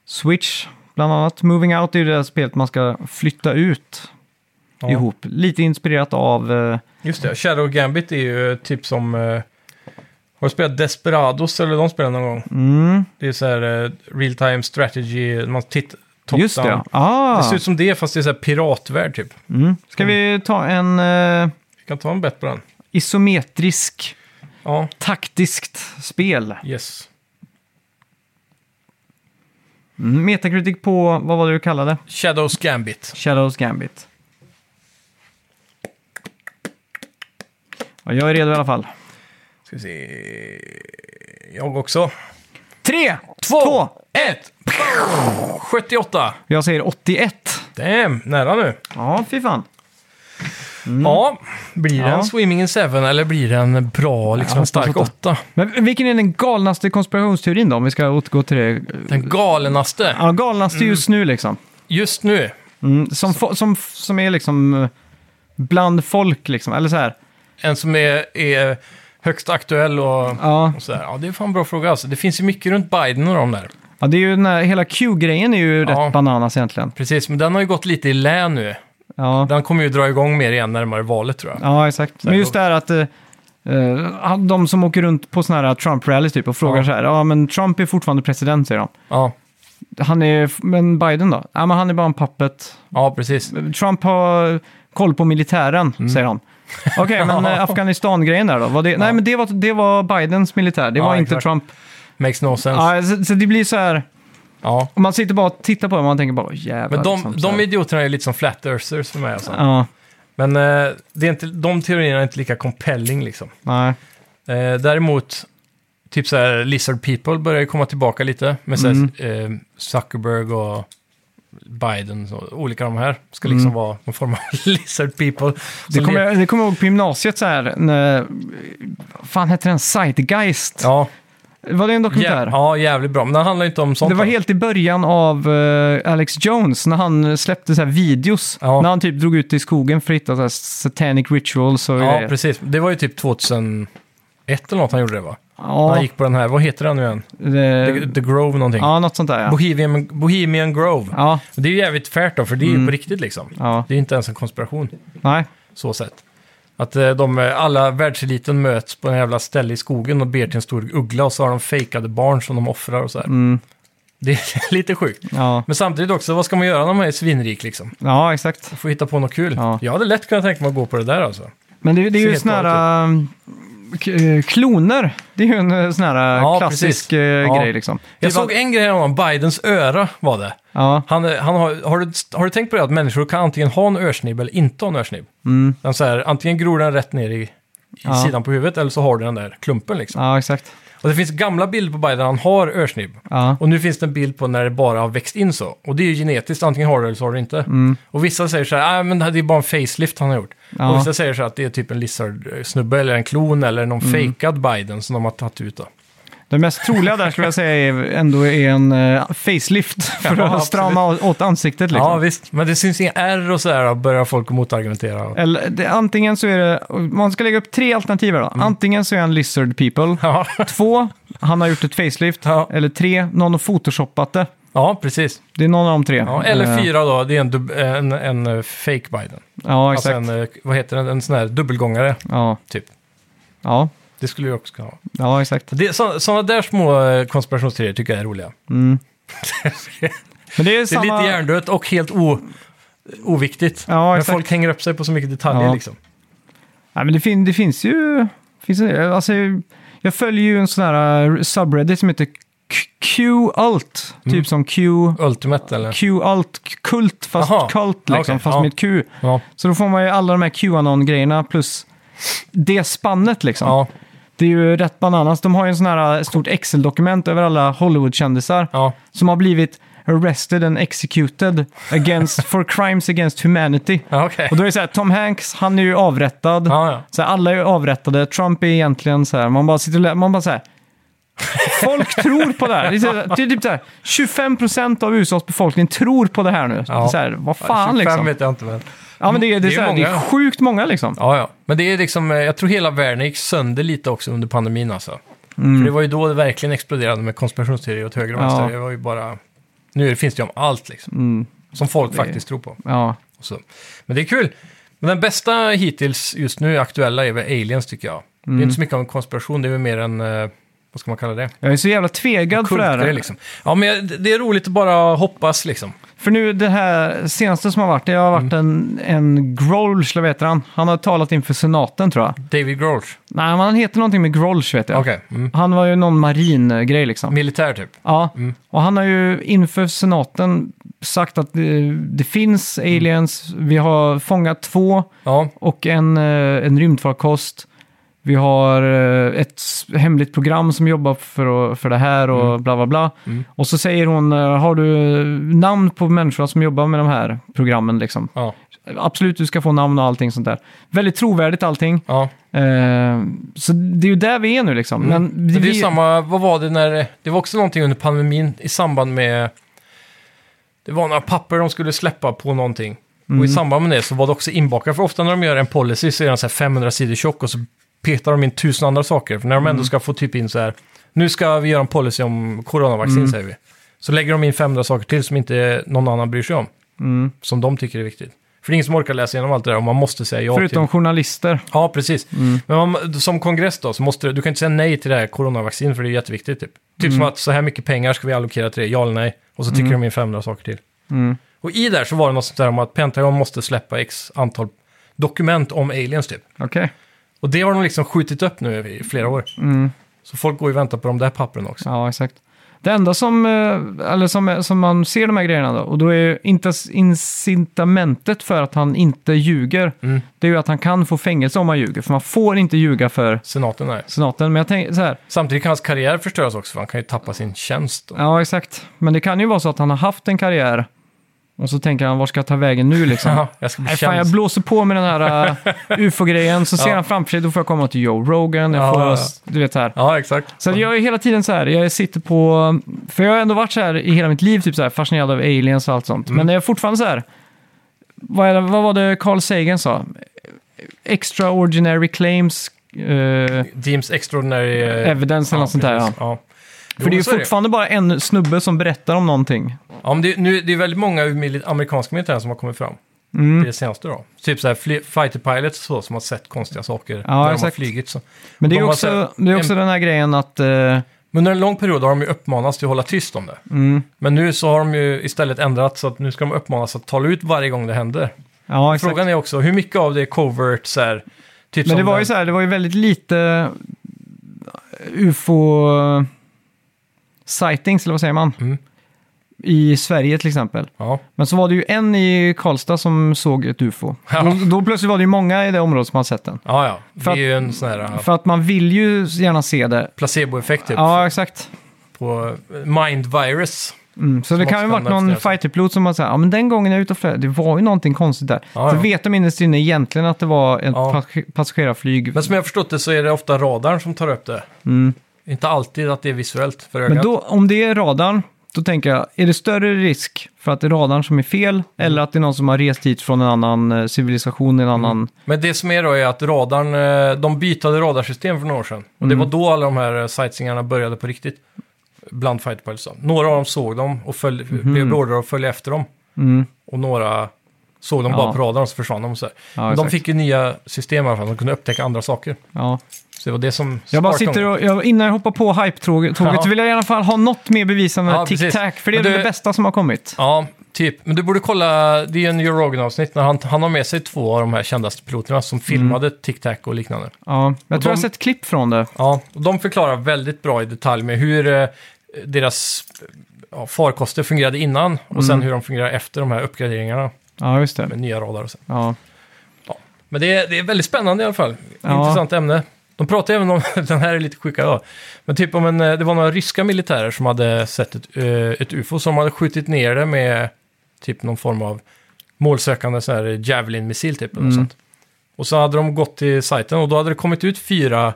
Speaker 1: Switch bland annat. Moving Out är ju det där spelet man ska flytta ut
Speaker 2: Ja.
Speaker 1: ihop. Lite inspirerat av... eh,
Speaker 2: Just det, Shadow Gambit är ju typ som... eh, har du spelat Desperados eller de spelen någon gång?
Speaker 1: mm,
Speaker 2: Det är så här eh, real time strategy, man tittar... top
Speaker 1: just det,
Speaker 2: down.
Speaker 1: ja. ah,
Speaker 2: Det ser ut som det, fast det är så här piratvärld typ.
Speaker 1: mm. Ska vi ta en eh,
Speaker 2: Vi kan ta en bet på den.
Speaker 1: isometrisk
Speaker 2: Ja,
Speaker 1: taktiskt spel?
Speaker 2: yes.
Speaker 1: Mm, Metacritic på, vad var det du kallade?
Speaker 2: Shadows Gambit.
Speaker 1: Shadows Gambit. Ja, jag är redo i alla fall.
Speaker 2: Ska vi se. Jag också.
Speaker 1: Tre,
Speaker 2: Två,
Speaker 1: två,
Speaker 2: ett! Boom! 78.
Speaker 1: Jag säger 81.
Speaker 2: Damn, nära nu.
Speaker 1: Ja, fy fan.
Speaker 2: Ja, blir det
Speaker 1: Mm. Ja.
Speaker 2: en Swimming in Seven eller blir det en bra, liksom
Speaker 1: Ja,
Speaker 2: en stark
Speaker 1: hoppas
Speaker 2: åtta?
Speaker 1: Men vilken är den galnaste konspirationsteorin då, om vi ska återgå till det?
Speaker 2: Den galenaste.
Speaker 1: Ja, galnaste just nu liksom.
Speaker 2: Just nu.
Speaker 1: Mm, som, fo- som, som är liksom eh, bland folk liksom, eller så här.
Speaker 2: En som är, är högst aktuell och,
Speaker 1: Ja,
Speaker 2: och sådär. Ja, det är fan en bra fråga alltså. Det finns ju mycket runt Biden och de där.
Speaker 1: ja det är ju den här, hela Q-grejen är ju
Speaker 2: Ja.
Speaker 1: rätt bananas egentligen.
Speaker 2: Precis, men den har ju gått lite i lä nu.
Speaker 1: Ja,
Speaker 2: Den kommer ju dra igång mer igen närmare valet tror jag.
Speaker 1: ja exakt. Men just det här att eh, eh, de som åker runt på sådana här Trump-rallys typ och frågar
Speaker 2: Ja.
Speaker 1: så här, ja men Trump är fortfarande president säger de.
Speaker 2: Ja,
Speaker 1: Han är, men Biden då? Ja men han är bara en pappet.
Speaker 2: ja precis.
Speaker 1: Trump har koll på militären,
Speaker 2: Mm.
Speaker 1: säger han. Okej, men eh, Afghanistan-grejen där då? Var det, Nej, men det var, det var Bidens militär, det
Speaker 2: Ja,
Speaker 1: var inte
Speaker 2: exakt.
Speaker 1: Trump.
Speaker 2: Makes no sense.
Speaker 1: Ja, så, så det blir så här,
Speaker 2: Ja.
Speaker 1: om man sitter bara och tittar på det, man tänker bara "Åh, jävlar.
Speaker 2: Men de,
Speaker 1: liksom, så
Speaker 2: de
Speaker 1: här.
Speaker 2: idioterna är lite som flat earthers för mig alltså.
Speaker 1: Ja,
Speaker 2: Men eh, det är inte, de teorierna är inte lika compelling liksom.
Speaker 1: nej.
Speaker 2: Eh, däremot, typ så här lizard people börjar ju komma tillbaka lite. Med så här,
Speaker 1: Mm.
Speaker 2: eh, Zuckerberg och Biden och olika de här. Ska liksom vara någon form av lizard people.
Speaker 1: Mm. Det
Speaker 2: Så
Speaker 1: kommer,
Speaker 2: le-
Speaker 1: jag, det kommer jag ihåg på gymnasiet så här, när, vad fan hette den? Zeitgeist?
Speaker 2: Ja,
Speaker 1: Var det en dokumentär?
Speaker 2: jä- ja, jävligt bra. Men den handlar ju inte om sånt. alltså.
Speaker 1: Det var
Speaker 2: då.
Speaker 1: helt i början av eh, Alex Jones när han släppte så här videos.
Speaker 2: Ja.
Speaker 1: När han typ drog ut i skogen för att hitta så här satanic rituals och
Speaker 2: Ja,
Speaker 1: grejer.
Speaker 2: precis. Det var ju typ 2001 eller något han gjorde det va?
Speaker 1: Ja,
Speaker 2: Han gick på den här, vad heter den nu igen?
Speaker 1: det-
Speaker 2: The, The Grove någonting.
Speaker 1: Ja, något sånt där ja.
Speaker 2: Bohemian, Bohemian Grove.
Speaker 1: Ja,
Speaker 2: Det är ju jävligt färt då, för det är ju
Speaker 1: Mm.
Speaker 2: på riktigt liksom.
Speaker 1: ja.
Speaker 2: Det är ju inte ens en konspiration.
Speaker 1: Nej.
Speaker 2: så sätt. Att eh, de, eh, alla världseliten möts på en jävla ställe i skogen och ber till en stor uggla och så har de fejkade barn som de offrar och så här.
Speaker 1: Mm.
Speaker 2: Det är lite sjukt.
Speaker 1: Ja.
Speaker 2: Men samtidigt också, vad ska man göra när man är svinrik liksom?
Speaker 1: ja, exakt.
Speaker 2: Får hitta på något kul.
Speaker 1: Ja.
Speaker 2: Jag hade lätt kunnat tänka mig att gå på det där alltså.
Speaker 1: Men det, det är
Speaker 2: Ser
Speaker 1: ju
Speaker 2: helt
Speaker 1: såna här ähm, k- eh, kloner. Det är ju en eh, sån här eh,
Speaker 2: Ja,
Speaker 1: klassisk
Speaker 2: precis.
Speaker 1: eh,
Speaker 2: Ja.
Speaker 1: grej liksom.
Speaker 2: Jag
Speaker 1: Typ
Speaker 2: såg en grej om Bidens öra var det.
Speaker 1: Ja,
Speaker 2: Han, eh, han har, har, du, har du tänkt på det att människor kan antingen ha en örsnibb eller inte ha en örsnibb?
Speaker 1: mm.
Speaker 2: Den så här, antingen gror den rätt ner i, i
Speaker 1: Ja.
Speaker 2: sidan på huvudet eller så har du den där klumpen liksom.
Speaker 1: ja exakt.
Speaker 2: Och det finns gamla bilder på Biden, där han har örsnibb.
Speaker 1: Ja.
Speaker 2: Och nu finns det en bild på när det bara har växt in så. Och det är ju genetiskt, antingen har du det eller så har du inte. Och vissa säger så här, "Ah, men det här är bara en facelift han har gjort.
Speaker 1: Mm. Ja.
Speaker 2: Och vissa säger
Speaker 1: Mm.
Speaker 2: så här att det är typ en lizard-snubbe eller en klon eller någon fejkad Biden som de har tagit ut då.
Speaker 1: Det mest troliga där skulle jag säga är ändå är en eh, facelift för
Speaker 2: Ja,
Speaker 1: att
Speaker 2: absolut.
Speaker 1: strama åt ansiktet. Liksom.
Speaker 2: Ja, visst. Men det syns inga R och sådär, och börjar folk motargumentera.
Speaker 1: Eller, det, antingen så är det, man ska lägga upp tre alternativ här då.
Speaker 2: Mm.
Speaker 1: Antingen så är han lizard people.
Speaker 2: Ja,
Speaker 1: Två, han har gjort ett facelift.
Speaker 2: Ja.
Speaker 1: Eller tre, någon har photoshopat det.
Speaker 2: ja precis.
Speaker 1: Det är någon av de tre.
Speaker 2: Ja, eller
Speaker 1: Eh,
Speaker 2: fyra då, det är en, dub- en, en eh, fake Biden.
Speaker 1: Ja,
Speaker 2: Alltså
Speaker 1: exakt.
Speaker 2: en, eh, vad heter den, en sån här dubbelgångare,
Speaker 1: Ja,
Speaker 2: typ.
Speaker 1: ja,
Speaker 2: Det skulle jag också kunna ha.
Speaker 1: ja, exakt.
Speaker 2: Det, så, såna där små eh, konspirationsteorier tycker jag är roliga.
Speaker 1: Mm. Men det är,
Speaker 2: Det är
Speaker 1: samma...
Speaker 2: lite hjärndött och helt o, oviktigt.
Speaker 1: Ja,
Speaker 2: Men
Speaker 1: exakt.
Speaker 2: folk hänger upp sig på så mycket detaljer
Speaker 1: Ja.
Speaker 2: liksom.
Speaker 1: Nej, men det, fin- det finns ju... Finns, det- alltså, jag följer ju en sån här eh, subreddit som heter Q- Q-alt.
Speaker 2: Mm.
Speaker 1: Typ som Q...
Speaker 2: Ultimate eller?
Speaker 1: Q-alt, kult, fast
Speaker 2: Aha.
Speaker 1: kult
Speaker 2: Ja,
Speaker 1: liksom,
Speaker 2: okej.
Speaker 1: fast
Speaker 2: Ja.
Speaker 1: med ett Q.
Speaker 2: Ja.
Speaker 1: Så då får man ju alla de här Qanon-grejerna plus det spannet liksom.
Speaker 2: Ja,
Speaker 1: Det är ju rätt bananas. De har ju en sån här eh, stort Excel-dokument över alla Hollywood-kändisar
Speaker 2: ja,
Speaker 1: som har blivit arrested and executed against, for crimes against humanity.
Speaker 2: ja okej.
Speaker 1: Och då är det så här, Tom Hanks, han är ju avrättad.
Speaker 2: Ja, ja.
Speaker 1: Så här, alla är ju avrättade, Trump är egentligen så här, man bara sitter och lä- man bara så här. Folk tror på det här. Det är, så här, det är typ så här, 25% av USAs befolkning tror på det här nu.
Speaker 2: Ja.
Speaker 1: Så här, vad fan
Speaker 2: 25
Speaker 1: liksom.
Speaker 2: vet jag inte men.
Speaker 1: Ja, men det är, det är, så här, det är
Speaker 2: många.
Speaker 1: sjukt många liksom.
Speaker 2: Ja, ja. Men det är liksom, eh, jag tror hela världen gick sönder lite också under pandemin alltså. För det var ju då det verkligen exploderade med konspirationsteorier åt höger och
Speaker 1: Ja.
Speaker 2: vänster. Det var ju bara, nu är det- finns det ju om allt liksom. Som folk faktiskt tror på.
Speaker 1: Ja,
Speaker 2: Och så. Men det är kul. Men den bästa hittills just nu aktuella är väl Aliens tycker jag. Det är inte så mycket av en konspiration, det är väl mer en, eh, vad ska man kalla det?
Speaker 1: jag är så jävla tvegad för det här.
Speaker 2: Kultgrej liksom. Ja, men jag- det är roligt att bara hoppas liksom.
Speaker 1: För nu det här senaste som har varit, det har
Speaker 2: Mm.
Speaker 1: varit en, en Grolsch, eller vad heter han? Han har talat inför senaten tror jag.
Speaker 2: David Grosh.
Speaker 1: Nej, men han heter någonting med Grolsch vet jag.
Speaker 2: Okej. Mm.
Speaker 1: Han var ju någon maringrej liksom.
Speaker 2: Militär typ.
Speaker 1: Ja, och han har ju inför senaten sagt att det, det finns aliens, vi har fångat två
Speaker 2: Ja,
Speaker 1: och en, eh, en rymdfarkost. Vi har eh, ett s- hemligt program som jobbar för, att- för det här och
Speaker 2: Mm.
Speaker 1: bla bla bla. Och så säger hon, eh, har du namn på människorna som jobbar med de här programmen liksom?
Speaker 2: ja,
Speaker 1: Absolut, du ska få namn och allting sånt där. Väldigt trovärdigt allting.
Speaker 2: ja.
Speaker 1: Eh, så det är ju där vi är nu liksom. Men,
Speaker 2: Men Mm. det är
Speaker 1: vi-
Speaker 2: ju samma, vad var det när, det var också någonting under pandemin i samband med, det var några papper de skulle släppa på någonting. Och i samband med det så var det också inbakat, för ofta när de gör en policy så är den så här 500 sidor tjock och så petar de in tusen andra saker. För när de ändå ska få typ in så här, nu ska vi göra en policy om coronavaccin säger vi. Så lägger de in 500 saker till som inte någon annan bryr sig om. Som de tycker är viktigt. För det är ingen som orkar läsa igenom allt det där och man måste säga ja till
Speaker 1: Förutom journalister.
Speaker 2: Ja, precis.
Speaker 1: Mm.
Speaker 2: Men om, som kongress då, så måste du, du kan inte säga nej till det här coronavaccinet för det är jätteviktigt. Typ, typ
Speaker 1: Mm.
Speaker 2: som att så här mycket pengar ska vi allokera till det, ja eller nej. Och så tycker de in 500 saker till.
Speaker 1: Mm.
Speaker 2: Och i där så var det något sånt där om att Pentagon måste släppa x antal dokument om aliens typ.
Speaker 1: Okej.
Speaker 2: Och det har de liksom skjutit upp nu i flera år.
Speaker 1: Mm.
Speaker 2: Så folk går ju och väntar på de där pappren också.
Speaker 1: Ja, exakt. Det enda som, eh, eller som, som man ser de här grejerna då, och då är ju inte incitamentet för att han inte ljuger,
Speaker 2: Mm.
Speaker 1: det är ju att han kan få fängelse om han ljuger, för man får inte ljuga för
Speaker 2: Senaten är.
Speaker 1: senaten. Men jag tänker så här,
Speaker 2: Samtidigt kan hans karriär förstöras också, för han kan ju tappa sin tjänst. Då.
Speaker 1: ja exakt, men det kan ju vara så att han har haft en karriär och så tänker han, var ska jag ta vägen nu liksom?
Speaker 2: Ja, jag ska bli
Speaker 1: Nej, fan, jag
Speaker 2: tjänst.
Speaker 1: blåser på med den här eh, ufo-grejen, så ser
Speaker 2: Ja.
Speaker 1: han framför sig, då får jag komma till Joe Rogan, jag
Speaker 2: Ja,
Speaker 1: får,
Speaker 2: ja, ja.
Speaker 1: du vet så här.
Speaker 2: Ja, exakt.
Speaker 1: Så att jag är hela tiden så här, jag sitter på, för jag har ändå varit så här i hela mitt liv, typ så här, fascinerad av aliens och allt sånt.
Speaker 2: Mm.
Speaker 1: Men jag är fortfarande så här, vad, är det, vad var det Carl Sagan sa? Extraordinary claims, eh,
Speaker 2: Deems extraordinary... eh,
Speaker 1: evidence eller något sånt där. Ja.
Speaker 2: precis. ja.
Speaker 1: För det är ju
Speaker 2: Jo, så
Speaker 1: fortfarande bara en snubbe som berättar om någonting.
Speaker 2: Ja, men det, nu, det är väldigt många ur mili- amerikanska militären som har kommit fram.
Speaker 1: Mm.
Speaker 2: Det senaste då. Typ så här fly- fighter pilots och så, som har sett konstiga saker
Speaker 1: Ja,
Speaker 2: när de har
Speaker 1: exakt.
Speaker 2: flugit. Så.
Speaker 1: Men det är
Speaker 2: De
Speaker 1: ju
Speaker 2: har
Speaker 1: också,
Speaker 2: så här-
Speaker 1: det är också den här grejen att, eh,
Speaker 2: Men under en lång period har de ju uppmanats till att hålla tyst om det.
Speaker 1: Mm.
Speaker 2: Men nu så har de ju istället ändrat så att nu ska de uppmanas att tala ut varje gång det händer.
Speaker 1: ja exakt.
Speaker 2: Frågan är också hur mycket av det är covert så här, typ
Speaker 1: Men
Speaker 2: som
Speaker 1: det var
Speaker 2: den-
Speaker 1: ju så här, det var ju väldigt lite eh, ufo eh, sightings, eller vad säger man?
Speaker 2: Mm.
Speaker 1: I Sverige till exempel.
Speaker 2: Ja,
Speaker 1: Men så var det ju en i Karlstad som såg ett ufo.
Speaker 2: Ja.
Speaker 1: Då, då plötsligt var det ju många i det området som hade sett den.
Speaker 2: ja, ja. det
Speaker 1: För
Speaker 2: är
Speaker 1: att-
Speaker 2: ju en sån här ja,
Speaker 1: För att man vill ju gärna se det.
Speaker 2: placeboeffekt typ,
Speaker 1: Ja, exakt.
Speaker 2: på eh, mind virus.
Speaker 1: Mm. Så det kan ju
Speaker 2: också
Speaker 1: varit
Speaker 2: hamnar
Speaker 1: någon
Speaker 2: efter det.
Speaker 1: fighterpilot som har sagt ja men den gången jag är ute och flög, det var ju någonting konstigt där.
Speaker 2: Ja,
Speaker 1: För
Speaker 2: ja.
Speaker 1: vet de innerst inne egentligen att det var ett
Speaker 2: Ja.
Speaker 1: pas- passagerarflyg? Mm.
Speaker 2: Men som jag har förstått det så är det ofta radarn som tar upp det. Inte alltid att det är visuellt för ögat.
Speaker 1: Men då, om det är radarn, då tänker jag, är det större risk för att det är radarn som är fel
Speaker 2: Mm.
Speaker 1: eller att det är någon som har rest hit från en annan eh, civilisation, en annan...
Speaker 2: Men det som är då är att radarn, eh, de bytade radarsystem för några år sedan. Och det
Speaker 1: Mm.
Speaker 2: var då alla de här eh, sightseeingarna började på riktigt. Bland fighter pilots. då. Några av dem såg dem och följ, blev beordrade att följa efter dem.
Speaker 1: Mhm. Mm.
Speaker 2: Och några såg dem bara
Speaker 1: Ja.
Speaker 2: på radarn och så försvann de. Och så här.
Speaker 1: Ja,
Speaker 2: Men de
Speaker 1: exakt.
Speaker 2: fick ju nya system i alla fall, de kunde upptäcka andra saker.
Speaker 1: Ja.
Speaker 2: Så det var det som
Speaker 1: Jag bara
Speaker 2: sparkade
Speaker 1: sitter
Speaker 2: dem.
Speaker 1: och, jag, innan jag hoppar på hype-tåget
Speaker 2: Ja.
Speaker 1: vill jag i alla fall ha något mer bevis än
Speaker 2: Ja,
Speaker 1: Tic
Speaker 2: precis.
Speaker 1: Tac, för det är
Speaker 2: Men
Speaker 1: det
Speaker 2: du-
Speaker 1: bästa som har kommit.
Speaker 2: Ja, typ. Men du borde kolla, det är ju en Joe Rogan-avsnitt när han, han har med sig två av de här kändaste piloterna
Speaker 1: Mm.
Speaker 2: som filmade Tic Tac och liknande.
Speaker 1: Ja, jag
Speaker 2: Och
Speaker 1: tror jag
Speaker 2: de-
Speaker 1: har sett klipp från det.
Speaker 2: Ja, och de förklarar väldigt bra i detalj med hur eh, deras ja, farkoster fungerade innan och sen hur de fungerar efter de här uppgraderingarna
Speaker 1: Ja, just det.
Speaker 2: med nya radar och så.
Speaker 1: Ja.
Speaker 2: Men det är, det är väldigt spännande i alla fall.
Speaker 1: Ja.
Speaker 2: Intressant ämne. De pratar även om, den här är lite sjuka då, men typ om en, eh, det var några ryska militärer som hade sett ett, eh, ett UFO som hade skjutit ner det med typ någon form av målsökande så här Javelin-missil typ. eller något
Speaker 1: Mm.
Speaker 2: sånt. Och så hade de gått till sajten och då hade det kommit ut fyra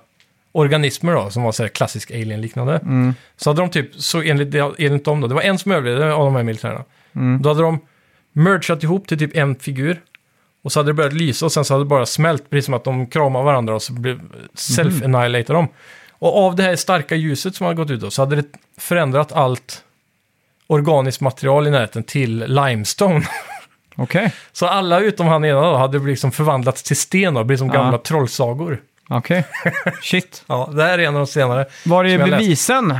Speaker 2: organismer då, som var så här klassisk alien-liknande.
Speaker 1: Mm.
Speaker 2: Så hade de typ, så enligt, det- enligt dem då, det var en som överlevde av de här militärerna.
Speaker 1: Mm.
Speaker 2: Då hade de mergat ihop till typ en figur. Och så hade det börjat lysa och sen så hade det bara smält, precis som att de kramar varandra och så blev self-annihilate dem. Och av det här starka ljuset som hade gått ut då, så hade det förändrat allt organiskt material i närheten till limestone.
Speaker 1: Okej.
Speaker 2: Så alla utom han ena då hade liksom förvandlats till sten och blivit som
Speaker 1: Ja.
Speaker 2: gamla trollsagor.
Speaker 1: Okej. Shit.
Speaker 2: Ja, det här är en av de senare.
Speaker 1: Var
Speaker 2: Som
Speaker 1: är
Speaker 2: jag läst.
Speaker 1: bevisen?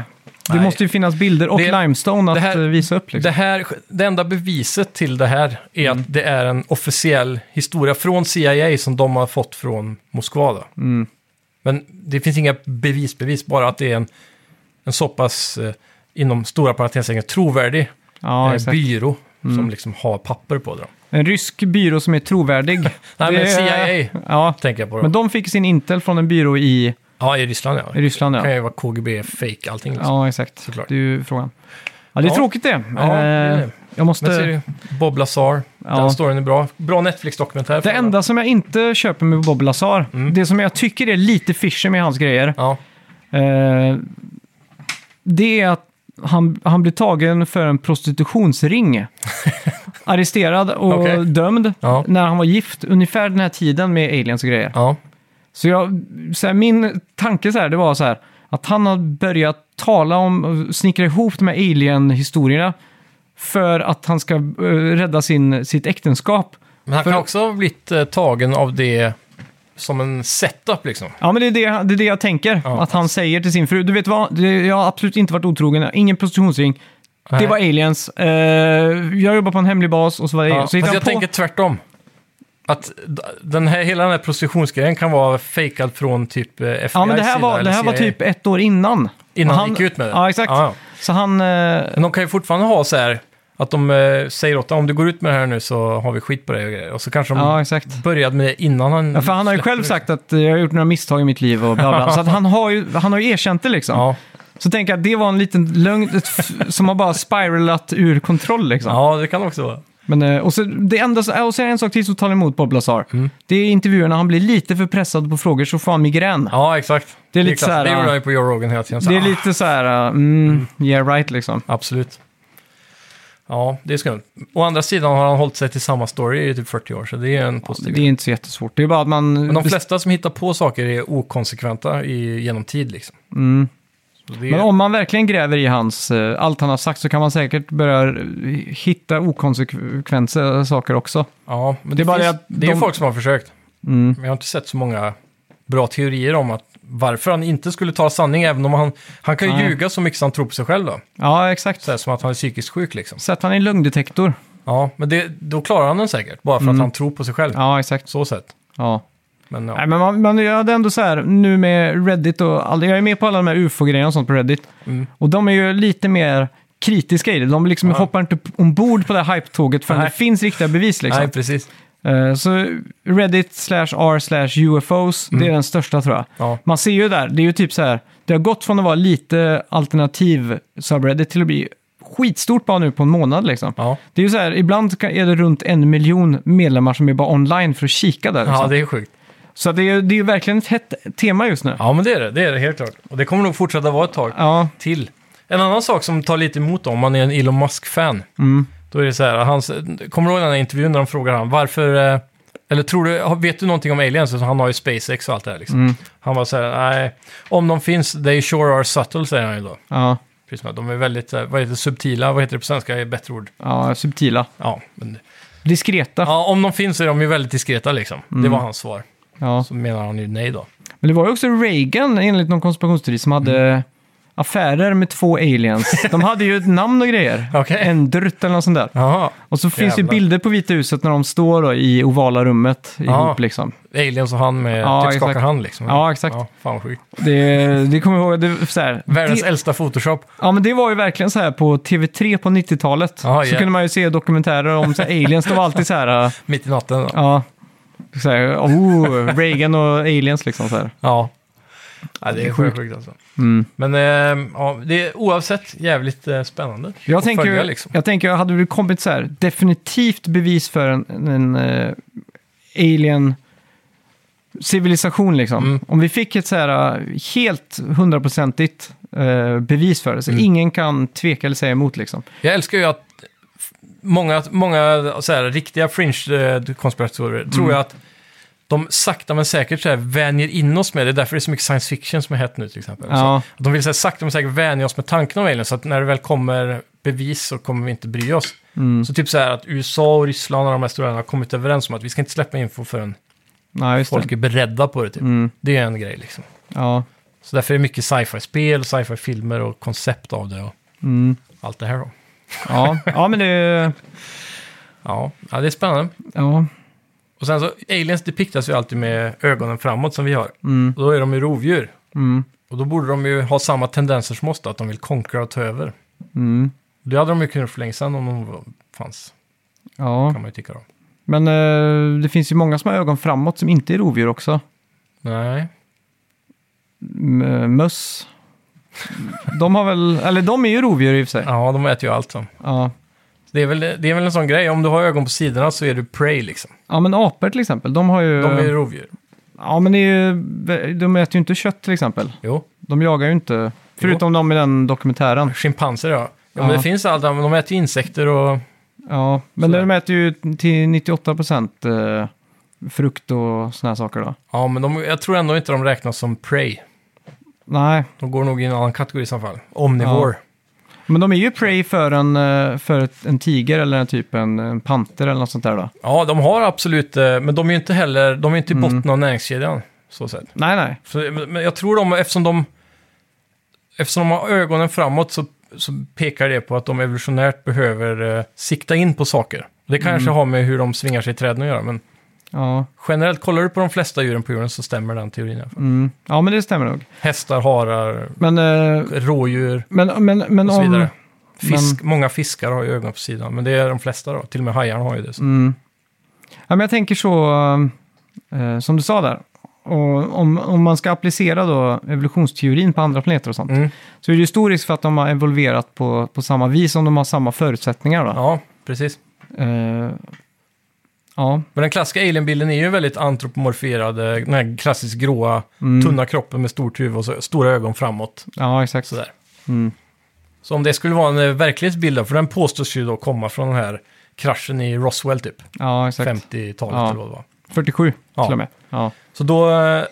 Speaker 1: Det
Speaker 2: Nej.
Speaker 1: måste ju finnas bilder och
Speaker 2: Det-
Speaker 1: limestone att
Speaker 2: det här-
Speaker 1: eh, visa upp. Liksom. Mm.
Speaker 2: Det, här, det enda beviset till det här är att det är en officiell historia från CIA som de har fått från Moskva. Då.
Speaker 1: Mm.
Speaker 2: Men det finns inga bevis-bevis, bara att det är en, en så pass, eh, inom stora parentestecken, trovärdig
Speaker 1: ja,
Speaker 2: eh,
Speaker 1: exakt. Mm.
Speaker 2: byrå som liksom har papper på det. Då.
Speaker 1: En rysk byrå som är trovärdig. Nej,
Speaker 2: Nej, men CIA
Speaker 1: Ja,
Speaker 2: tänker jag på. Då.
Speaker 1: men de fick sin intel från en byrå i,
Speaker 2: Ja, i Ryssland ja.
Speaker 1: i Ryssland.
Speaker 2: kan
Speaker 1: Ja,
Speaker 2: ju vara KGB, fake, allting. Liksom.
Speaker 1: ja exakt.
Speaker 2: Såklart.
Speaker 1: Det är ju frågan. Ja, det är
Speaker 2: Ja.
Speaker 1: tråkigt det. Eh,
Speaker 2: Ja, det är det.
Speaker 1: Jag måste...
Speaker 2: Men ser du, Bob Lazar,
Speaker 1: Ja.
Speaker 2: den storyn är bra. Bra Netflix-dokumentär.
Speaker 1: Det enda som jag inte köper med Bob Lazar,
Speaker 2: Mm.
Speaker 1: det som jag tycker är lite fishy med hans grejer,
Speaker 2: Ja,
Speaker 1: eh, det är att han, han blir tagen för en prostitutionsring. Arresterad och
Speaker 2: Okej.
Speaker 1: dömd
Speaker 2: Ja.
Speaker 1: när han var gift, ungefär den här tiden med aliens och grejer.
Speaker 2: ja.
Speaker 1: Så, jag, så här, min tanke så här, det var så här, att han har börjat tala om och snickra ihop de här alien-historierna för att han ska eh, rädda sin, sitt äktenskap.
Speaker 2: Men han
Speaker 1: För-
Speaker 2: kan också ha blivit eh, tagen av det som en setup liksom.
Speaker 1: Ja, men det är det, det, är det jag tänker.
Speaker 2: Ja.
Speaker 1: Att han säger till sin fru, du vet vad, det, jag har absolut inte varit otrogen, ingen prostitutionsring. Det
Speaker 2: Nej.
Speaker 1: var aliens. Eh, jag jobbar på en hemlig bas och så var det
Speaker 2: Ja,
Speaker 1: aliens. Så
Speaker 2: så
Speaker 1: hittar
Speaker 2: jag
Speaker 1: han på...
Speaker 2: tänker tvärtom. Att d- den här, hela den här prostitutionsgrejen kan vara fejkad från typ eh, FBI
Speaker 1: Ja, men det här,
Speaker 2: sida
Speaker 1: var,
Speaker 2: eller
Speaker 1: det här var
Speaker 2: CIA,
Speaker 1: typ ett år innan.
Speaker 2: Innan
Speaker 1: han-
Speaker 2: han gick ut med det.
Speaker 1: Ja, exakt.
Speaker 2: Ja, ja.
Speaker 1: Så han... Eh,
Speaker 2: Men de kan ju fortfarande ha så här att de eh, säger åt dem, om du går ut med det här nu så har vi skit på dig och grejer. Och så kanske de
Speaker 1: ja, exakt.
Speaker 2: började med det innan han...
Speaker 1: Ja, för han har ju
Speaker 2: släppte
Speaker 1: själv
Speaker 2: Mm. det.
Speaker 1: sagt att eh, jag har gjort några misstag i mitt liv och bla bla. Så att han, har ju, han har ju erkänt det liksom.
Speaker 2: Ja,
Speaker 1: Så tänker jag att det var en liten lögn ett f- som har bara spiralat ur kontroll liksom.
Speaker 2: ja, det kan också vara.
Speaker 1: Men, eh, och, så, det enda, som- och så är det en sak till som talar emot Bob Lazar.
Speaker 2: Mm.
Speaker 1: Det är intervjuerna, han blir lite för pressad på frågor så får han migrän.
Speaker 2: Ja, exakt.
Speaker 1: Det är lite
Speaker 2: klass-
Speaker 1: så här,
Speaker 2: Det
Speaker 1: ja.
Speaker 2: gjorde han ju på Joe Rogan hela tiden. Så,
Speaker 1: det är
Speaker 2: ah,
Speaker 1: lite så här, eh, mm, yeah right liksom.
Speaker 2: Absolut. Ja, det är skumt. Å andra sidan har han hållit sig till samma story i typ 40 år, så det är en positiv
Speaker 1: Det är inte så jättesvårt, det är bara att man...
Speaker 2: Men de flesta som hittar på saker är okonsekventa i, genom tid liksom.
Speaker 1: mm.
Speaker 2: Så det är,
Speaker 1: Men om man verkligen gräver i hans, eh, allt han har sagt så kan man säkert börja eh, hitta okonsekvenser saker också.
Speaker 2: ja, men
Speaker 1: det
Speaker 2: det,
Speaker 1: är bara
Speaker 2: finns,
Speaker 1: det att
Speaker 2: det är
Speaker 1: de-
Speaker 2: ju folk som har försökt.
Speaker 1: Mm.
Speaker 2: Men jag har inte sett så många bra teorier om att varför han inte skulle ta sanning, även om han, han kan ju
Speaker 1: Nej.
Speaker 2: ljuga så mycket som han tror på sig själv då.
Speaker 1: Ja, exakt.
Speaker 2: Så här, som att han är psykiskt sjuk liksom.
Speaker 1: Sätt han i en lögndetektor.
Speaker 2: Ja, men det, då klarar han den säkert, bara för att han tror på sig själv.
Speaker 1: Mm. Ja, exakt.
Speaker 2: Så sett.
Speaker 1: Ja.
Speaker 2: Men ja.
Speaker 1: Nej, men man, man, jag hade ändå så här, nu med Reddit och all, jag är med på alla de här ufo-grejerna och sånt på Reddit.
Speaker 2: Mm.
Speaker 1: Och de är ju lite mer kritiska i det. De liksom
Speaker 2: Ja.
Speaker 1: hoppar inte p- ombord på det här hype-tåget förrän
Speaker 2: Nej.
Speaker 1: det finns riktiga bevis. Liksom.
Speaker 2: Nej, precis.
Speaker 1: Eh, så Reddit slash R slash UFOs,
Speaker 2: Mm.
Speaker 1: det är den största tror jag.
Speaker 2: Ja.
Speaker 1: Man ser ju där, det är ju typ så här, det har gått från att vara lite alternativ subreddit till att bli skitstort bara nu på en månad liksom.
Speaker 2: Ja.
Speaker 1: Det är ju så här, ibland kan- är det runt en miljon medlemmar som är bara online för att kika där. Liksom.
Speaker 2: ja, det är sjukt.
Speaker 1: Så det är, det är ju verkligen ett hett tema just nu.
Speaker 2: Ja, men det är det. Det är det helt klart. Och det kommer nog fortsätta vara ett tag
Speaker 1: Ja,
Speaker 2: till. En annan sak som tar lite emot om man är en Elon Musk-fan.
Speaker 1: mm.
Speaker 2: Då är det så här, hans, kommer du ihåg den här intervjun när de frågar han varför... eh, Eller tror du, har- vet du någonting om aliens? Så Han har ju SpaceX och allt det här liksom. Han var så här, nej, om de finns, they sure are subtle, säger han ju då.
Speaker 1: ja,
Speaker 2: Precis, som att de är väldigt, eh, vad heter det, subtila, vad heter det på svenska, är ett bättre ord.
Speaker 1: ja subtila.
Speaker 2: Ja, men,
Speaker 1: Diskreta. Ja.
Speaker 2: ja, om de finns är de ju väldigt diskreta liksom. Det var hans svar. Så menar han ju nej då.
Speaker 1: Men det var ju också Reagan, enligt någon konspirationsteori, som hade
Speaker 2: Mm.
Speaker 1: affärer med två aliens. De hade ju ett namn och grejer.
Speaker 2: Okej.
Speaker 1: Endrut eller något sånt där.
Speaker 2: Jaha,
Speaker 1: Och så finns ju
Speaker 2: Jävlar.
Speaker 1: bilder på Vita huset när de står då, i ovala rummet ihop liksom.
Speaker 2: aliens och han med,
Speaker 1: Ja,
Speaker 2: typ skakar
Speaker 1: exakt.
Speaker 2: hand liksom.
Speaker 1: Ja, exakt.
Speaker 2: Ja, fan vad sjukt.
Speaker 1: Det, det kommer jag ihåg, det, är så här,
Speaker 2: Världens
Speaker 1: det,
Speaker 2: äldsta Photoshop.
Speaker 1: Ja, men det var ju verkligen så här på TV3 på 90-talet.
Speaker 2: Ja,
Speaker 1: så
Speaker 2: ja.
Speaker 1: kunde man ju se dokumentärer om så här, aliens. De var alltid så här, äh,
Speaker 2: Mitt i natten. Ja.
Speaker 1: ja, så här, oh, Reagan och aliens liksom så här. Mm.
Speaker 2: ja. det är sjukt, alltså. Men eh, ja, det är oavsett jävligt eh, spännande.
Speaker 1: Jag
Speaker 2: att
Speaker 1: tänker,
Speaker 2: följa,
Speaker 1: ju-
Speaker 2: liksom.
Speaker 1: jag tänker, hade det kommit så här, definitivt bevis för en, en eh, alien civilisation liksom.
Speaker 2: Mm.
Speaker 1: Om vi fick ett så här eh, helt hundraprocentigt eh, bevis för det, så
Speaker 2: Mm.
Speaker 1: ingen kan tveka eller säga emot liksom.
Speaker 2: Jag älskar ju att många, många så här, riktiga fringe-konspiratorer
Speaker 1: Mm.
Speaker 2: tror jag att de sakta men säkert så här, vänjer in oss med det. Det är därför det är så mycket science fiction som är hett nu till exempel. Så,
Speaker 1: Ja,
Speaker 2: att de vill så här, sakta men säkert vänja oss med tanken om aliens. Så att när det väl kommer bevis så kommer vi inte bry oss.
Speaker 1: mm.
Speaker 2: Så typ så här att USA och Ryssland och de här stora länderna har kommit överens om att vi ska inte släppa info förrän
Speaker 1: Nej, just det.
Speaker 2: folk är beredda på det. Typ.
Speaker 1: Mm.
Speaker 2: Det är en grej liksom.
Speaker 1: Ja.
Speaker 2: Så därför är det mycket sci-fi-spel, sci-fi-filmer och koncept av det och
Speaker 1: Mm.
Speaker 2: allt det här då.
Speaker 1: Ja. ja, men det...
Speaker 2: Ja, ja det är spännande.
Speaker 1: Ja.
Speaker 2: Och sen så, aliens depiktas ju alltid med ögonen framåt som vi har.
Speaker 1: Mm.
Speaker 2: Och då är de ju rovdjur.
Speaker 1: Mm.
Speaker 2: Och då borde de ju ha samma tendenser som oss då, att de vill konkurrera och ta över.
Speaker 1: Mm.
Speaker 2: Det hade de ju kunnat för länge sedan om de var- fanns,
Speaker 1: Ja,
Speaker 2: kan man ju tycka då.
Speaker 1: men eh, det finns ju många som har ögon framåt som inte är rovdjur också.
Speaker 2: Nej.
Speaker 1: M- eh, möss. De har väl, eller de är ju rovdjur i och för sig.
Speaker 2: Ja, de äter ju allt så.
Speaker 1: Ja.
Speaker 2: Det är, väl, det är väl en sån grej, om du har ögon på sidorna så är du prey liksom.
Speaker 1: ja, men apor till exempel, de har ju...
Speaker 2: De är ju rovdjur.
Speaker 1: Ja, men det är ju, de äter ju inte kött till exempel.
Speaker 2: Jo.
Speaker 1: De jagar ju inte, förutom de i den dokumentären.
Speaker 2: Schimpanser ja. Ja, men
Speaker 1: Ja.
Speaker 2: det finns allt, men de äter ju insekter och...
Speaker 1: Ja, men
Speaker 2: Sådär.
Speaker 1: de äter ju till 98 procent eh, frukt och såna här saker då.
Speaker 2: Ja, men de, jag tror ändå inte de räknas som prey.
Speaker 1: Nej,
Speaker 2: De går nog i en annan kategori i så fall. Omnivore.
Speaker 1: men de är ju prey för en, eh, för ett, en tiger eller en typ en, en panter eller något sånt där då.
Speaker 2: Ja, de har absolut, eh, men de är ju inte heller, de är inte i
Speaker 1: Mm.
Speaker 2: botten av näringskedjan. Så sett.
Speaker 1: Nej, nej.
Speaker 2: För, men men jag tror de, eftersom de, eftersom de har ögonen framåt så, så pekar det på att de evolutionärt behöver eh, sikta in på saker. Det kanske
Speaker 1: Mm.
Speaker 2: har med hur de svingar sig i träden att göra, men
Speaker 1: Ja,
Speaker 2: generellt, kollar du på de flesta djuren på jorden så stämmer den teorin. i alla fall.
Speaker 1: mm. ja men det stämmer nog.
Speaker 2: Hästar, harar,
Speaker 1: Men, eh,
Speaker 2: rådjur
Speaker 1: men, men, men
Speaker 2: och så
Speaker 1: om...
Speaker 2: vidare. Fisk, Många fiskar har ju ögon på sidan, men det är de flesta då. Till och med hajarna har ju det. Så.
Speaker 1: Mm. Ja, men jag tänker så, eh, som du sa där, och om, om man ska applicera då evolutionsteorin på andra planeter och sånt,
Speaker 2: Mm.
Speaker 1: så är det ju stor risk för att de har evolverat på, på samma vis om de har samma förutsättningar. Då.
Speaker 2: Ja, precis.
Speaker 1: Ja. ja.
Speaker 2: Men den klassiska alienbilden är ju väldigt antropomorferad, eh, den här klassiskt gråa,
Speaker 1: Mm.
Speaker 2: tunna kroppen med stort huvud och så, stora ögon framåt.
Speaker 1: ja, exakt.
Speaker 2: Sådär.
Speaker 1: Mm.
Speaker 2: Så om det skulle vara en eh, verklighetsbild, då, för den påstås ju då komma från den här kraschen i Roswell typ,
Speaker 1: Ja, exakt.
Speaker 2: 50-talet
Speaker 1: Ja.
Speaker 2: eller vad det var.
Speaker 1: 47
Speaker 2: Ja.
Speaker 1: till och med. Ja.
Speaker 2: Så då, eh,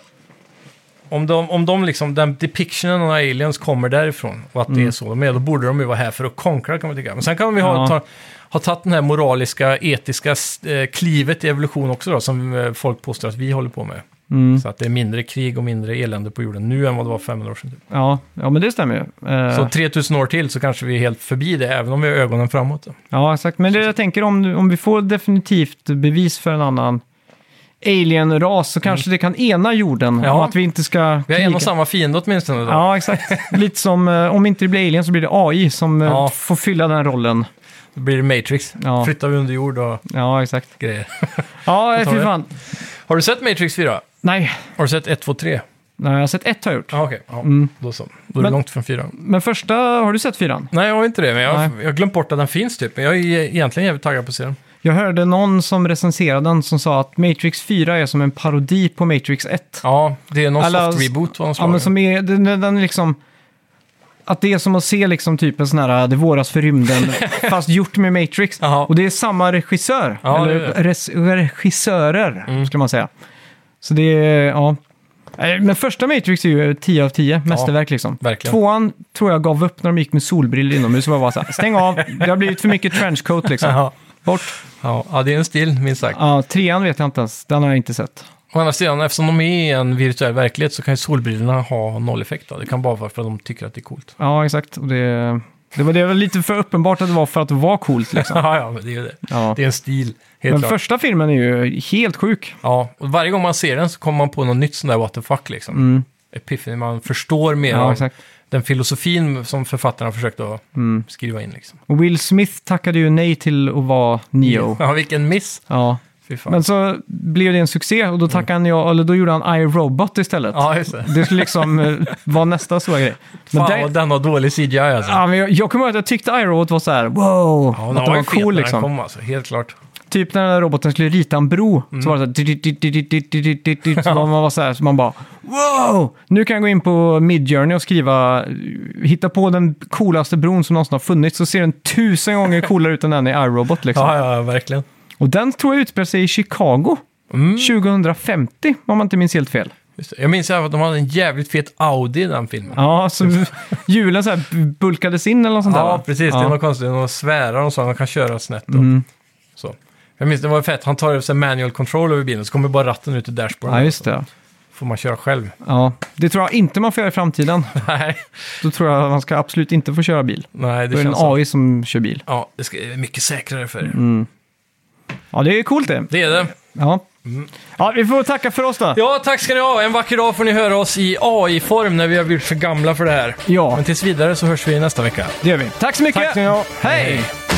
Speaker 2: om de, om de liksom, den depictionen av aliens kommer därifrån och att det är så de är, då borde de ju vara här för att konkra kan man tycka. Men sen kan vi ha,
Speaker 1: Mm. Ja.
Speaker 2: ta, ha tagit den här moraliska, etiska eh, klivet i evolution också då, som eh, folk påstår att vi håller på med.
Speaker 1: Mm.
Speaker 2: Så att det är mindre krig och mindre elände på jorden nu än vad det var för 500 år sedan. Typ.
Speaker 1: Ja. ja, men det stämmer ju. Eh,
Speaker 2: Så 3000 år till så kanske vi är helt förbi det, även om vi har ögonen framåt. då.
Speaker 1: Ja, exakt. Men det jag tänker om, om vi får definitivt bevis för en annan alien-ras så kanske det kan ena jorden om
Speaker 2: Mm. Ja.
Speaker 1: att vi inte ska
Speaker 2: Vi har en
Speaker 1: kriga.
Speaker 2: och samma fiende åtminstone. Då.
Speaker 1: Ja, exakt. Lite som, eh, om inte det blir alien så blir det AI som eh,
Speaker 2: Ja.
Speaker 1: får fylla den rollen.
Speaker 2: Då blir det Matrix.
Speaker 1: Ja.
Speaker 2: Flyttar vi under jord och
Speaker 1: Ja, exakt.
Speaker 2: grejer.
Speaker 1: Ja, eh,
Speaker 2: tar
Speaker 1: fy
Speaker 2: det.
Speaker 1: fan.
Speaker 2: Har du sett Matrix 4?
Speaker 1: Nej,
Speaker 2: Har du sett 1, 2, 3?
Speaker 1: Nej jag har sett ett har jag gjort.
Speaker 2: Ja, okej. Ja, Då så. Då är det
Speaker 1: Men-
Speaker 2: långt från 4.
Speaker 1: Men första, har du sett fyran?
Speaker 2: Nej, jag har inte det, men jag jag
Speaker 1: Nej.
Speaker 2: har glömt bort att den finns typ. Men jag är e- egentligen jävligt taggad på serien.
Speaker 1: Jag hörde någon som recenserade den som sa att Matrix 4 är som en parodi på Matrix 1.
Speaker 2: Ja, det är någon
Speaker 1: Alla-
Speaker 2: soft reboot av något
Speaker 1: Ja,
Speaker 2: slag.
Speaker 1: men som är, den, den den liksom... Att det är som att se liksom typ en sån här Det våras för rymden, fast gjort med Matrix.
Speaker 2: Jaha.
Speaker 1: Och det är samma regissör,
Speaker 2: Ja, det
Speaker 1: eller
Speaker 2: är det. Mm.
Speaker 1: res- regissörer, ska man säga. Så det är, ja. Eh, Men första Matrix är ju 10 av 10, mästerverk liksom.
Speaker 2: verkligen.
Speaker 1: Tvåan tror jag gav upp när de gick med solbrillor inomhus och jag bara så här, stäng av, det har blivit för mycket trenchcoat liksom.
Speaker 2: Ja.
Speaker 1: Bort.
Speaker 2: Ja, ja, det är en stil, minst sagt.
Speaker 1: Ja, trean vet jag inte ens, den har jag inte sett.
Speaker 2: Å andra sidan, eftersom de är i en virtuell verklighet så kan ju solbrillorna ha noll effekt. Då. Det kan bara vara för att de tycker att det är coolt.
Speaker 1: Ja, exakt. Och det, det, var, det var lite för uppenbart att det var för att det var coolt liksom.
Speaker 2: Ja, ja, men det är ju det.
Speaker 1: Ja.
Speaker 2: Det är en stil, helt
Speaker 1: Men
Speaker 2: klart.
Speaker 1: första filmen är ju helt sjuk.
Speaker 2: Ja, och varje gång man ser den så kommer man på något nytt sån där what the fuck liksom. Mm. Epiphany, man förstår mer
Speaker 1: Ja,
Speaker 2: av
Speaker 1: exakt.
Speaker 2: den filosofin som författarna försökte att skriva in liksom.
Speaker 1: Och Will Smith tackade ju nej till att vara Neo.
Speaker 2: Ja, vilken miss!
Speaker 1: Ja.
Speaker 2: Fy fan.
Speaker 1: Men så blev det en succé och då tackade han ja, eller då gjorde han I Robot istället.
Speaker 2: Ja, just det.
Speaker 1: Det skulle liksom eh, vara nästa stora grej. Men
Speaker 2: Fan
Speaker 1: där-
Speaker 2: vad den har dålig CGI alltså.
Speaker 1: ja, men jag, jag kommer ihåg att jag tyckte I Robot var så här, wow,
Speaker 2: Ja,
Speaker 1: att den
Speaker 2: den var ju
Speaker 1: var
Speaker 2: fet
Speaker 1: cool
Speaker 2: när den
Speaker 1: liksom.
Speaker 2: kom alltså, helt klart.
Speaker 1: Typ när den där roboten skulle rita en bro,
Speaker 2: Mm.
Speaker 1: så var det så här, dit, dit, dit, dit, dit, dit, dit, dit, dit. så man var så här, så man bara wow! Nu kan jag gå in på Midjourney och skriva, eh, hitta på den coolaste bron som någonsin har funnits, så ser den tusen gånger coolare ut än den i iRobot liksom.
Speaker 2: Ja, ja, ja, verkligen.
Speaker 1: Och den tror jag utspelar sig i Chicago.
Speaker 2: Mm.
Speaker 1: 2050, om man inte minns helt fel.
Speaker 2: Just det. Jag minns ju att de hade en jävligt fet Audi i den filmen.
Speaker 1: Ja, så hjulen så här bulkades in eller något sånt där.
Speaker 2: Ja,
Speaker 1: va?
Speaker 2: precis. Det är något konstigt. De svärar och så, de kan köra snett. Och,
Speaker 1: Mm.
Speaker 2: så. Jag minns, det var fett. Han tar över sig manual control över bilen, så kommer bara ratten ut ur dashboarden.
Speaker 1: Ja, just det.
Speaker 2: Så får man köra själv.
Speaker 1: Ja, det tror jag inte man får göra i framtiden.
Speaker 2: Nej,
Speaker 1: Då tror jag man ska absolut inte få köra bil.
Speaker 2: Nej
Speaker 1: Då är
Speaker 2: det
Speaker 1: det en
Speaker 2: känns så.
Speaker 1: AI som kör bil.
Speaker 2: Ja, det ska, det är mycket säkrare för er.
Speaker 1: Mm. Ja, det är coolt det.
Speaker 2: Det är det.
Speaker 1: Ja. ja, vi får tacka för oss då.
Speaker 2: Mm. Ja, tack ska ni ha. En vacker dag får ni höra oss i AI-form när vi har blivit för gamla för det här.
Speaker 1: Ja.
Speaker 2: Men tills vidare så hörs vi nästa vecka.
Speaker 1: Det gör vi. Tack så mycket.
Speaker 2: Tack ska ni ha.
Speaker 1: Hej.
Speaker 2: Hej.